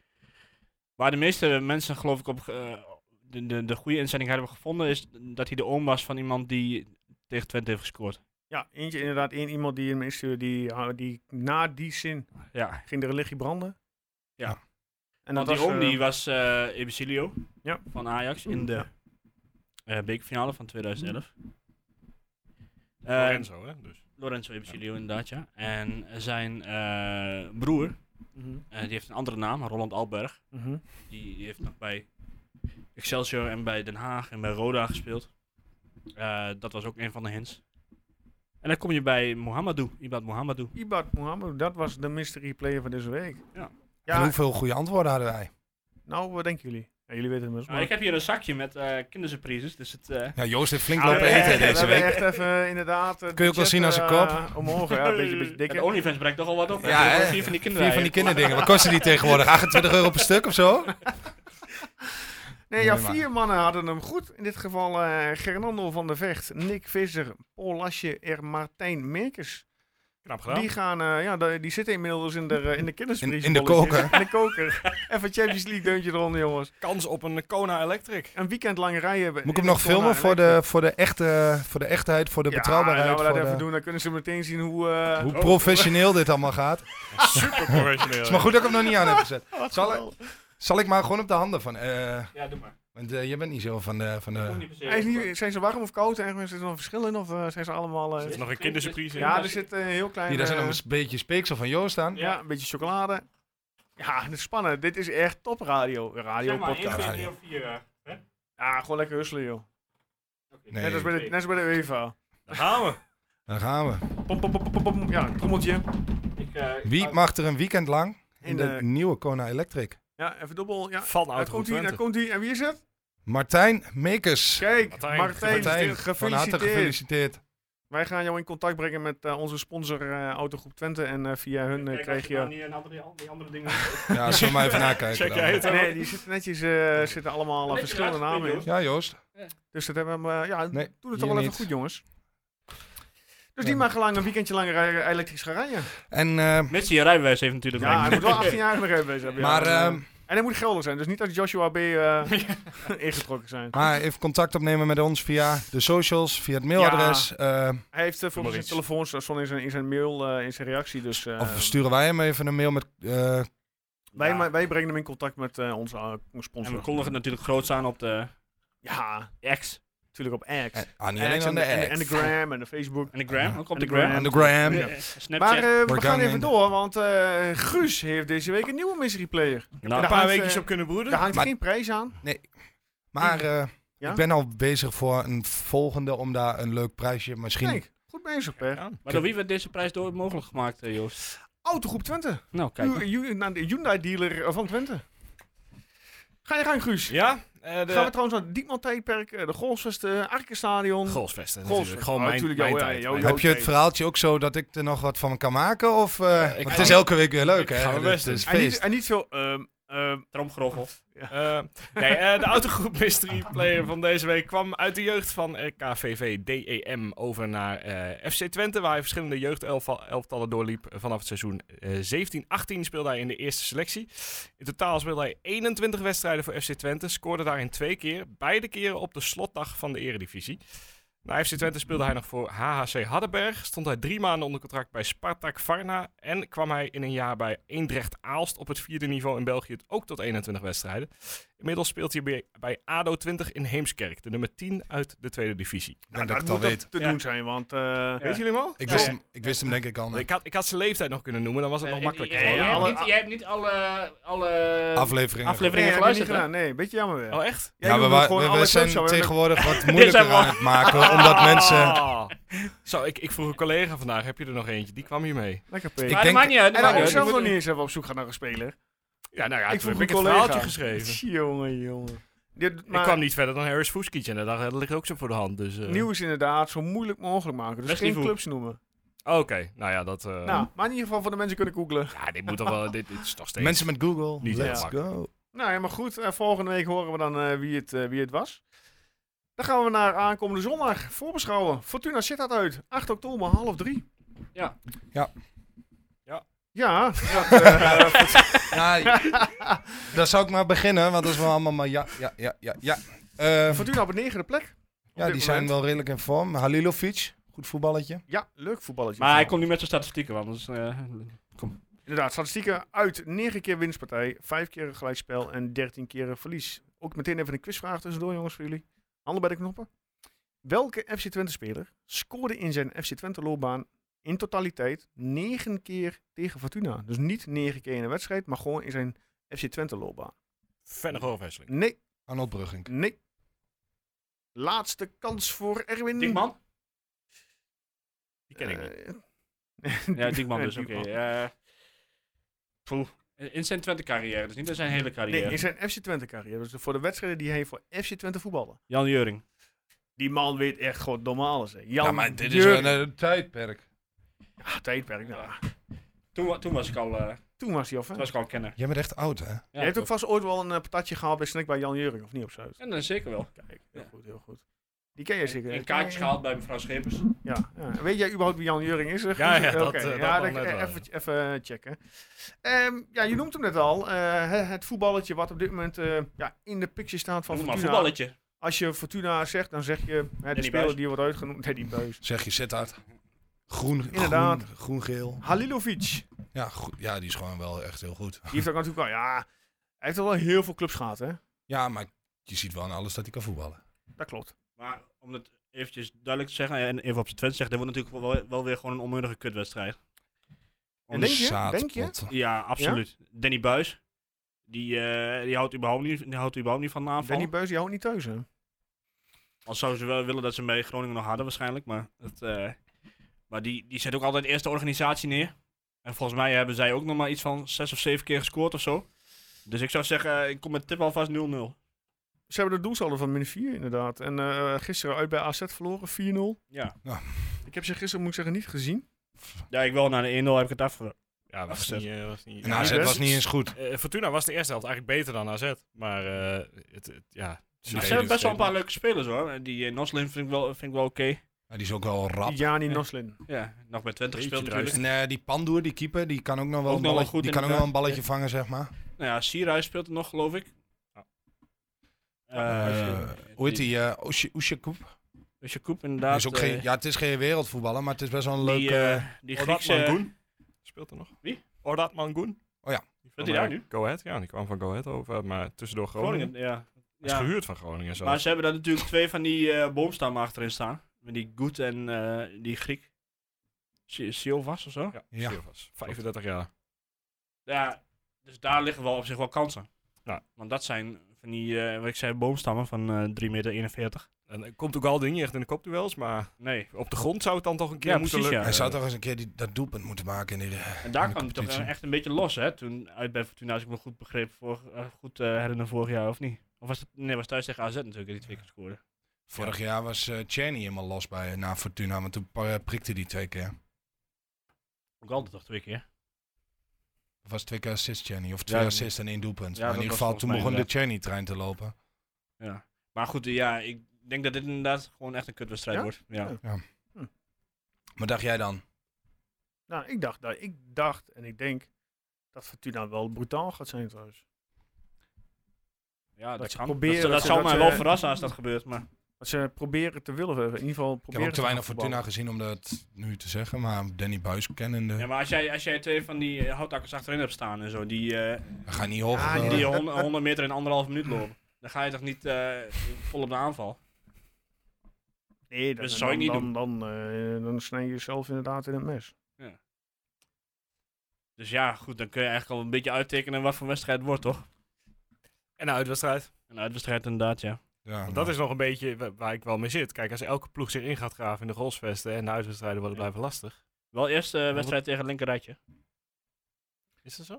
[SPEAKER 5] Waar de meeste mensen geloof ik op ge- de, de, de goede inzending hebben gevonden... is dat hij de oom was van iemand die tegen Twente heeft gescoord.
[SPEAKER 1] Ja, eentje inderdaad. één iemand die hem instuurde, die, ah, die na die zin
[SPEAKER 5] Ja,
[SPEAKER 1] ging de religie branden.
[SPEAKER 5] Ja.
[SPEAKER 1] En
[SPEAKER 5] Want
[SPEAKER 1] dat
[SPEAKER 5] die
[SPEAKER 1] was,
[SPEAKER 5] oom
[SPEAKER 1] eh,
[SPEAKER 5] die was eh Mm. Ebesilio
[SPEAKER 1] Ja.
[SPEAKER 5] van Ajax in de
[SPEAKER 1] Ja.
[SPEAKER 5] eh, bekerfinale van 2011. Eh,
[SPEAKER 4] Lorenzo, hè? Dus.
[SPEAKER 5] Lorenzo Ebesilio inderdaad, ja. En zijn eh, broer,
[SPEAKER 1] mhm,
[SPEAKER 5] eh, die heeft een andere naam, Roland Alberg.
[SPEAKER 1] mhm.
[SPEAKER 5] Die, die heeft nog bij Excelsior en bij Den Haag en bij Roda gespeeld. Eh, dat was ook een van de hints. En dan kom je bij Mohamedou, Ibad Mohamedou.
[SPEAKER 1] Ibad Mohammed, dat was de mystery player van deze week.
[SPEAKER 5] Ja.
[SPEAKER 6] En
[SPEAKER 1] Ja,
[SPEAKER 6] hoeveel goede antwoorden hadden wij?
[SPEAKER 1] nou, wat denken jullie? Ja, jullie weten het inmiddels.
[SPEAKER 5] Nou, ik heb hier een zakje met eh, kindersurprises, dus het... eh,
[SPEAKER 6] Ja, Joost heeft flink
[SPEAKER 1] Ah,
[SPEAKER 6] lopen
[SPEAKER 1] we hebben
[SPEAKER 6] eten
[SPEAKER 1] echt-
[SPEAKER 6] deze
[SPEAKER 1] we hebben
[SPEAKER 6] week.
[SPEAKER 1] echt even inderdaad. eh,
[SPEAKER 6] Kun je ook wel zien als een kop?
[SPEAKER 1] omhoog, ja, een beetje, beetje
[SPEAKER 5] En
[SPEAKER 1] dikker.
[SPEAKER 5] OnlyFans brengt toch al wat op.
[SPEAKER 6] Ja,
[SPEAKER 5] Ja,
[SPEAKER 6] hè?
[SPEAKER 5] Vier van die kinderen.
[SPEAKER 6] Vier van die kinderdingen. Wat kosten die tegenwoordig? 28 euro per stuk of zo?
[SPEAKER 1] Nee, ja,
[SPEAKER 6] Nee, maar-
[SPEAKER 1] vier mannen hadden hem goed. In dit geval eh Gernando van der Vecht, Nick Visser, Paul Lasje en Martijn Meekers.
[SPEAKER 4] Knap gedaan.
[SPEAKER 1] Die, gaan, eh, ja, de- die zitten inmiddels in de, eh, in de kindersvries.
[SPEAKER 6] In- in de
[SPEAKER 1] bolletjes. In
[SPEAKER 6] koker.
[SPEAKER 1] de koker. Even Champions League deuntje eronder, jongens.
[SPEAKER 4] Kans op een Kona Electric.
[SPEAKER 1] Een weekend lang rijden.
[SPEAKER 6] Moet ik hem nog filmen voor de, voor, de echte, voor de echtheid, voor de betrouwbaarheid?
[SPEAKER 1] eh, Ja, laten we dat even
[SPEAKER 6] voor de-
[SPEAKER 1] doen. Dan kunnen ze meteen zien hoe... eh,
[SPEAKER 6] Hoe professioneel dit allemaal gaat. Het
[SPEAKER 4] Super professioneel.
[SPEAKER 6] is maar goed dat ik hem nog niet aan heb gezet.
[SPEAKER 1] wat
[SPEAKER 6] zal
[SPEAKER 1] geweldig.
[SPEAKER 6] Zal ik maar gewoon op de handen van... eh,
[SPEAKER 5] Ja, doe maar.
[SPEAKER 6] want eh, je bent niet zo van de... Van
[SPEAKER 5] Hoeft
[SPEAKER 6] de
[SPEAKER 5] niet per se.
[SPEAKER 1] Hij is niet, zijn ze warm of koud? Ergens is er nog verschil in? Of eh, zijn ze allemaal... eh,
[SPEAKER 4] Er is nog een kindersurprise in.
[SPEAKER 1] ja, er zit eh, een heel klein...
[SPEAKER 6] hier, daar zijn
[SPEAKER 1] eh,
[SPEAKER 6] nog een beetje speeksel van Joost aan.
[SPEAKER 1] ja, een beetje chocolade. Ja, het is spannend. Dit is echt top radio. Radio
[SPEAKER 5] Zeg maar, één,
[SPEAKER 1] podcast.
[SPEAKER 5] twee, drie of vier. eh, hè?
[SPEAKER 1] Ja, gewoon lekker husselen, joh.
[SPEAKER 5] Oké.
[SPEAKER 6] Nee.
[SPEAKER 1] Net, als bij de, net als bij de UEFA.
[SPEAKER 4] Daar gaan we.
[SPEAKER 6] Daar gaan we.
[SPEAKER 1] Pom, pom, pom, pom, pom, pom. Ja, trommeltje.
[SPEAKER 5] Ik, eh,
[SPEAKER 6] Wie
[SPEAKER 5] ga-
[SPEAKER 6] mag er een weekend lang in,
[SPEAKER 1] In
[SPEAKER 6] de,
[SPEAKER 1] de-
[SPEAKER 6] nieuwe Kona Electric?
[SPEAKER 1] eh, Ja, even dubbel. Ja.
[SPEAKER 4] Van
[SPEAKER 1] Daar
[SPEAKER 4] oud
[SPEAKER 1] komt
[SPEAKER 4] goed
[SPEAKER 1] hij, daar
[SPEAKER 4] Twente.
[SPEAKER 1] komt hij. En wie is het?
[SPEAKER 6] Martijn Mekers.
[SPEAKER 1] Kijk, Martijn.
[SPEAKER 4] Martijn,
[SPEAKER 6] Martijn, van harte
[SPEAKER 1] gefeliciteerd.
[SPEAKER 6] gefeliciteerd.
[SPEAKER 1] Wij gaan jou in contact brengen met eh, onze sponsor eh, Autogroep Twente. En eh, via hun eh,
[SPEAKER 5] Kijk, als
[SPEAKER 1] kreeg
[SPEAKER 5] je dan
[SPEAKER 1] je...
[SPEAKER 5] die, een andere, die andere dingen...
[SPEAKER 6] Ja, zullen we maar even nakijken.
[SPEAKER 4] Check
[SPEAKER 6] dan.
[SPEAKER 4] jij het ook?
[SPEAKER 1] Nee, die zitten netjes, eh, zitten allemaal eh,
[SPEAKER 5] Netjes
[SPEAKER 1] verschillende
[SPEAKER 5] uitgespeeld,
[SPEAKER 1] namen in.
[SPEAKER 5] joh.
[SPEAKER 6] Ja, Joost.
[SPEAKER 1] Dus dat hebben we, hem, eh, ja,
[SPEAKER 6] Nee,
[SPEAKER 1] doe het
[SPEAKER 6] hier
[SPEAKER 1] toch wel even
[SPEAKER 6] niet.
[SPEAKER 1] goed, jongens. Dus
[SPEAKER 6] Ja.
[SPEAKER 1] die mag lang een weekendje lang rijden, elektrisch gaan rijden.
[SPEAKER 6] En, eh,
[SPEAKER 5] Mits hij een rijbewijs heeft natuurlijk.
[SPEAKER 1] Ja, hij moet wel 18 jaar nog even hebben. ja.
[SPEAKER 6] maar,
[SPEAKER 1] En, eh,
[SPEAKER 6] eh,
[SPEAKER 1] en hij moet geldig zijn, dus niet dat Joshua B. eh, ingetrokken zijn.
[SPEAKER 6] maar even contact opnemen met ons via de socials, via het mailadres. eh,
[SPEAKER 1] Hij heeft eh, volgens
[SPEAKER 4] maar
[SPEAKER 1] zijn
[SPEAKER 4] iets.
[SPEAKER 1] telefoon, stond in zijn, in zijn mail, eh, in zijn reactie. Dus eh,
[SPEAKER 6] of sturen wij hem even een mail met... eh,
[SPEAKER 1] wij,
[SPEAKER 5] Ja.
[SPEAKER 1] maar wij brengen hem in contact met eh, onze eh,
[SPEAKER 5] En
[SPEAKER 1] sponsor.
[SPEAKER 5] we kondigen het natuurlijk groots aan op de
[SPEAKER 1] Ja,
[SPEAKER 5] X
[SPEAKER 1] natuurlijk op X.
[SPEAKER 6] eh, ah, niet
[SPEAKER 1] X
[SPEAKER 6] alleen
[SPEAKER 1] en
[SPEAKER 6] aan
[SPEAKER 1] de, en de-
[SPEAKER 6] de
[SPEAKER 1] en de
[SPEAKER 6] act.
[SPEAKER 1] Gram en de Facebook.
[SPEAKER 5] en de Gram. Ook op
[SPEAKER 1] En
[SPEAKER 5] de
[SPEAKER 1] de Gram.
[SPEAKER 5] Gram.
[SPEAKER 6] Aan de gram.
[SPEAKER 5] Eh,
[SPEAKER 6] Ja.
[SPEAKER 5] Snapchat.
[SPEAKER 1] Maar eh, we
[SPEAKER 6] Wordt
[SPEAKER 1] gaan
[SPEAKER 6] dan
[SPEAKER 1] even
[SPEAKER 6] in-
[SPEAKER 1] door, want eh, Guus heeft deze week een nieuwe mystery player.
[SPEAKER 5] Nou,
[SPEAKER 4] Een
[SPEAKER 1] daar
[SPEAKER 4] paar
[SPEAKER 1] hangt,
[SPEAKER 4] weekjes
[SPEAKER 1] eh,
[SPEAKER 4] op kunnen
[SPEAKER 1] Daar
[SPEAKER 4] broeden.
[SPEAKER 1] hangt
[SPEAKER 6] Maar-
[SPEAKER 1] geen prijs aan.
[SPEAKER 6] Maar eh,
[SPEAKER 1] Ja?
[SPEAKER 6] ik ben al bezig voor een volgende om daar een leuk prijsje misschien...
[SPEAKER 1] Kijk, goed bezig, Per.
[SPEAKER 4] Ja.
[SPEAKER 5] Maar door wie werd deze prijs door mogelijk gemaakt, eh, Joost?
[SPEAKER 1] Autogroep Twente.
[SPEAKER 5] Nou, kijk.
[SPEAKER 1] Hu- Hu- nou, de Hyundai dealer van Twente. Ga je gang, Guus.
[SPEAKER 4] Ja, eh, de...
[SPEAKER 1] Gaan we trouwens naar het Diekman tijdperk, eh, de Golfsvesten, Arkenstadion. Goalsvesten.
[SPEAKER 4] Goalsvesten natuurlijk. Gewoon
[SPEAKER 1] Oh,
[SPEAKER 4] mijn,
[SPEAKER 1] tuurlijk,
[SPEAKER 4] mijn
[SPEAKER 1] ja, ja,
[SPEAKER 4] tijd.
[SPEAKER 1] ja,
[SPEAKER 4] Mijn
[SPEAKER 1] ja,
[SPEAKER 4] tijd.
[SPEAKER 6] Heb je het
[SPEAKER 1] Oké.
[SPEAKER 6] verhaaltje ook zo dat ik er nog wat van kan maken? Of, eh,
[SPEAKER 4] ik
[SPEAKER 6] want het
[SPEAKER 4] ga-
[SPEAKER 6] is elke week weer leuk, hè?
[SPEAKER 4] ik ga mijn
[SPEAKER 6] Dus
[SPEAKER 4] best
[SPEAKER 6] het is
[SPEAKER 1] En niet,
[SPEAKER 6] feest.
[SPEAKER 1] en niet veel. ehm, ehm,
[SPEAKER 5] Tromgeroffel.
[SPEAKER 4] Eh, nee, eh, de autogroep Mystery Player van deze week kwam uit de jeugd van eh, RKVV DEM E over naar eh, FC Twente, waar hij verschillende jeugdelftallen doorliep. Vanaf het seizoen eh 17-18 speelde hij in de eerste selectie. In totaal speelde hij 21 wedstrijden voor FC Twente, scoorde daarin twee keer, beide keren op de slotdag van de Eredivisie. Na FC Twente speelde hij nog voor HHC Hardenberg, stond hij drie maanden onder contract bij Spartak Varna en kwam hij in een jaar bij Eendrecht Aalst op het vierde niveau in België ook tot 21 wedstrijden. Inmiddels speelt hij bij, bij ADO 20 in Heemskerk, de nummer 10 uit de tweede divisie.
[SPEAKER 6] Ik denk
[SPEAKER 1] dat
[SPEAKER 6] dat ik het al
[SPEAKER 1] ah, moet dat
[SPEAKER 6] weet.
[SPEAKER 1] te
[SPEAKER 5] Ja.
[SPEAKER 1] doen zijn, want eh,
[SPEAKER 5] Ja.
[SPEAKER 4] Weet jullie hem al?
[SPEAKER 6] Ik
[SPEAKER 5] Ja.
[SPEAKER 6] wist, hem, ik wist hem denk ik al. maar
[SPEAKER 4] Ik had, ik had zijn leeftijd nog kunnen noemen, dan was het nog makkelijker. geworden.
[SPEAKER 5] Jij
[SPEAKER 1] alle-
[SPEAKER 5] hebt niet- jij hebt niet alle... alle
[SPEAKER 6] Afleveringen.
[SPEAKER 1] nee,
[SPEAKER 5] eh, afleveringen
[SPEAKER 1] heb je niet
[SPEAKER 5] geluisterd, hè?
[SPEAKER 1] gedaan. Nee, beetje jammer weer.
[SPEAKER 4] Oh, echt?
[SPEAKER 1] Jij
[SPEAKER 6] ja,
[SPEAKER 1] doet
[SPEAKER 6] we,
[SPEAKER 1] het
[SPEAKER 6] wa-
[SPEAKER 1] gewoon
[SPEAKER 6] we- we
[SPEAKER 1] alle
[SPEAKER 6] zijn
[SPEAKER 1] clubs, hoor.
[SPEAKER 6] tegenwoordig wat moeilijker
[SPEAKER 5] zijn we al.
[SPEAKER 6] aan het maken, omdat mensen...
[SPEAKER 4] Ah. Zo, ik, ik vroeg een collega vandaag, heb je er nog eentje? Die kwam hier mee.
[SPEAKER 1] Lekker P.
[SPEAKER 6] Ik
[SPEAKER 5] Maar dat
[SPEAKER 6] denk-
[SPEAKER 5] maakt niet uit.
[SPEAKER 1] En
[SPEAKER 5] dat
[SPEAKER 1] dan
[SPEAKER 5] maakt
[SPEAKER 1] ook
[SPEAKER 5] niet
[SPEAKER 1] zelf
[SPEAKER 5] uit.
[SPEAKER 1] nog niet eens even op zoek gaan naar een speler.
[SPEAKER 4] Ja, nou ja,
[SPEAKER 1] Ik
[SPEAKER 4] toen
[SPEAKER 1] vroeg
[SPEAKER 4] heb ik
[SPEAKER 1] een
[SPEAKER 4] het
[SPEAKER 1] collega.
[SPEAKER 4] verhaaltje geschreven.
[SPEAKER 1] Jongen, jongen. Dit, maar
[SPEAKER 4] Ik kwam niet verder dan Harris Fuskic en daar dacht ik, dat ligt ook zo voor de hand. Dus, eh,
[SPEAKER 1] Nieuws inderdaad zo moeilijk mogelijk maken. Dus
[SPEAKER 5] Best
[SPEAKER 1] geen
[SPEAKER 5] niet goed.
[SPEAKER 1] clubs noemen.
[SPEAKER 4] Oké, nou ja, dat... eh,
[SPEAKER 1] Nou, maar in ieder geval voor de mensen kunnen googlen.
[SPEAKER 4] Ja, dit moet toch wel... Dit, dit is toch steeds...
[SPEAKER 6] Mensen met Google,
[SPEAKER 4] Niet
[SPEAKER 6] let's
[SPEAKER 4] echt.
[SPEAKER 6] go.
[SPEAKER 1] Nou ja, maar goed. eh, volgende week horen we dan eh, wie, het, eh, wie het was. Dan gaan we naar aankomende zondag. Voorbeschouwen. Fortuna zit dat uit. 8 oktober, half drie.
[SPEAKER 5] Ja.
[SPEAKER 6] Ja.
[SPEAKER 4] Ja.
[SPEAKER 1] Ja. dat, eh,
[SPEAKER 6] Ja, daar zou ik maar beginnen, want dat is wel allemaal maar ja, ja, ja, ja. ja. Eh,
[SPEAKER 1] Fortuna op de negende plek.
[SPEAKER 6] ja, die zijn wel redelijk in vorm. Halilovic, goed voetballetje.
[SPEAKER 1] Ja, leuk voetballetje.
[SPEAKER 5] Maar hij komt nu met zijn statistieken, want anders... eh,
[SPEAKER 1] Inderdaad, statistieken uit 9 keer winstpartij, 5 keer gelijkspel en 13 keer verlies. Ook meteen even een quizvraag tussendoor, jongens, voor jullie. Handen bij de knoppen. Welke FC Twente-speler scoorde in zijn FC Twente-loopbaan in totaliteit 9 keer tegen Fortuna? Dus niet 9 keer in een wedstrijd, maar gewoon in zijn FC Twente-loopbaan.
[SPEAKER 4] Verder overwisseling.
[SPEAKER 1] Nee,
[SPEAKER 6] Arnold Brugging.
[SPEAKER 1] nee. Laatste kans voor Erwin. Eh,
[SPEAKER 5] Diekman?
[SPEAKER 4] Die
[SPEAKER 6] Eh,
[SPEAKER 4] ken ik niet.
[SPEAKER 1] niet.
[SPEAKER 5] Ja, Diekman dus, oké. eh, poeh. In zijn Twente carrière, dus niet in zijn hele
[SPEAKER 1] Nee,
[SPEAKER 5] carrière.
[SPEAKER 1] in zijn FC Twente-carrière. Dus voor de wedstrijden die hij voor FC Twente voetbalde.
[SPEAKER 5] Jan Juring.
[SPEAKER 1] Die man weet echt goddomme alles. Hè. Jan
[SPEAKER 6] Ja, maar dit is
[SPEAKER 1] Jurgen-
[SPEAKER 6] een eh, tijdperk.
[SPEAKER 1] Ah, tijdperk. Nou,
[SPEAKER 5] Toen, wa- toen, was ik al, eh,
[SPEAKER 1] toen was hij af. Hè?
[SPEAKER 5] toen was ik al een kenner.
[SPEAKER 6] Jij bent echt oud, hè?
[SPEAKER 5] Ja,
[SPEAKER 1] Je hebt ook vast ooit wel een eh, patatje gehaald bij Snack bij Jan Jurgen, of niet op Zuid?
[SPEAKER 5] Ja, dat is zeker wel.
[SPEAKER 1] Kijk, heel goed, heel goed. Die ken je zeker.
[SPEAKER 5] En kaartjes gehaald bij mevrouw Schepers.
[SPEAKER 1] Ja, ja. Weet jij überhaupt wie Jan Juring is? Eh,
[SPEAKER 4] Ja, ja,
[SPEAKER 1] Guus?
[SPEAKER 4] dat,
[SPEAKER 1] Oké,
[SPEAKER 4] eh, dat
[SPEAKER 1] ja,
[SPEAKER 4] wel
[SPEAKER 1] dan
[SPEAKER 4] net wel,
[SPEAKER 1] even, even eh, checken. Ehm, ja, je noemt hem net al. eh, het- het voetballetje wat op dit moment eh, ja, in de picture staat van
[SPEAKER 5] Noem maar
[SPEAKER 1] Fortuna.
[SPEAKER 5] voetballetje.
[SPEAKER 1] Als je Fortuna zegt, dan zeg je hè, de
[SPEAKER 5] Danny
[SPEAKER 1] speler
[SPEAKER 5] Buijs.
[SPEAKER 1] die wordt uitgenoemd. Teddy Buis.
[SPEAKER 6] Zeg je zet uit. Groen,
[SPEAKER 1] Inderdaad.
[SPEAKER 6] groen, groen-geel.
[SPEAKER 1] Halilovic.
[SPEAKER 6] Ja, goed, ja, die is gewoon wel echt heel goed.
[SPEAKER 1] Die heeft ook natuurlijk al, ja, hij heeft al wel heel veel clubs gehad, hè?
[SPEAKER 6] Ja, maar je ziet wel aan alles dat hij kan voetballen.
[SPEAKER 1] Dat klopt.
[SPEAKER 5] Maar om het eventjes duidelijk te zeggen en even op zijn Twente te zeggen, dat wordt natuurlijk wel, wel weer gewoon een onnodige kutwedstrijd.
[SPEAKER 1] En denk je? Denk je?
[SPEAKER 6] Zaadpot.
[SPEAKER 5] Ja, absoluut. Danny Buis, die, eh, die, houdt überhaupt niet, die houdt überhaupt niet van de aanval.
[SPEAKER 1] Danny Buis, die houdt niet thuis, hè?
[SPEAKER 5] Al zou ze wel willen dat ze hem bij Groningen nog hadden waarschijnlijk, maar, het, eh, maar die, die zet ook altijd eerst de organisatie neer. En volgens mij hebben zij ook nog maar iets van zes of zeven keer gescoord of zo. Dus ik zou zeggen, ik kom met tip alvast 0-0.
[SPEAKER 1] Ze hebben de doelsaldo van min 4, inderdaad. En eh, gisteren uit bij AZ verloren, 4-0.
[SPEAKER 5] Ja.
[SPEAKER 6] Ja.
[SPEAKER 1] Ik heb ze gisteren, moet ik zeggen, niet gezien.
[SPEAKER 5] ja, ik wel. Na de 1-0 heb ik het afge...
[SPEAKER 4] Ja, was
[SPEAKER 5] Afgezet.
[SPEAKER 4] niet... eh, was niet
[SPEAKER 6] En
[SPEAKER 4] ja,
[SPEAKER 6] AZ
[SPEAKER 1] best.
[SPEAKER 6] Nou, was niet eens goed.
[SPEAKER 4] eh, Fortuna was de eerste helft eigenlijk beter dan AZ. Maar eh, het, het- ja...
[SPEAKER 5] Maar ze hebben best wel een paar leuke spelers hoor. Die eh, Noslin vind ik wel, vind ik wel oké.
[SPEAKER 6] Maar die is ook wel rap.
[SPEAKER 1] Jani
[SPEAKER 5] Ja.
[SPEAKER 1] Noslin.
[SPEAKER 5] Ja, nog bij Twente
[SPEAKER 4] Beetje
[SPEAKER 5] gespeeld natuurlijk.
[SPEAKER 6] En eh, die Pandoer, die keeper, die kan ook nog wel,
[SPEAKER 5] Ook
[SPEAKER 6] een,
[SPEAKER 5] nog wel
[SPEAKER 6] balletje,
[SPEAKER 5] goed,
[SPEAKER 6] die kan ook nog
[SPEAKER 5] inderdaad.
[SPEAKER 6] wel een balletje vangen, zeg maar.
[SPEAKER 5] Nou ja, Sierhuis speelt er nog, geloof ik.
[SPEAKER 6] Eh, hoe heet die? eh Oesje- Oesjekoep?
[SPEAKER 5] Koep, inderdaad.
[SPEAKER 6] Is ook geen,
[SPEAKER 5] eh,
[SPEAKER 6] ja, het is geen wereldvoetballer, maar het is best wel een
[SPEAKER 5] die,
[SPEAKER 6] leuke... Oh,
[SPEAKER 5] eh, die Griekse...
[SPEAKER 4] Mangoen speelt er nog.
[SPEAKER 5] Wie?
[SPEAKER 4] Ordat Mangoen.
[SPEAKER 6] Oh ja.
[SPEAKER 5] Speelt hij daar nu?
[SPEAKER 4] Go Ahead, ja. Die kwam van Go Ahead over, maar tussendoor Groningen.
[SPEAKER 5] Groningen, ja.
[SPEAKER 4] Hij
[SPEAKER 5] Ja.
[SPEAKER 4] is gehuurd van Groningen zo.
[SPEAKER 5] Maar ze hebben daar natuurlijk twee van die eh boomstammen achterin staan. Met die Goed en eh, die Griek. Si- Silvas of zo.
[SPEAKER 4] Ja,
[SPEAKER 6] Ja.
[SPEAKER 4] Silvas. 35 jaar.
[SPEAKER 5] Ja, dus daar liggen wel op zich wel kansen.
[SPEAKER 4] Ja.
[SPEAKER 5] Want dat zijn van die, eh, wat ik zei, boomstammen van eh 3,41 meter.
[SPEAKER 4] En er komt ook al dingen echt in de kopduels, maar
[SPEAKER 5] Nee,
[SPEAKER 4] op de grond zou het dan toch een keer
[SPEAKER 5] Ja,
[SPEAKER 4] moeten
[SPEAKER 5] precies,
[SPEAKER 4] lukken.
[SPEAKER 5] ja.
[SPEAKER 6] hij zou toch eens een keer die, dat doelpunt moeten maken. In die,
[SPEAKER 5] en daar
[SPEAKER 6] de
[SPEAKER 5] kwam het toch
[SPEAKER 6] competitie.
[SPEAKER 5] eh, echt een beetje los, hè? Toen uit bij Fortuna, als ik me goed begreep, vorig, eh, goed eh, herinner vorig jaar of niet. Of was het, nee, was thuis tegen AZ natuurlijk, die twee keer scoorde.
[SPEAKER 6] vorig jaar was eh Cheney helemaal los bij, na Fortuna, want toen pa- prikte hij twee keer.
[SPEAKER 5] Ook altijd toch twee keer.
[SPEAKER 6] Of was het twee keer assist Cheney, of twee
[SPEAKER 5] Ja,
[SPEAKER 6] assists en één doelpunt.
[SPEAKER 5] ja,
[SPEAKER 6] maar in
[SPEAKER 5] dat
[SPEAKER 6] ieder
[SPEAKER 5] was
[SPEAKER 6] geval,
[SPEAKER 5] volgens
[SPEAKER 6] toen
[SPEAKER 5] mij
[SPEAKER 6] begon de Cheney-trein te lopen.
[SPEAKER 5] Ja. Maar goed, eh, ja, ik denk dat dit inderdaad gewoon echt een kutwedstrijd
[SPEAKER 1] Ja?
[SPEAKER 5] wordt. Ja.
[SPEAKER 1] Ja.
[SPEAKER 6] Wat dacht jij dan?
[SPEAKER 1] Nou, ik dacht, dat- ik dacht en ik denk dat Fortuna wel brutaal gaat zijn trouwens.
[SPEAKER 5] Ja, dat,
[SPEAKER 1] ze
[SPEAKER 5] kan.
[SPEAKER 1] proberen,
[SPEAKER 5] dat, dat eh,
[SPEAKER 1] dat ze-
[SPEAKER 5] zou
[SPEAKER 1] dat
[SPEAKER 5] mij
[SPEAKER 1] ze-
[SPEAKER 5] wel verrassen als dat gebeurt, maar
[SPEAKER 1] Dat ze proberen te willen, eh, in ieder geval
[SPEAKER 6] Ik
[SPEAKER 1] proberen
[SPEAKER 6] heb ook te weinig
[SPEAKER 1] gaan
[SPEAKER 6] Fortuna
[SPEAKER 1] voetballen.
[SPEAKER 6] gezien om dat nu te zeggen, maar Danny Buis kennende.
[SPEAKER 5] Ja, maar als jij, als jij twee van die eh, houtakkers achterin hebt staan en zo, die, eh,
[SPEAKER 6] We gaan niet hoog.
[SPEAKER 1] Ja,
[SPEAKER 6] eh,
[SPEAKER 5] die 100, 100 meter in anderhalf minuut lopen, dan ga je toch niet eh, vol op de aanval?
[SPEAKER 1] Nee, dat
[SPEAKER 5] Dat
[SPEAKER 1] dan,
[SPEAKER 5] zou ik niet
[SPEAKER 1] dan, Dan, eh, dan snij je jezelf inderdaad in het mes.
[SPEAKER 5] Dus ja, goed, dan kun je eigenlijk al een beetje uittekenen wat voor wedstrijd het wordt, toch?
[SPEAKER 4] En een uitwedstrijd.
[SPEAKER 5] Een uitwedstrijd inderdaad, ja.
[SPEAKER 6] ja,
[SPEAKER 4] Want dat
[SPEAKER 6] nou,
[SPEAKER 4] is nog een beetje wa- waar ik wel mee zit. Kijk, als elke ploeg zich in gaat graven in de goalsvesten en de uitwedstrijden wordt het
[SPEAKER 5] Ja.
[SPEAKER 4] blijven lastig.
[SPEAKER 5] Wel eerst eh wedstrijd tegen het linkerrijtje.
[SPEAKER 4] Is dat zo?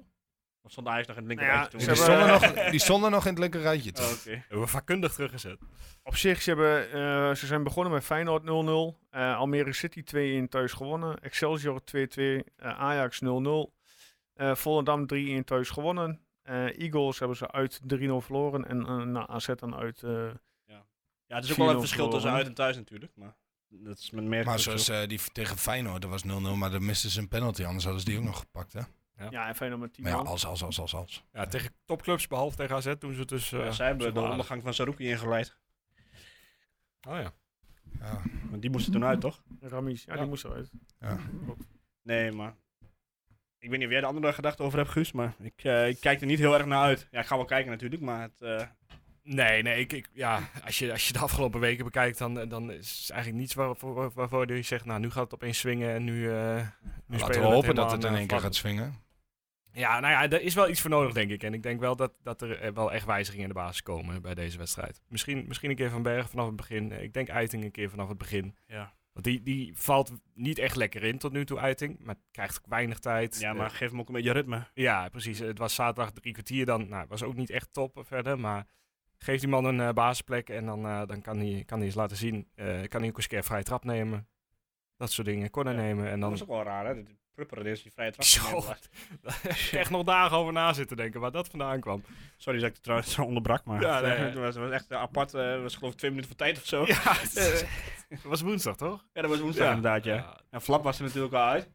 [SPEAKER 5] Want stond Ajax nog in het
[SPEAKER 1] Nou ja,
[SPEAKER 5] linkerrijtje
[SPEAKER 1] ze
[SPEAKER 6] die,
[SPEAKER 5] toen. Dus-
[SPEAKER 1] hebben-
[SPEAKER 6] stonden nog, die stonden nog in het linker rijtje. toch?
[SPEAKER 5] Oh, oké.
[SPEAKER 4] Hebben we vakkundig teruggezet.
[SPEAKER 1] Op zich, ze, hebben, eh, ze zijn begonnen met Feyenoord 0-0. eh, Almere City 2-1 thuis gewonnen. Excelsior 2-2. eh, Ajax 0-0. eh Volendam 3-1 thuis gewonnen. eh, Eagles hebben ze uit 3-0 verloren. En eh, na AZ dan uit... eh,
[SPEAKER 5] Ja, het is ook wel een
[SPEAKER 1] 4-0
[SPEAKER 5] verschil tussen
[SPEAKER 1] verloren.
[SPEAKER 5] uit en thuis natuurlijk, maar dat is met meer
[SPEAKER 6] Maar
[SPEAKER 5] verschil.
[SPEAKER 6] zoals eh, die v- tegen Feyenoord, dat was 0-0, maar dan misten ze een penalty, anders hadden ze die ook nog gepakt. Hè?
[SPEAKER 1] ja. en Feyenoord met 10
[SPEAKER 6] Maar ja,
[SPEAKER 1] man.
[SPEAKER 6] als, als, als, als, als.
[SPEAKER 4] Ja, tegen topclubs, behalve tegen AZ, toen ze het dus... eh,
[SPEAKER 5] Ja, zij hebben
[SPEAKER 4] zo
[SPEAKER 5] de
[SPEAKER 4] waren.
[SPEAKER 5] ondergang van Saruki ingeleid.
[SPEAKER 4] Oh ja.
[SPEAKER 6] Ja.
[SPEAKER 5] Want die moesten toen uit, toch?
[SPEAKER 1] Ramis, ja, die
[SPEAKER 4] Ja.
[SPEAKER 1] moest eruit.
[SPEAKER 5] Nee, maar. Ik weet niet of jij de andere gedachte over hebt, Guus, maar ik, eh, ik kijk er niet heel erg naar uit. Ja, ik ga wel kijken natuurlijk, maar het, eh,
[SPEAKER 4] Nee, nee, ik, ik, ja, als, je, als je de afgelopen weken bekijkt, dan, eh, dan is het eigenlijk niets waarvoor, waarvoor je zegt, nou, nu gaat het opeens swingen en nu, eh, nu
[SPEAKER 6] Laten
[SPEAKER 4] spelen
[SPEAKER 6] we
[SPEAKER 4] we
[SPEAKER 6] hopen dat
[SPEAKER 4] helemaal
[SPEAKER 6] het in
[SPEAKER 4] aan, eh,
[SPEAKER 6] één keer
[SPEAKER 4] vlak.
[SPEAKER 6] gaat swingen.
[SPEAKER 4] Ja, nou ja, daar is wel iets voor nodig, denk ik. En ik denk wel dat, dat er eh, wel echt wijzigingen in de basis komen bij deze wedstrijd. Misschien, misschien een keer Van Bergen vanaf het begin. Eh, Ik denk Eiting een keer vanaf het begin.
[SPEAKER 5] ja.
[SPEAKER 4] Want die, die valt niet echt lekker in tot nu toe, Eiting. Maar krijgt ook weinig tijd.
[SPEAKER 5] ja, maar
[SPEAKER 4] Eh,
[SPEAKER 5] geef hem ook een beetje ritme.
[SPEAKER 4] ja, precies. Het was zaterdag drie kwartier dan. Nou, was ook niet echt top verder. Maar geef die man een eh, basisplek en dan, eh, dan kan, hij, kan hij eens laten zien. Eh, kan hij ook eens een keer vrij trap nemen. Dat soort dingen. Corner
[SPEAKER 5] Ja.
[SPEAKER 4] nemen en
[SPEAKER 5] Dat
[SPEAKER 4] dan...
[SPEAKER 5] is ook wel raar, hè? Dat die Prupperen is die vrije trap.
[SPEAKER 4] Zo.
[SPEAKER 5] neemt.
[SPEAKER 4] Daar heb ik echt nog dagen over na zitten denken waar dat vandaan kwam.
[SPEAKER 5] Sorry dat ik het trouwens zo onderbrak, maar
[SPEAKER 4] Ja, nee, ja.
[SPEAKER 5] het was, was echt eh, apart. eh, Het was geloof ik twee minuten voor tijd of zo. Ja,
[SPEAKER 4] Ja, Eh, het was woensdag toch?
[SPEAKER 5] dat was woensdag
[SPEAKER 4] Ja.
[SPEAKER 5] inderdaad, ja. En Flap was er natuurlijk al uit.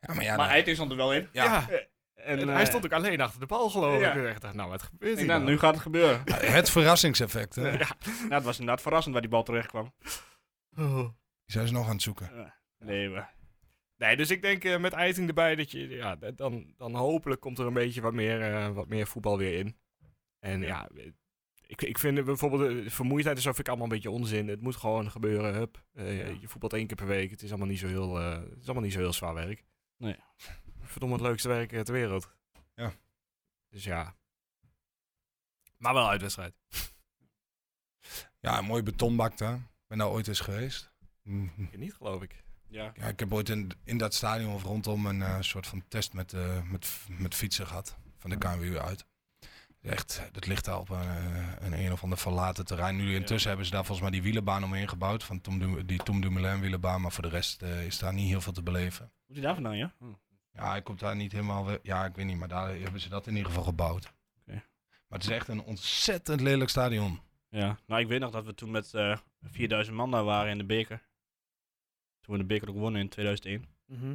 [SPEAKER 6] Ja, maar ja,
[SPEAKER 5] maar
[SPEAKER 6] dan-
[SPEAKER 5] Eiting stond er wel in.
[SPEAKER 4] Ja.
[SPEAKER 6] Ja.
[SPEAKER 5] En,
[SPEAKER 4] En
[SPEAKER 5] eh,
[SPEAKER 4] hij stond ook alleen achter de bal, geloof ik.
[SPEAKER 5] ja.
[SPEAKER 4] En ik dacht, nou, wat
[SPEAKER 5] ik
[SPEAKER 4] gebeurt
[SPEAKER 5] denk,
[SPEAKER 4] hier?
[SPEAKER 5] nou,
[SPEAKER 4] nou?
[SPEAKER 5] nu gaat het gebeuren.
[SPEAKER 6] het verrassingseffect. Hè? Die
[SPEAKER 5] nou, het was inderdaad verrassend waar die bal terecht kwam.
[SPEAKER 4] Oh.
[SPEAKER 6] zijn ze nog aan het zoeken.
[SPEAKER 5] Nee, maar.
[SPEAKER 4] Nee, dus ik denk eh, met Eiting erbij dat je, ja, d- dan, dan hopelijk komt er een beetje wat meer, eh, wat meer voetbal weer in. En ja, eh, ik, ik vind eh, bijvoorbeeld eh, vermoeidheid en zo vind ik allemaal een beetje onzin. Het moet gewoon gebeuren, hup. Eh, Je voetbalt één keer per week, het is allemaal niet zo heel, eh, het is allemaal niet zo heel zwaar werk.
[SPEAKER 5] Nee.
[SPEAKER 4] Verdomme het leukste werk eh, ter wereld.
[SPEAKER 6] Ja.
[SPEAKER 4] Dus ja. Maar wel uitwedstrijd.
[SPEAKER 6] Ja, een mooi betonbak daar. Ik ben daar ooit eens geweest. Mhm.
[SPEAKER 4] Ik niet, geloof ik.
[SPEAKER 5] Ja.
[SPEAKER 6] Ja, ik heb ooit in, in dat stadion of rondom een eh, soort van test met, eh, met, f- met fietsen gehad. Van de KNWU uit. Echt, dat ligt daar op een, eh, een, een of ander verlaten terrein. Nu intussen hebben ze daar volgens mij die wielenbaan omheen gebouwd. Van Tom Du- die Tom Dumoulin wielenbaan. Maar voor de rest eh, is daar niet heel veel te beleven.
[SPEAKER 5] Moet je daar vandaan, ja?
[SPEAKER 6] Ja, ik kom daar niet helemaal... we- Ja, ik weet niet. Maar daar hebben ze dat in ieder geval gebouwd.
[SPEAKER 5] Oké.
[SPEAKER 6] Maar het is echt een ontzettend lelijk stadion.
[SPEAKER 5] Ja. Nou, ik weet nog dat we toen met eh 4000 man daar waren in de beker. Toen we de beker ook wonnen in 2001. Mhm.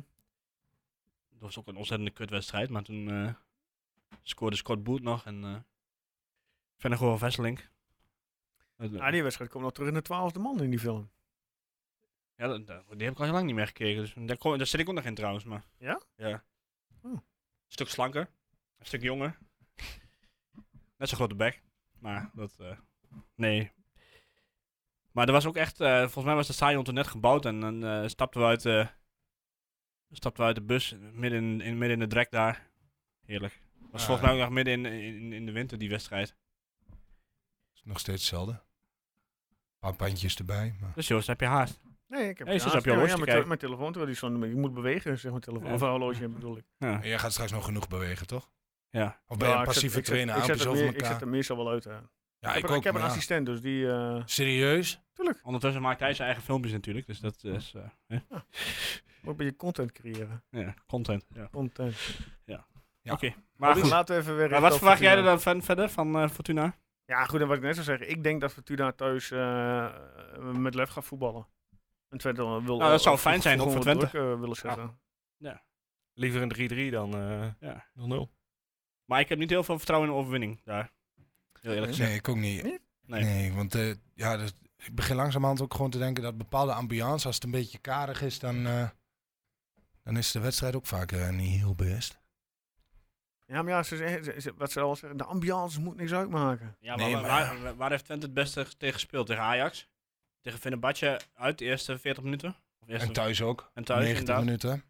[SPEAKER 5] Dat was ook een ontzettende kutwedstrijd, maar toen eh, scoorde Scott Boot nog en eh Vennegoor Vesseling.
[SPEAKER 1] Ah, die wedstrijd komt nog terug in de twaalfde man in die film.
[SPEAKER 5] Ja, dat- dat- die heb ik al heel lang niet meer gekeken, dus daar, kon, daar zit ik ook nog in trouwens. Maar,
[SPEAKER 1] Ja?
[SPEAKER 5] Ja.
[SPEAKER 1] Oh.
[SPEAKER 5] Een stuk slanker, een stuk jonger. Net zo'n grote bek, maar dat... eh, nee. Maar er was ook echt... eh, volgens mij was de stadion toen net gebouwd en dan eh, stapten we uit... eh, stapten we uit de bus, midden in, in- midden in de drek daar. Heerlijk. Was
[SPEAKER 6] Ja.
[SPEAKER 5] volgens mij ook nog midden in, in, in de winter die wedstrijd.
[SPEAKER 6] is nog steeds hetzelfde. Een paar bandjes erbij. Maar...
[SPEAKER 5] Dus Joost, heb je haast.
[SPEAKER 1] Nee, ik heb
[SPEAKER 5] Hey,
[SPEAKER 1] het
[SPEAKER 5] zus, heb je
[SPEAKER 1] haast.
[SPEAKER 5] horloge
[SPEAKER 1] ja,
[SPEAKER 5] te
[SPEAKER 1] mijn,
[SPEAKER 5] kijken?
[SPEAKER 1] te- mijn telefoon, terwijl die zo'n, ik moet bewegen, zeg mijn telefoon.
[SPEAKER 5] Ja.
[SPEAKER 1] Of een horloge bedoel ik.
[SPEAKER 5] Ja.
[SPEAKER 6] En jij gaat straks nog genoeg bewegen, toch?
[SPEAKER 5] ja.
[SPEAKER 6] Of ben je
[SPEAKER 1] Ja,
[SPEAKER 6] een
[SPEAKER 1] ik zet-
[SPEAKER 6] passieve
[SPEAKER 1] ik zet-
[SPEAKER 6] trainer?
[SPEAKER 1] Ik
[SPEAKER 6] Apen
[SPEAKER 1] zet,
[SPEAKER 6] ze
[SPEAKER 1] het
[SPEAKER 6] over
[SPEAKER 1] meer- ik
[SPEAKER 6] elkaar?
[SPEAKER 1] zet er meestal wel uit. hè.
[SPEAKER 6] Ja,
[SPEAKER 1] ik,
[SPEAKER 6] ik
[SPEAKER 1] heb,
[SPEAKER 6] ook.
[SPEAKER 1] ik heb een
[SPEAKER 6] maar ja.
[SPEAKER 1] assistent, dus die... eh,
[SPEAKER 6] Serieus?
[SPEAKER 5] Ondertussen maakt hij zijn eigen filmpjes natuurlijk, dus dat is... eh, hè?
[SPEAKER 1] Moet een beetje content creëren.
[SPEAKER 5] Ja, content. Ja.
[SPEAKER 1] Content.
[SPEAKER 6] Ja.
[SPEAKER 5] Oké, maar
[SPEAKER 1] Maar
[SPEAKER 5] goed.
[SPEAKER 1] laten we even weer... richten
[SPEAKER 5] Maar wat
[SPEAKER 1] op
[SPEAKER 5] verwacht jij
[SPEAKER 1] Fortuna.
[SPEAKER 5] er dan van- verder van eh, Fortuna?
[SPEAKER 1] Ja, goed, en wat ik net zou zeggen. Ik denk dat Fortuna thuis eh, met lef gaat voetballen. En Twente wil...
[SPEAKER 5] Nou, dat zou
[SPEAKER 1] eh,
[SPEAKER 5] fijn zijn, ook voor
[SPEAKER 1] gewoon
[SPEAKER 5] Twente.
[SPEAKER 1] wat druk, eh, willen zetten.
[SPEAKER 4] Liever een 3-3 dan eh,
[SPEAKER 5] Ja.
[SPEAKER 4] 0-0.
[SPEAKER 5] Maar ik heb niet heel veel vertrouwen in de overwinning daar. Heel eerlijk gezegd.
[SPEAKER 6] Nee, ik ook niet.
[SPEAKER 1] Nee?
[SPEAKER 6] Nee,
[SPEAKER 5] Nee.
[SPEAKER 6] want eh, ja, dus, ik begin langzamerhand ook gewoon te denken dat bepaalde ambiance, als het een beetje karig is, dan, eh, dan is de wedstrijd ook vaak eh, niet heel best.
[SPEAKER 1] Ja, maar ja, ze, zeggen- ze- ze- wat ze al zeggen, de ambiance moet niks uitmaken.
[SPEAKER 5] Ja, maar,
[SPEAKER 6] Nee,
[SPEAKER 5] waar-
[SPEAKER 6] maar-
[SPEAKER 5] Waar, waar heeft Twente het beste g- tegen gespeeld? Tegen Ajax? Tegen Fenerbahce uit de eerste 40 minuten? Of eerste,
[SPEAKER 6] En thuis ook.
[SPEAKER 5] en thuis,
[SPEAKER 6] 90
[SPEAKER 5] inderdaad.
[SPEAKER 6] minuten.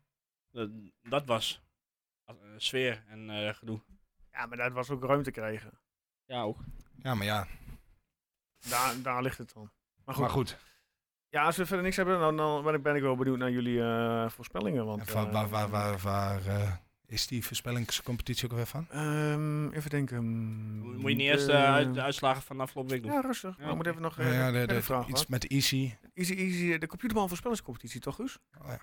[SPEAKER 5] Dat, dat was eh, sfeer en eh, gedoe.
[SPEAKER 1] Ja, maar dat was ook ruimte krijgen.
[SPEAKER 5] Ja, ook.
[SPEAKER 6] Ja, maar ja.
[SPEAKER 1] Daar, daar ligt het dan. Maar goed,
[SPEAKER 6] Maar goed,
[SPEAKER 1] Ja, als we verder niks hebben, dan, dan ben ik- ben ik wel benieuwd naar jullie eh, voorspellingen. Want,
[SPEAKER 6] en waar,
[SPEAKER 1] eh,
[SPEAKER 6] waar, waar, waar, eh, is die voorspellingscompetitie ook weer van?
[SPEAKER 1] Ehm, even denken.
[SPEAKER 5] Moet je niet eerst eh, uit, de uitslagen van afgelopen week doen?
[SPEAKER 1] Ja, rustig.
[SPEAKER 5] Ja,
[SPEAKER 1] We moeten even nog eh,
[SPEAKER 6] ja,
[SPEAKER 1] verder
[SPEAKER 6] de, de-
[SPEAKER 1] vragen.
[SPEAKER 6] iets
[SPEAKER 1] hoor.
[SPEAKER 6] met Easy.
[SPEAKER 1] Easy, easy, eh, de computerbal voorspellingscompetitie, toch, Guus?
[SPEAKER 6] Oh, ja.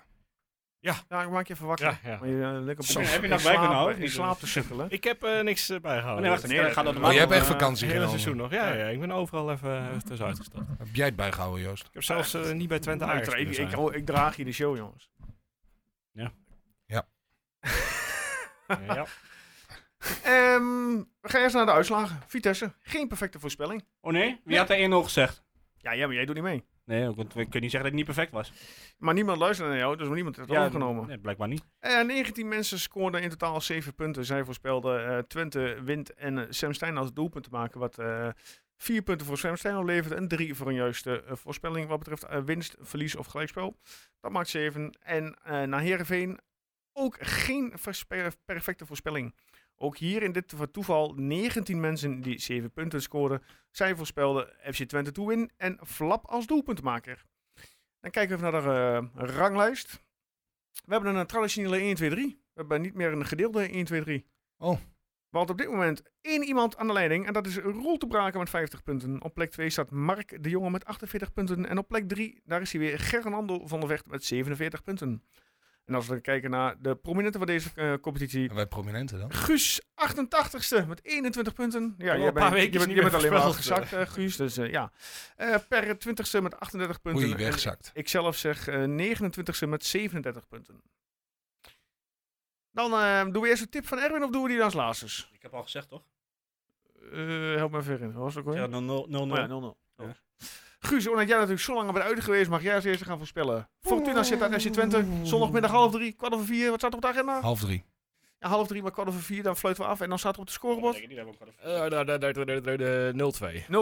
[SPEAKER 1] Ja, ik maak je even wakker.
[SPEAKER 4] Ja, ja.
[SPEAKER 1] Maar je, eh, lekker
[SPEAKER 5] Zo,
[SPEAKER 1] op-
[SPEAKER 5] heb je
[SPEAKER 1] in
[SPEAKER 5] nou bij
[SPEAKER 1] slaap-
[SPEAKER 5] kunnen houden?
[SPEAKER 1] In
[SPEAKER 5] Niet
[SPEAKER 1] slaap te sukkelen.
[SPEAKER 4] Ik heb eh, niks eh, bijgehouden.
[SPEAKER 5] nee, wacht even. dan gaat dat normaal.
[SPEAKER 6] Oh, jij hebt echt
[SPEAKER 1] eh,
[SPEAKER 6] vakantie
[SPEAKER 4] Het hele
[SPEAKER 6] genomen.
[SPEAKER 4] seizoen nog, ja, ja. Ik ben overal even, even tussenuit gestapt.
[SPEAKER 6] Heb jij het bijgehouden, Joost?
[SPEAKER 4] Ik heb zelfs eh, niet bij Twente Ajax
[SPEAKER 1] ik,
[SPEAKER 4] kunnen
[SPEAKER 1] ik, ik,
[SPEAKER 4] zijn.
[SPEAKER 1] oh, ik draag je de show, jongens.
[SPEAKER 5] Ja.
[SPEAKER 6] Ja.
[SPEAKER 4] Ja.
[SPEAKER 1] Ehm, we gaan eerst naar de uitslagen. Vitesse, geen perfecte voorspelling.
[SPEAKER 5] Oh nee? Wie had er 1-0 gezegd?
[SPEAKER 1] Ja, ja, maar jij doet niet mee.
[SPEAKER 5] Nee, want we kunnen niet zeggen dat het niet perfect was.
[SPEAKER 1] Maar niemand luisterde naar jou, dus niemand heeft het overgenomen.
[SPEAKER 5] Nee, blijkbaar niet.
[SPEAKER 1] Eh, 19 mensen scoorden in totaal 7 punten. Zij voorspelden eh, Twente wint en eh, Sam Stein als doelpunt te maken. Wat eh 4 punten voor Sam Stein opleverde en 3 voor een juiste eh, voorspelling wat betreft eh, winst, verlies of gelijkspel. Dat maakt 7. En eh naar Heerenveen ook geen verspe- perfecte voorspelling. Ook hier in dit toeval 19 mensen die 7 punten scoorden. Zij voorspelden FC Twente to win en Flap als doelpuntmaker. Dan kijken we even naar de eh, ranglijst. We hebben een eh, traditionele 1-2-3. We hebben niet meer een gedeelde 1-2-3.
[SPEAKER 6] Oh.
[SPEAKER 1] Want op dit moment één iemand aan de leiding. En dat is Roel te Braken met 50 punten. Op plek 2 staat Mark de Jonge met 48 punten. En op plek 3, daar is hij weer, Gernando van der Vecht met 47 punten. En als we dan kijken naar de prominenten van deze eh, competitie.
[SPEAKER 6] En wij prominenten dan?
[SPEAKER 1] Guus, 88ste met 21 punten. Ja,
[SPEAKER 4] al
[SPEAKER 1] jij
[SPEAKER 4] een paar
[SPEAKER 1] bent,
[SPEAKER 4] weken
[SPEAKER 1] je bent,
[SPEAKER 4] niet
[SPEAKER 1] je
[SPEAKER 4] meer
[SPEAKER 1] bent alleen maar
[SPEAKER 4] voorspeld.
[SPEAKER 1] gezakt, eh, Guus. Dus eh, ja. Eh, per 20ste met 38 punten.
[SPEAKER 6] Oei,
[SPEAKER 1] En
[SPEAKER 6] weggezakt.
[SPEAKER 1] ik zelf zeg eh, 29ste met 37 punten. Dan eh, doen we eerst een tip van Erwin of doen we die dan als laatste?
[SPEAKER 5] Ik heb al gezegd, toch?
[SPEAKER 1] Eh, help me even herinneren. Wat was het ook
[SPEAKER 5] Ja,
[SPEAKER 1] alweer?
[SPEAKER 5] 0-0.
[SPEAKER 1] Oh ja, 0-0. Oh. Guus, omdat jij natuurlijk zo lang bent uit geweest, mag jij als eerste gaan voorspellen. Fortuna zit aan FC Twente. Zondagmiddag half drie, kwart over vier. Wat staat er op de agenda?
[SPEAKER 6] Half drie.
[SPEAKER 1] Ja, half drie, maar kwart over vier. Dan fluiten we af. En dan staat er op het scorebord 0-2.
[SPEAKER 4] Eh, daar- daar- daar- daar- daar- daar- daar-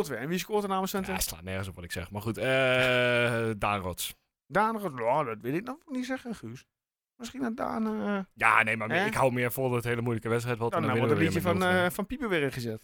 [SPEAKER 4] 0-2.
[SPEAKER 1] En wie scoort er nou namens Twente?
[SPEAKER 4] Ja, slaat nergens op wat ik zeg. Maar goed, eh Daan Rots.
[SPEAKER 1] Daan, oh, dat wil ik nog niet zeggen, Guus. Misschien dat Daan... eh,
[SPEAKER 4] Ja, nee, maar
[SPEAKER 1] Eh?
[SPEAKER 4] ik hou meer vol dat het hele moeilijke wedstrijd wordt.
[SPEAKER 1] dan
[SPEAKER 4] en
[SPEAKER 1] nou,
[SPEAKER 4] dan
[SPEAKER 1] wordt een
[SPEAKER 4] winnen
[SPEAKER 1] liedje
[SPEAKER 4] we
[SPEAKER 1] van,
[SPEAKER 4] weer met 0-2.
[SPEAKER 1] eh van Pieper weer ingezet.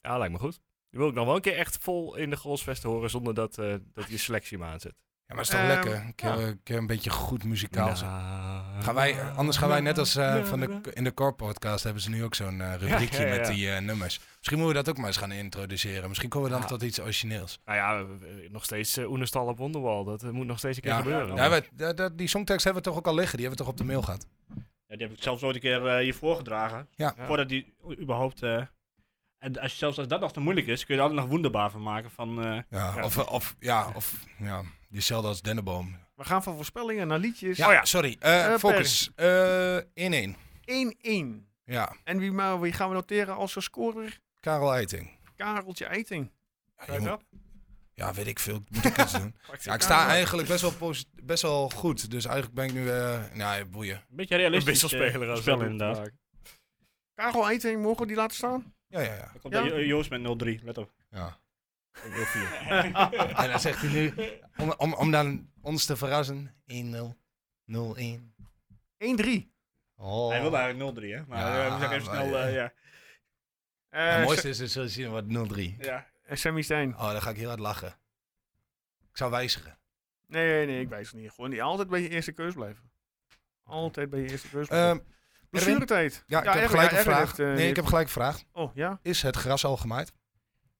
[SPEAKER 4] Ja, lijkt me goed. Die wil ik nog wel een keer echt vol in de goalsvest horen zonder dat, eh, dat je selectie me aanzet.
[SPEAKER 6] Ja, maar is toch
[SPEAKER 1] Ehm,
[SPEAKER 6] lekker? Een keer,
[SPEAKER 1] ja.
[SPEAKER 6] een keer een beetje goed muzikaal zijn.
[SPEAKER 4] Nou.
[SPEAKER 6] Gaan wij, anders gaan wij net als eh, van de, in de Core Podcast hebben ze nu ook zo'n eh, rubriekje
[SPEAKER 4] Ja, ja, ja.
[SPEAKER 6] met die eh, nummers. Misschien moeten we dat ook maar eens gaan introduceren. Misschien komen we dan
[SPEAKER 4] Ja.
[SPEAKER 6] tot iets origineels.
[SPEAKER 4] Nou ja, eh, eh, nog steeds eh, Oenestal op Wonderwall. Dat eh, moet nog steeds een keer
[SPEAKER 6] Ja,
[SPEAKER 4] gebeuren.
[SPEAKER 6] Ja, we- da- da- die songtekst hebben we toch ook al liggen? Die hebben we toch op de mail gehad?
[SPEAKER 5] Ja, die heb ik zelfs ooit een keer eh, hier voorgedragen.
[SPEAKER 6] Ja.
[SPEAKER 4] Ja.
[SPEAKER 5] Voordat die u- überhaupt... eh, en als, je- zelfs als dat nog te moeilijk is, kun je er altijd nog wonderbaar van maken. Van, eh,
[SPEAKER 6] Ja,
[SPEAKER 4] Ja.
[SPEAKER 6] Of, of, ja, of ja, diezelfde als Dennenboom.
[SPEAKER 1] We gaan van voorspellingen naar liedjes.
[SPEAKER 6] Ja, sorry. Eh,
[SPEAKER 1] Eh,
[SPEAKER 6] focus. Eh, 1-1.
[SPEAKER 1] 1-1.
[SPEAKER 6] ja,
[SPEAKER 1] En wie, maar, wie gaan we noteren als een scorer?
[SPEAKER 6] Karel Eiting.
[SPEAKER 1] Kareltje Eiting.
[SPEAKER 6] Ja,
[SPEAKER 1] Kijk
[SPEAKER 6] jongen,
[SPEAKER 1] op.
[SPEAKER 6] ja, weet ik veel. Moet ik iets doen? Ja, ik sta eigenlijk best wel, posi- best wel goed. Dus eigenlijk ben ik nu... eh nou, boeien.
[SPEAKER 5] een beetje
[SPEAKER 4] Een
[SPEAKER 5] realistisch.
[SPEAKER 4] wisselspeler
[SPEAKER 5] eh,
[SPEAKER 4] als
[SPEAKER 5] spel
[SPEAKER 4] dat
[SPEAKER 5] inderdaad.
[SPEAKER 4] moet maken.
[SPEAKER 1] Karel Eiting, mogen we die laten staan?
[SPEAKER 6] Ja, ja, ja.
[SPEAKER 5] Dan komt
[SPEAKER 1] Ja.
[SPEAKER 5] Jo- Joost met 0-3, let op.
[SPEAKER 6] ja. En dan zegt hij nu, om, om, om dan ons te verrassen, 1-0, 0-1.
[SPEAKER 1] 1-3.
[SPEAKER 6] Oh.
[SPEAKER 5] Hij wilde eigenlijk 0-3, hè? Maar
[SPEAKER 6] Ja,
[SPEAKER 5] eh, we zeggen even
[SPEAKER 6] maar,
[SPEAKER 5] snel... eh, ja.
[SPEAKER 1] Eh,
[SPEAKER 6] Het mooiste is, dus we zien wat 0-3.
[SPEAKER 5] Ja.
[SPEAKER 1] Sa- Sammy Stein.
[SPEAKER 6] Oh, dan ga ik heel hard lachen. Ik zou wijzigen.
[SPEAKER 1] Nee, nee, nee, ik wijs het niet. Gewoon niet. Altijd bij je eerste keus blijven. Altijd bij je eerste keus
[SPEAKER 6] Ehm,
[SPEAKER 1] blijven. Blessuretijd.
[SPEAKER 6] ja, ik
[SPEAKER 1] Erwin-
[SPEAKER 6] heb gelijk
[SPEAKER 1] ja,
[SPEAKER 6] een
[SPEAKER 1] Erwin
[SPEAKER 6] vraag.
[SPEAKER 1] heeft, eh,
[SPEAKER 6] nee, ik heb gelijk een vraag.
[SPEAKER 1] Oh, ja?
[SPEAKER 6] Is het gras al gemaaid?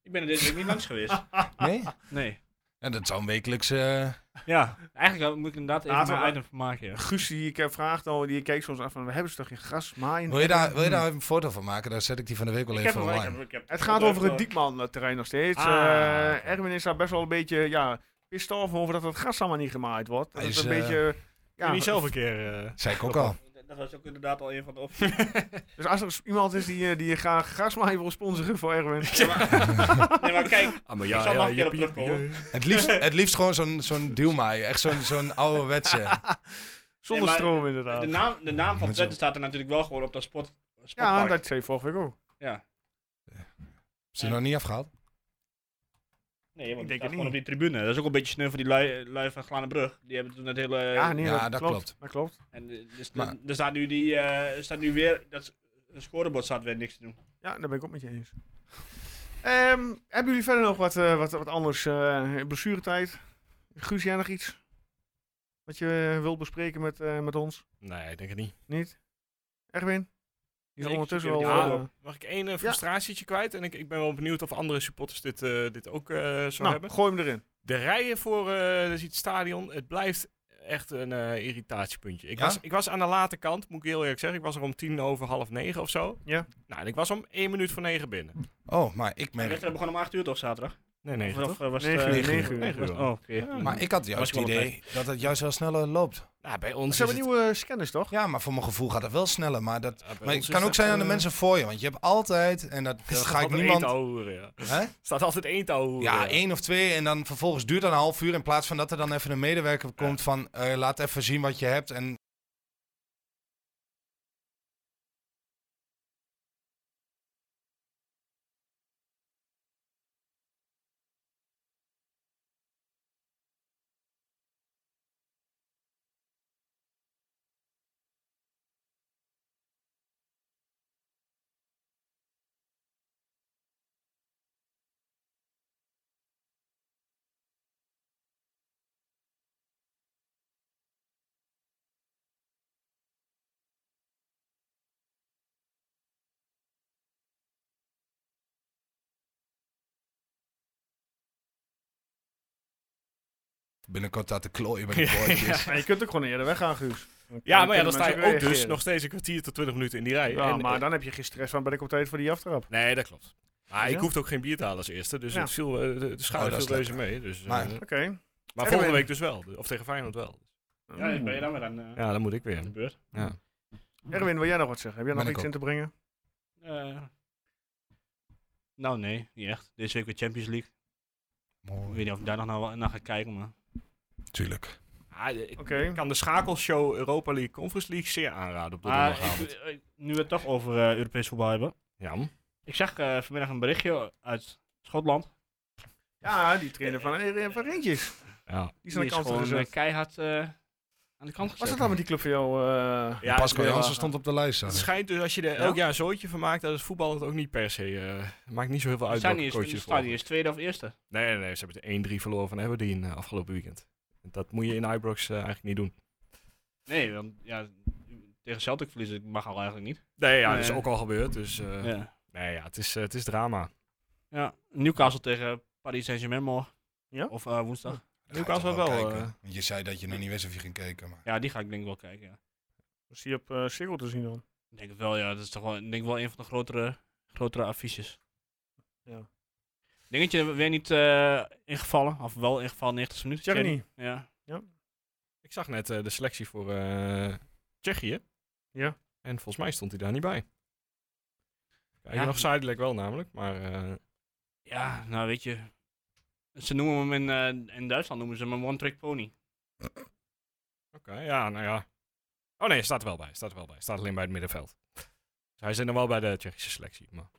[SPEAKER 5] Ik ben er deze week niet langs geweest.
[SPEAKER 6] Nee?
[SPEAKER 5] Nee.
[SPEAKER 6] En dat zou een wekelijkse... eh,
[SPEAKER 5] Ja, eigenlijk moet ik inderdaad even
[SPEAKER 1] Laten we-
[SPEAKER 5] een item van maken, ja.
[SPEAKER 1] Guus, die ik heb vraagt al, die kijkt soms af van, we hebben ze toch geen gras, maaien?
[SPEAKER 6] wil, je daar, wil je daar een foto van maken? Dan zet ik die van de week wel
[SPEAKER 5] Ik heb
[SPEAKER 6] even
[SPEAKER 5] hem wel, ik
[SPEAKER 6] online.
[SPEAKER 5] heb- ik heb-
[SPEAKER 1] Het gaat over het Diekman-terrein nog steeds.
[SPEAKER 4] Ah.
[SPEAKER 1] Eh, Erwin is daar best wel een beetje, ja, pissed off over dat het gras allemaal niet gemaaid wordt. Dat
[SPEAKER 6] Hij
[SPEAKER 1] is
[SPEAKER 6] is,
[SPEAKER 1] een
[SPEAKER 6] eh,
[SPEAKER 1] beetje...
[SPEAKER 4] Kun je
[SPEAKER 1] Ja,
[SPEAKER 4] niet zelf een keer... eh,
[SPEAKER 6] Zei ik ook al.
[SPEAKER 5] Dat was ook inderdaad al een van de opties.
[SPEAKER 1] dus als er iemand is die, eh, die graag grasmaaien wil sponsoren voor Erwin,
[SPEAKER 5] Nee, maar kijk,
[SPEAKER 4] Ah, maar
[SPEAKER 5] ik zal nog een keer op terugkomen.
[SPEAKER 6] Het liefst, het liefst gewoon zo'n zo'n duwmaai. Echt zo'n zo'n ouderwetse.
[SPEAKER 1] zonder
[SPEAKER 5] maar-
[SPEAKER 1] stroom
[SPEAKER 5] De
[SPEAKER 1] inderdaad.
[SPEAKER 5] naam, de naam van
[SPEAKER 6] Zo.
[SPEAKER 5] Twente staat er natuurlijk wel gewoon op dat spot.
[SPEAKER 1] Ja,
[SPEAKER 5] spotpark.
[SPEAKER 1] dat zei je vorige week ook.
[SPEAKER 6] Is die nog niet afgehaald?
[SPEAKER 5] Nee, want
[SPEAKER 1] denk het
[SPEAKER 5] ik denk gewoon
[SPEAKER 1] niet.
[SPEAKER 5] op die tribune. Dat is ook een beetje sneu voor die lui, lui van Glanenbrug. Die hebben toen het hele...
[SPEAKER 1] Ja, nee,
[SPEAKER 6] ja,
[SPEAKER 1] dat,
[SPEAKER 6] dat
[SPEAKER 1] klopt.
[SPEAKER 6] klopt.
[SPEAKER 1] Dat klopt.
[SPEAKER 5] en, eh, dus
[SPEAKER 6] Maar-
[SPEAKER 5] er staat nu die... eh, er staat nu weer... Dat s- het scorebord staat weer niks te doen.
[SPEAKER 1] Ja, daar ben ik ook met je eens. Ehm, hebben jullie verder nog wat, eh, wat, wat anders? eh blessuretijd? Guus, jij nog iets? Wat je eh, wilt bespreken met, eh, met ons?
[SPEAKER 4] Nee, ik denk het niet.
[SPEAKER 1] Niet? Erwin? Die is
[SPEAKER 5] Nee, ik
[SPEAKER 1] ondertussen
[SPEAKER 5] zit
[SPEAKER 1] wel...
[SPEAKER 5] hier
[SPEAKER 4] met die
[SPEAKER 1] eh,
[SPEAKER 4] Mag ik één eh, frustratietje kwijt? En ik, ik ben wel benieuwd of andere supporters dit, eh, dit ook eh, zo
[SPEAKER 1] nou,
[SPEAKER 4] hebben.
[SPEAKER 1] gooi hem erin.
[SPEAKER 4] De rijen voor eh, dus het stadion, het blijft echt een eh, irritatiepuntje. Ik,
[SPEAKER 6] Ja?
[SPEAKER 4] was, ik was aan de late kant, moet ik heel eerlijk zeggen. Ik was er om tien over half negen of zo.
[SPEAKER 1] Ja.
[SPEAKER 4] Nou, en ik was om één minuut voor negen binnen.
[SPEAKER 6] Oh, maar ik
[SPEAKER 5] De
[SPEAKER 6] merk...
[SPEAKER 5] wedstrijd begon om 8 uur toch zaterdag?
[SPEAKER 4] Nee,
[SPEAKER 5] Of,
[SPEAKER 4] negen
[SPEAKER 5] of,
[SPEAKER 4] toch?
[SPEAKER 5] eh, was het...
[SPEAKER 1] Negen
[SPEAKER 5] eh,
[SPEAKER 1] uur. Negen uur.
[SPEAKER 5] negen uur.
[SPEAKER 4] uur.
[SPEAKER 5] Oh, oké.
[SPEAKER 6] Maar ik had
[SPEAKER 5] Was
[SPEAKER 6] juist het
[SPEAKER 5] ik wel op
[SPEAKER 6] idee dat het juist wel sneller loopt.
[SPEAKER 4] Nou, bij
[SPEAKER 1] Ze
[SPEAKER 4] ons is
[SPEAKER 1] hebben
[SPEAKER 4] het...
[SPEAKER 1] nieuwe eh, scanners, toch?
[SPEAKER 6] Ja, maar voor mijn gevoel gaat het wel sneller. Maar, dat,
[SPEAKER 4] ja, bij
[SPEAKER 6] maar
[SPEAKER 4] ons
[SPEAKER 6] het
[SPEAKER 4] is
[SPEAKER 6] kan ook
[SPEAKER 4] dat,
[SPEAKER 6] zijn aan de
[SPEAKER 4] eh,
[SPEAKER 6] mensen voor je. Want je hebt altijd, en dat, dat
[SPEAKER 4] staat
[SPEAKER 6] ga ik
[SPEAKER 4] altijd één
[SPEAKER 6] niemand...
[SPEAKER 4] te horen, ja.
[SPEAKER 6] Hè?
[SPEAKER 4] staat altijd één eh. te horen.
[SPEAKER 6] Ja, één of twee. En dan vervolgens duurt dat een half uur. In plaats van dat er dan even een medewerker komt van... eh, laat even zien wat je hebt. En binnenkort staat te klooien met de boordjes.
[SPEAKER 1] Maar je kunt ook gewoon eerder weggaan, Guus. Dan
[SPEAKER 4] Ja, maar ja,
[SPEAKER 1] kunnen
[SPEAKER 4] dan sta
[SPEAKER 1] mensen
[SPEAKER 4] je ook dus
[SPEAKER 1] reageren.
[SPEAKER 4] nog steeds een kwartier tot 20 minuten in die rij.
[SPEAKER 1] Ja,
[SPEAKER 4] En,
[SPEAKER 1] maar
[SPEAKER 4] eh,
[SPEAKER 1] dan heb je geen stress van ben ik op tijd voor die aftrap.
[SPEAKER 4] Nee, dat klopt. Maar
[SPEAKER 1] Ja.
[SPEAKER 4] ik hoefde ook geen bier te halen als eerste, dus
[SPEAKER 1] Ja.
[SPEAKER 4] het viel, eh, de, de schade
[SPEAKER 6] Oh, dat is
[SPEAKER 4] viel deze mee. Dus, eh,
[SPEAKER 6] Maar-
[SPEAKER 4] maar
[SPEAKER 1] Oké.
[SPEAKER 4] volgende week dus wel. Of tegen Feyenoord wel.
[SPEAKER 5] Ja, dan ben je dan weer aan eh,
[SPEAKER 4] Ja, dan moet ik
[SPEAKER 5] aan de
[SPEAKER 4] weer.
[SPEAKER 5] beurt.
[SPEAKER 4] Ja.
[SPEAKER 1] Erwin, wil jij nog wat zeggen? Heb jij nog
[SPEAKER 6] Ben ik
[SPEAKER 1] iets in te brengen?
[SPEAKER 5] Eh, nou, nee, niet echt. Deze week weer Champions League. Ik
[SPEAKER 6] Mooi.
[SPEAKER 5] weet niet of ik daar nog naar, naar ga kijken, maar...
[SPEAKER 6] Tuurlijk.
[SPEAKER 4] Ah, ik
[SPEAKER 1] Oké.
[SPEAKER 4] ik kan de schakelshow Europa League Conference League zeer aanraden op de
[SPEAKER 5] Maar
[SPEAKER 4] donderdagavond.
[SPEAKER 5] ik- eh, nu we het toch over eh, Europees voetbal hebben.
[SPEAKER 4] Jam.
[SPEAKER 5] Ik zag eh, vanmiddag een berichtje uit Schotland.
[SPEAKER 1] Ja, die trainer van, eh, van Rintjes.
[SPEAKER 4] Ja.
[SPEAKER 1] Die is aan de
[SPEAKER 5] is
[SPEAKER 1] kant
[SPEAKER 5] gewoon
[SPEAKER 1] gezet.
[SPEAKER 5] eh, keihard eh, aan de kant gezet.
[SPEAKER 1] Was dat dan met die club van jou? eh,
[SPEAKER 4] Ja,
[SPEAKER 6] Pascal
[SPEAKER 1] ik wil-
[SPEAKER 6] Jansen stond op de lijst.
[SPEAKER 4] Het
[SPEAKER 6] zag ik.
[SPEAKER 4] schijnt dus als je er
[SPEAKER 1] Ja?
[SPEAKER 4] elk jaar een zootje van maakt, dat is voetbal het ook niet per se. eh, maakt niet zo heel veel
[SPEAKER 5] Ze
[SPEAKER 4] uit
[SPEAKER 5] staan
[SPEAKER 4] welke
[SPEAKER 5] niet
[SPEAKER 4] coach
[SPEAKER 5] eens-
[SPEAKER 4] je
[SPEAKER 5] ze staan
[SPEAKER 4] er volgt.
[SPEAKER 5] niet eens tweede of eerste.
[SPEAKER 4] Nee, nee, nee, ze hebben de 1-3 verloren van Aberdeen eh, afgelopen weekend. Dat moet je in Ibrox eh, eigenlijk niet doen.
[SPEAKER 5] Nee, want ja, tegen Celtic verliezen mag al eigenlijk niet.
[SPEAKER 4] Nee, ja, dat is
[SPEAKER 5] Nee.
[SPEAKER 4] ook al gebeurd. Dus eh,
[SPEAKER 5] Ja.
[SPEAKER 4] nee, ja, het is, eh, het is drama.
[SPEAKER 5] ja. Newcastle tegen Paris Saint-Germain morgen.
[SPEAKER 1] Ja? Oh.
[SPEAKER 5] Of eh, woensdag.
[SPEAKER 6] Ga ik
[SPEAKER 4] Lucas
[SPEAKER 6] toch
[SPEAKER 4] wel,
[SPEAKER 6] kijken.
[SPEAKER 4] eh,
[SPEAKER 6] Want Je zei dat je nog niet wist of je ging kijken. Maar...
[SPEAKER 5] Ja, die ga ik denk ik wel kijken. Ja.
[SPEAKER 1] Was die op eh Sigel te zien dan?
[SPEAKER 5] Ik denk het wel, ja. Dat is toch wel, ik denk wel een van de grotere, grotere affiches.
[SPEAKER 1] Ja.
[SPEAKER 5] Dingetje weer niet eh, ingevallen, of wel ingevallen 90 minuten. Tjerni.
[SPEAKER 1] Tjerni.
[SPEAKER 5] Ja.
[SPEAKER 4] Ik zag net eh, de selectie voor eh, Tsjechië.
[SPEAKER 1] Ja.
[SPEAKER 4] En volgens mij stond hij daar niet bij. Hij
[SPEAKER 5] Ja.
[SPEAKER 4] nog zijdelijk wel namelijk, maar eh,
[SPEAKER 5] ja, nou weet je. Ze noemen hem in, eh, in Duitsland noemen ze hem een one-trick pony.
[SPEAKER 4] oké, ja, nou ja. Oh nee, hij staat er wel bij, hij staat er wel bij. Hij staat alleen bij het middenveld. Dus hij zit nog wel bij de Tsjechische selectie. Maar...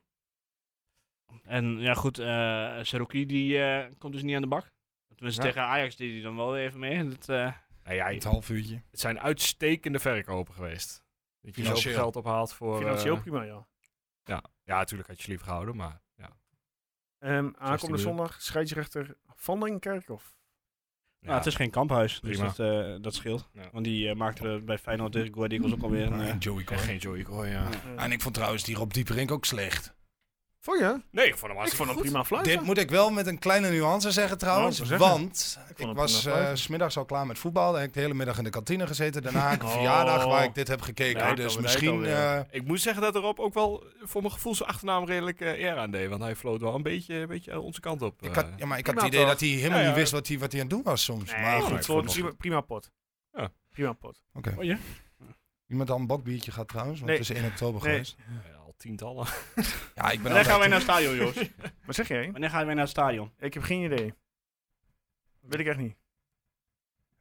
[SPEAKER 5] En ja, goed, eh Seruki die eh, komt dus niet aan de bak. Tenminste,
[SPEAKER 4] Ja.
[SPEAKER 5] tegen Ajax deed hij dan wel weer even mee. Dat, eh,
[SPEAKER 4] Nou ja,
[SPEAKER 6] Het half uurtje.
[SPEAKER 4] het zijn uitstekende verkopen geweest. Dat je zoveel
[SPEAKER 6] Financieel.
[SPEAKER 4] geld ophaalt voor... eh,
[SPEAKER 1] Financieel prima, ja.
[SPEAKER 4] ja, ja, natuurlijk had je liever gehouden, maar ja.
[SPEAKER 1] Ehm,
[SPEAKER 4] miljoen.
[SPEAKER 1] aankomende zondag scheidsrechter Van den Kerkhoff.
[SPEAKER 5] nou, het is geen kamphuis,
[SPEAKER 4] Prima.
[SPEAKER 5] dus dat, eh, dat scheelt.
[SPEAKER 4] Ja.
[SPEAKER 5] Want die eh, maakte er bij Feyenoord tegen Go Eagles ook alweer een... eh,
[SPEAKER 6] En Joey
[SPEAKER 4] En
[SPEAKER 6] Coy.
[SPEAKER 4] geen Joey Coy, ja.
[SPEAKER 1] Eh,
[SPEAKER 6] En ik vond trouwens die Rob Dieperink ook slecht.
[SPEAKER 1] Vond je?
[SPEAKER 4] Nee, ik vond hem
[SPEAKER 1] Ik
[SPEAKER 4] hartstikke
[SPEAKER 1] vond hem
[SPEAKER 4] goed.
[SPEAKER 1] prima fluiten.
[SPEAKER 6] Dit moet ik wel met een kleine nuance zeggen trouwens.
[SPEAKER 1] Nou, ik wil zeggen.
[SPEAKER 6] want ik,
[SPEAKER 1] het
[SPEAKER 6] was
[SPEAKER 1] prima blijven.
[SPEAKER 6] eh, 's middags al klaar met voetbal. Daar heb ik de hele middag in de kantine gezeten. Daarna heb ik een
[SPEAKER 1] Oh.
[SPEAKER 6] verjaardag waar ik dit heb gekeken.
[SPEAKER 1] Nee,
[SPEAKER 6] dus
[SPEAKER 1] alweer,
[SPEAKER 6] misschien...
[SPEAKER 1] alweer.
[SPEAKER 6] eh,
[SPEAKER 4] Ik moet zeggen dat Rob ook wel eh, voor mijn gevoel zijn achternaam redelijk eh, eer aan deed. Want hij floot wel een beetje, een beetje eh, onze kant op.
[SPEAKER 6] ik
[SPEAKER 4] eh.
[SPEAKER 6] had, ja, maar ik had
[SPEAKER 1] prima
[SPEAKER 6] het idee
[SPEAKER 1] toch?
[SPEAKER 6] dat hij helemaal
[SPEAKER 4] Ja, ja.
[SPEAKER 6] niet wist wat hij wat hij aan het doen was soms. maar
[SPEAKER 1] Nee,
[SPEAKER 6] goed,
[SPEAKER 1] goed,
[SPEAKER 4] ik vond
[SPEAKER 1] voor
[SPEAKER 4] het
[SPEAKER 1] prima, prima pot.
[SPEAKER 4] Ja.
[SPEAKER 1] Prima pot.
[SPEAKER 5] Oh ja?
[SPEAKER 6] iemand al een bokbiertje gaat trouwens. Want
[SPEAKER 1] Nee.
[SPEAKER 6] het is 1 oktober
[SPEAKER 1] Nee.
[SPEAKER 6] geweest.
[SPEAKER 4] Ja, al tientallen.
[SPEAKER 6] Ja, ik ben
[SPEAKER 5] Wanneer gaan wij naar
[SPEAKER 6] altijd-
[SPEAKER 5] het stadion, Joost?
[SPEAKER 1] Wat zeg jij?
[SPEAKER 5] Wanneer gaan wij naar het stadion?
[SPEAKER 1] Ik heb geen idee. Weet ik echt niet.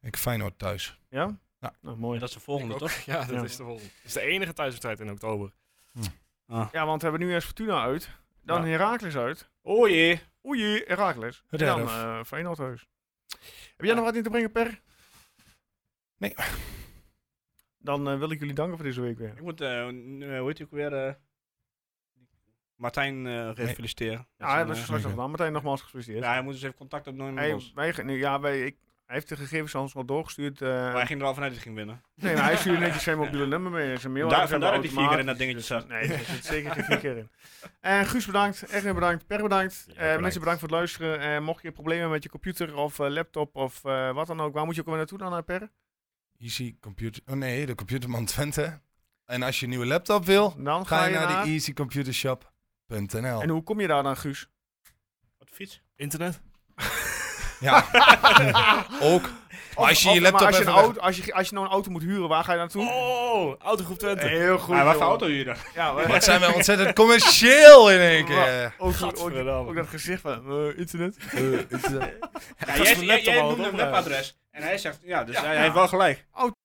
[SPEAKER 6] Ik Feyenoord thuis.
[SPEAKER 1] Ja?
[SPEAKER 6] Ja.
[SPEAKER 1] Nou, mooi.
[SPEAKER 5] dat is de volgende, toch?
[SPEAKER 4] Ja, dat
[SPEAKER 1] Ja.
[SPEAKER 4] is de volgende. Het is de enige thuiswedstrijd in oktober.
[SPEAKER 1] Ja, want we hebben nu eerst Fortuna uit. Dan
[SPEAKER 4] Ja.
[SPEAKER 1] Heracles uit.
[SPEAKER 5] Oh jee.
[SPEAKER 1] Oei, Heracles. En dan
[SPEAKER 6] Rudolf.
[SPEAKER 1] eh Feyenoord thuis. Heb jij nog wat in te brengen, Per?
[SPEAKER 6] Nee.
[SPEAKER 1] Dan eh, wil ik jullie danken voor deze week weer.
[SPEAKER 5] Ik moet, eh, n- eh, hoe heet hij ook weer? eh, Martijn eh feliciteren.
[SPEAKER 1] Ja, Ah, dat
[SPEAKER 5] is
[SPEAKER 1] is
[SPEAKER 5] een,
[SPEAKER 1] straks nog
[SPEAKER 6] zeker.
[SPEAKER 1] gedaan. Martijn, nogmaals gefeliciteerd.
[SPEAKER 5] eh, ja, hij moet dus even contact opnemen met
[SPEAKER 1] Hij,
[SPEAKER 5] ons.
[SPEAKER 1] wij, ge- nee, ja, wij, ik, hij heeft de gegevens aan ons wel doorgestuurd. eh,
[SPEAKER 5] Maar hij ging er al vanuit dat hij ging winnen.
[SPEAKER 1] nee, maar hij stuurde netjes zijn mobiele nummer mee. Zijn mail
[SPEAKER 5] Daar, vandaar dat hij vier keer in
[SPEAKER 1] keer
[SPEAKER 5] dat dingetje zat.
[SPEAKER 1] Nee, er zit zeker geen vier keer in. En Guus bedankt, Erwin bedankt, Per bedankt.
[SPEAKER 4] Jij
[SPEAKER 1] Eh,
[SPEAKER 4] bedankt.
[SPEAKER 1] mensen bedankt voor het luisteren. Eh, mocht je problemen met je computer of eh, laptop of eh, wat dan ook, waar moet je ook weer naartoe dan, eh, Per?
[SPEAKER 6] Easy Computer... Oh nee, de Computerman Twente. En als je een nieuwe laptop wil,
[SPEAKER 1] Dan
[SPEAKER 6] ga je naar de easycomputershop.nl.
[SPEAKER 1] En hoe kom je daar dan, Guus?
[SPEAKER 5] Wat fiets?
[SPEAKER 4] Internet?
[SPEAKER 6] Ja. ook. Maar Oh, als je je laptop
[SPEAKER 1] als je, een
[SPEAKER 6] even weg-
[SPEAKER 1] auto, als, je, als je nou een auto moet huren, waar ga je naartoe?
[SPEAKER 4] Oh, Autogroep Twente.
[SPEAKER 1] Heel goed.
[SPEAKER 5] Ah, wat voor
[SPEAKER 1] joh.
[SPEAKER 5] auto huren?
[SPEAKER 1] Ja, maar-
[SPEAKER 6] Wat zijn we ontzettend commercieel in één keer.
[SPEAKER 1] ook, ook- ook,
[SPEAKER 4] Gadverdamme.
[SPEAKER 1] ook dat gezicht van eh, internet.
[SPEAKER 5] Ja, jij
[SPEAKER 4] mijn
[SPEAKER 5] jij,
[SPEAKER 4] laptop
[SPEAKER 5] jij
[SPEAKER 4] al
[SPEAKER 5] noemde
[SPEAKER 4] wat
[SPEAKER 5] een wepadres. En hij zegt, ja, dus hij, hij heeft wel gelijk.
[SPEAKER 1] Oh,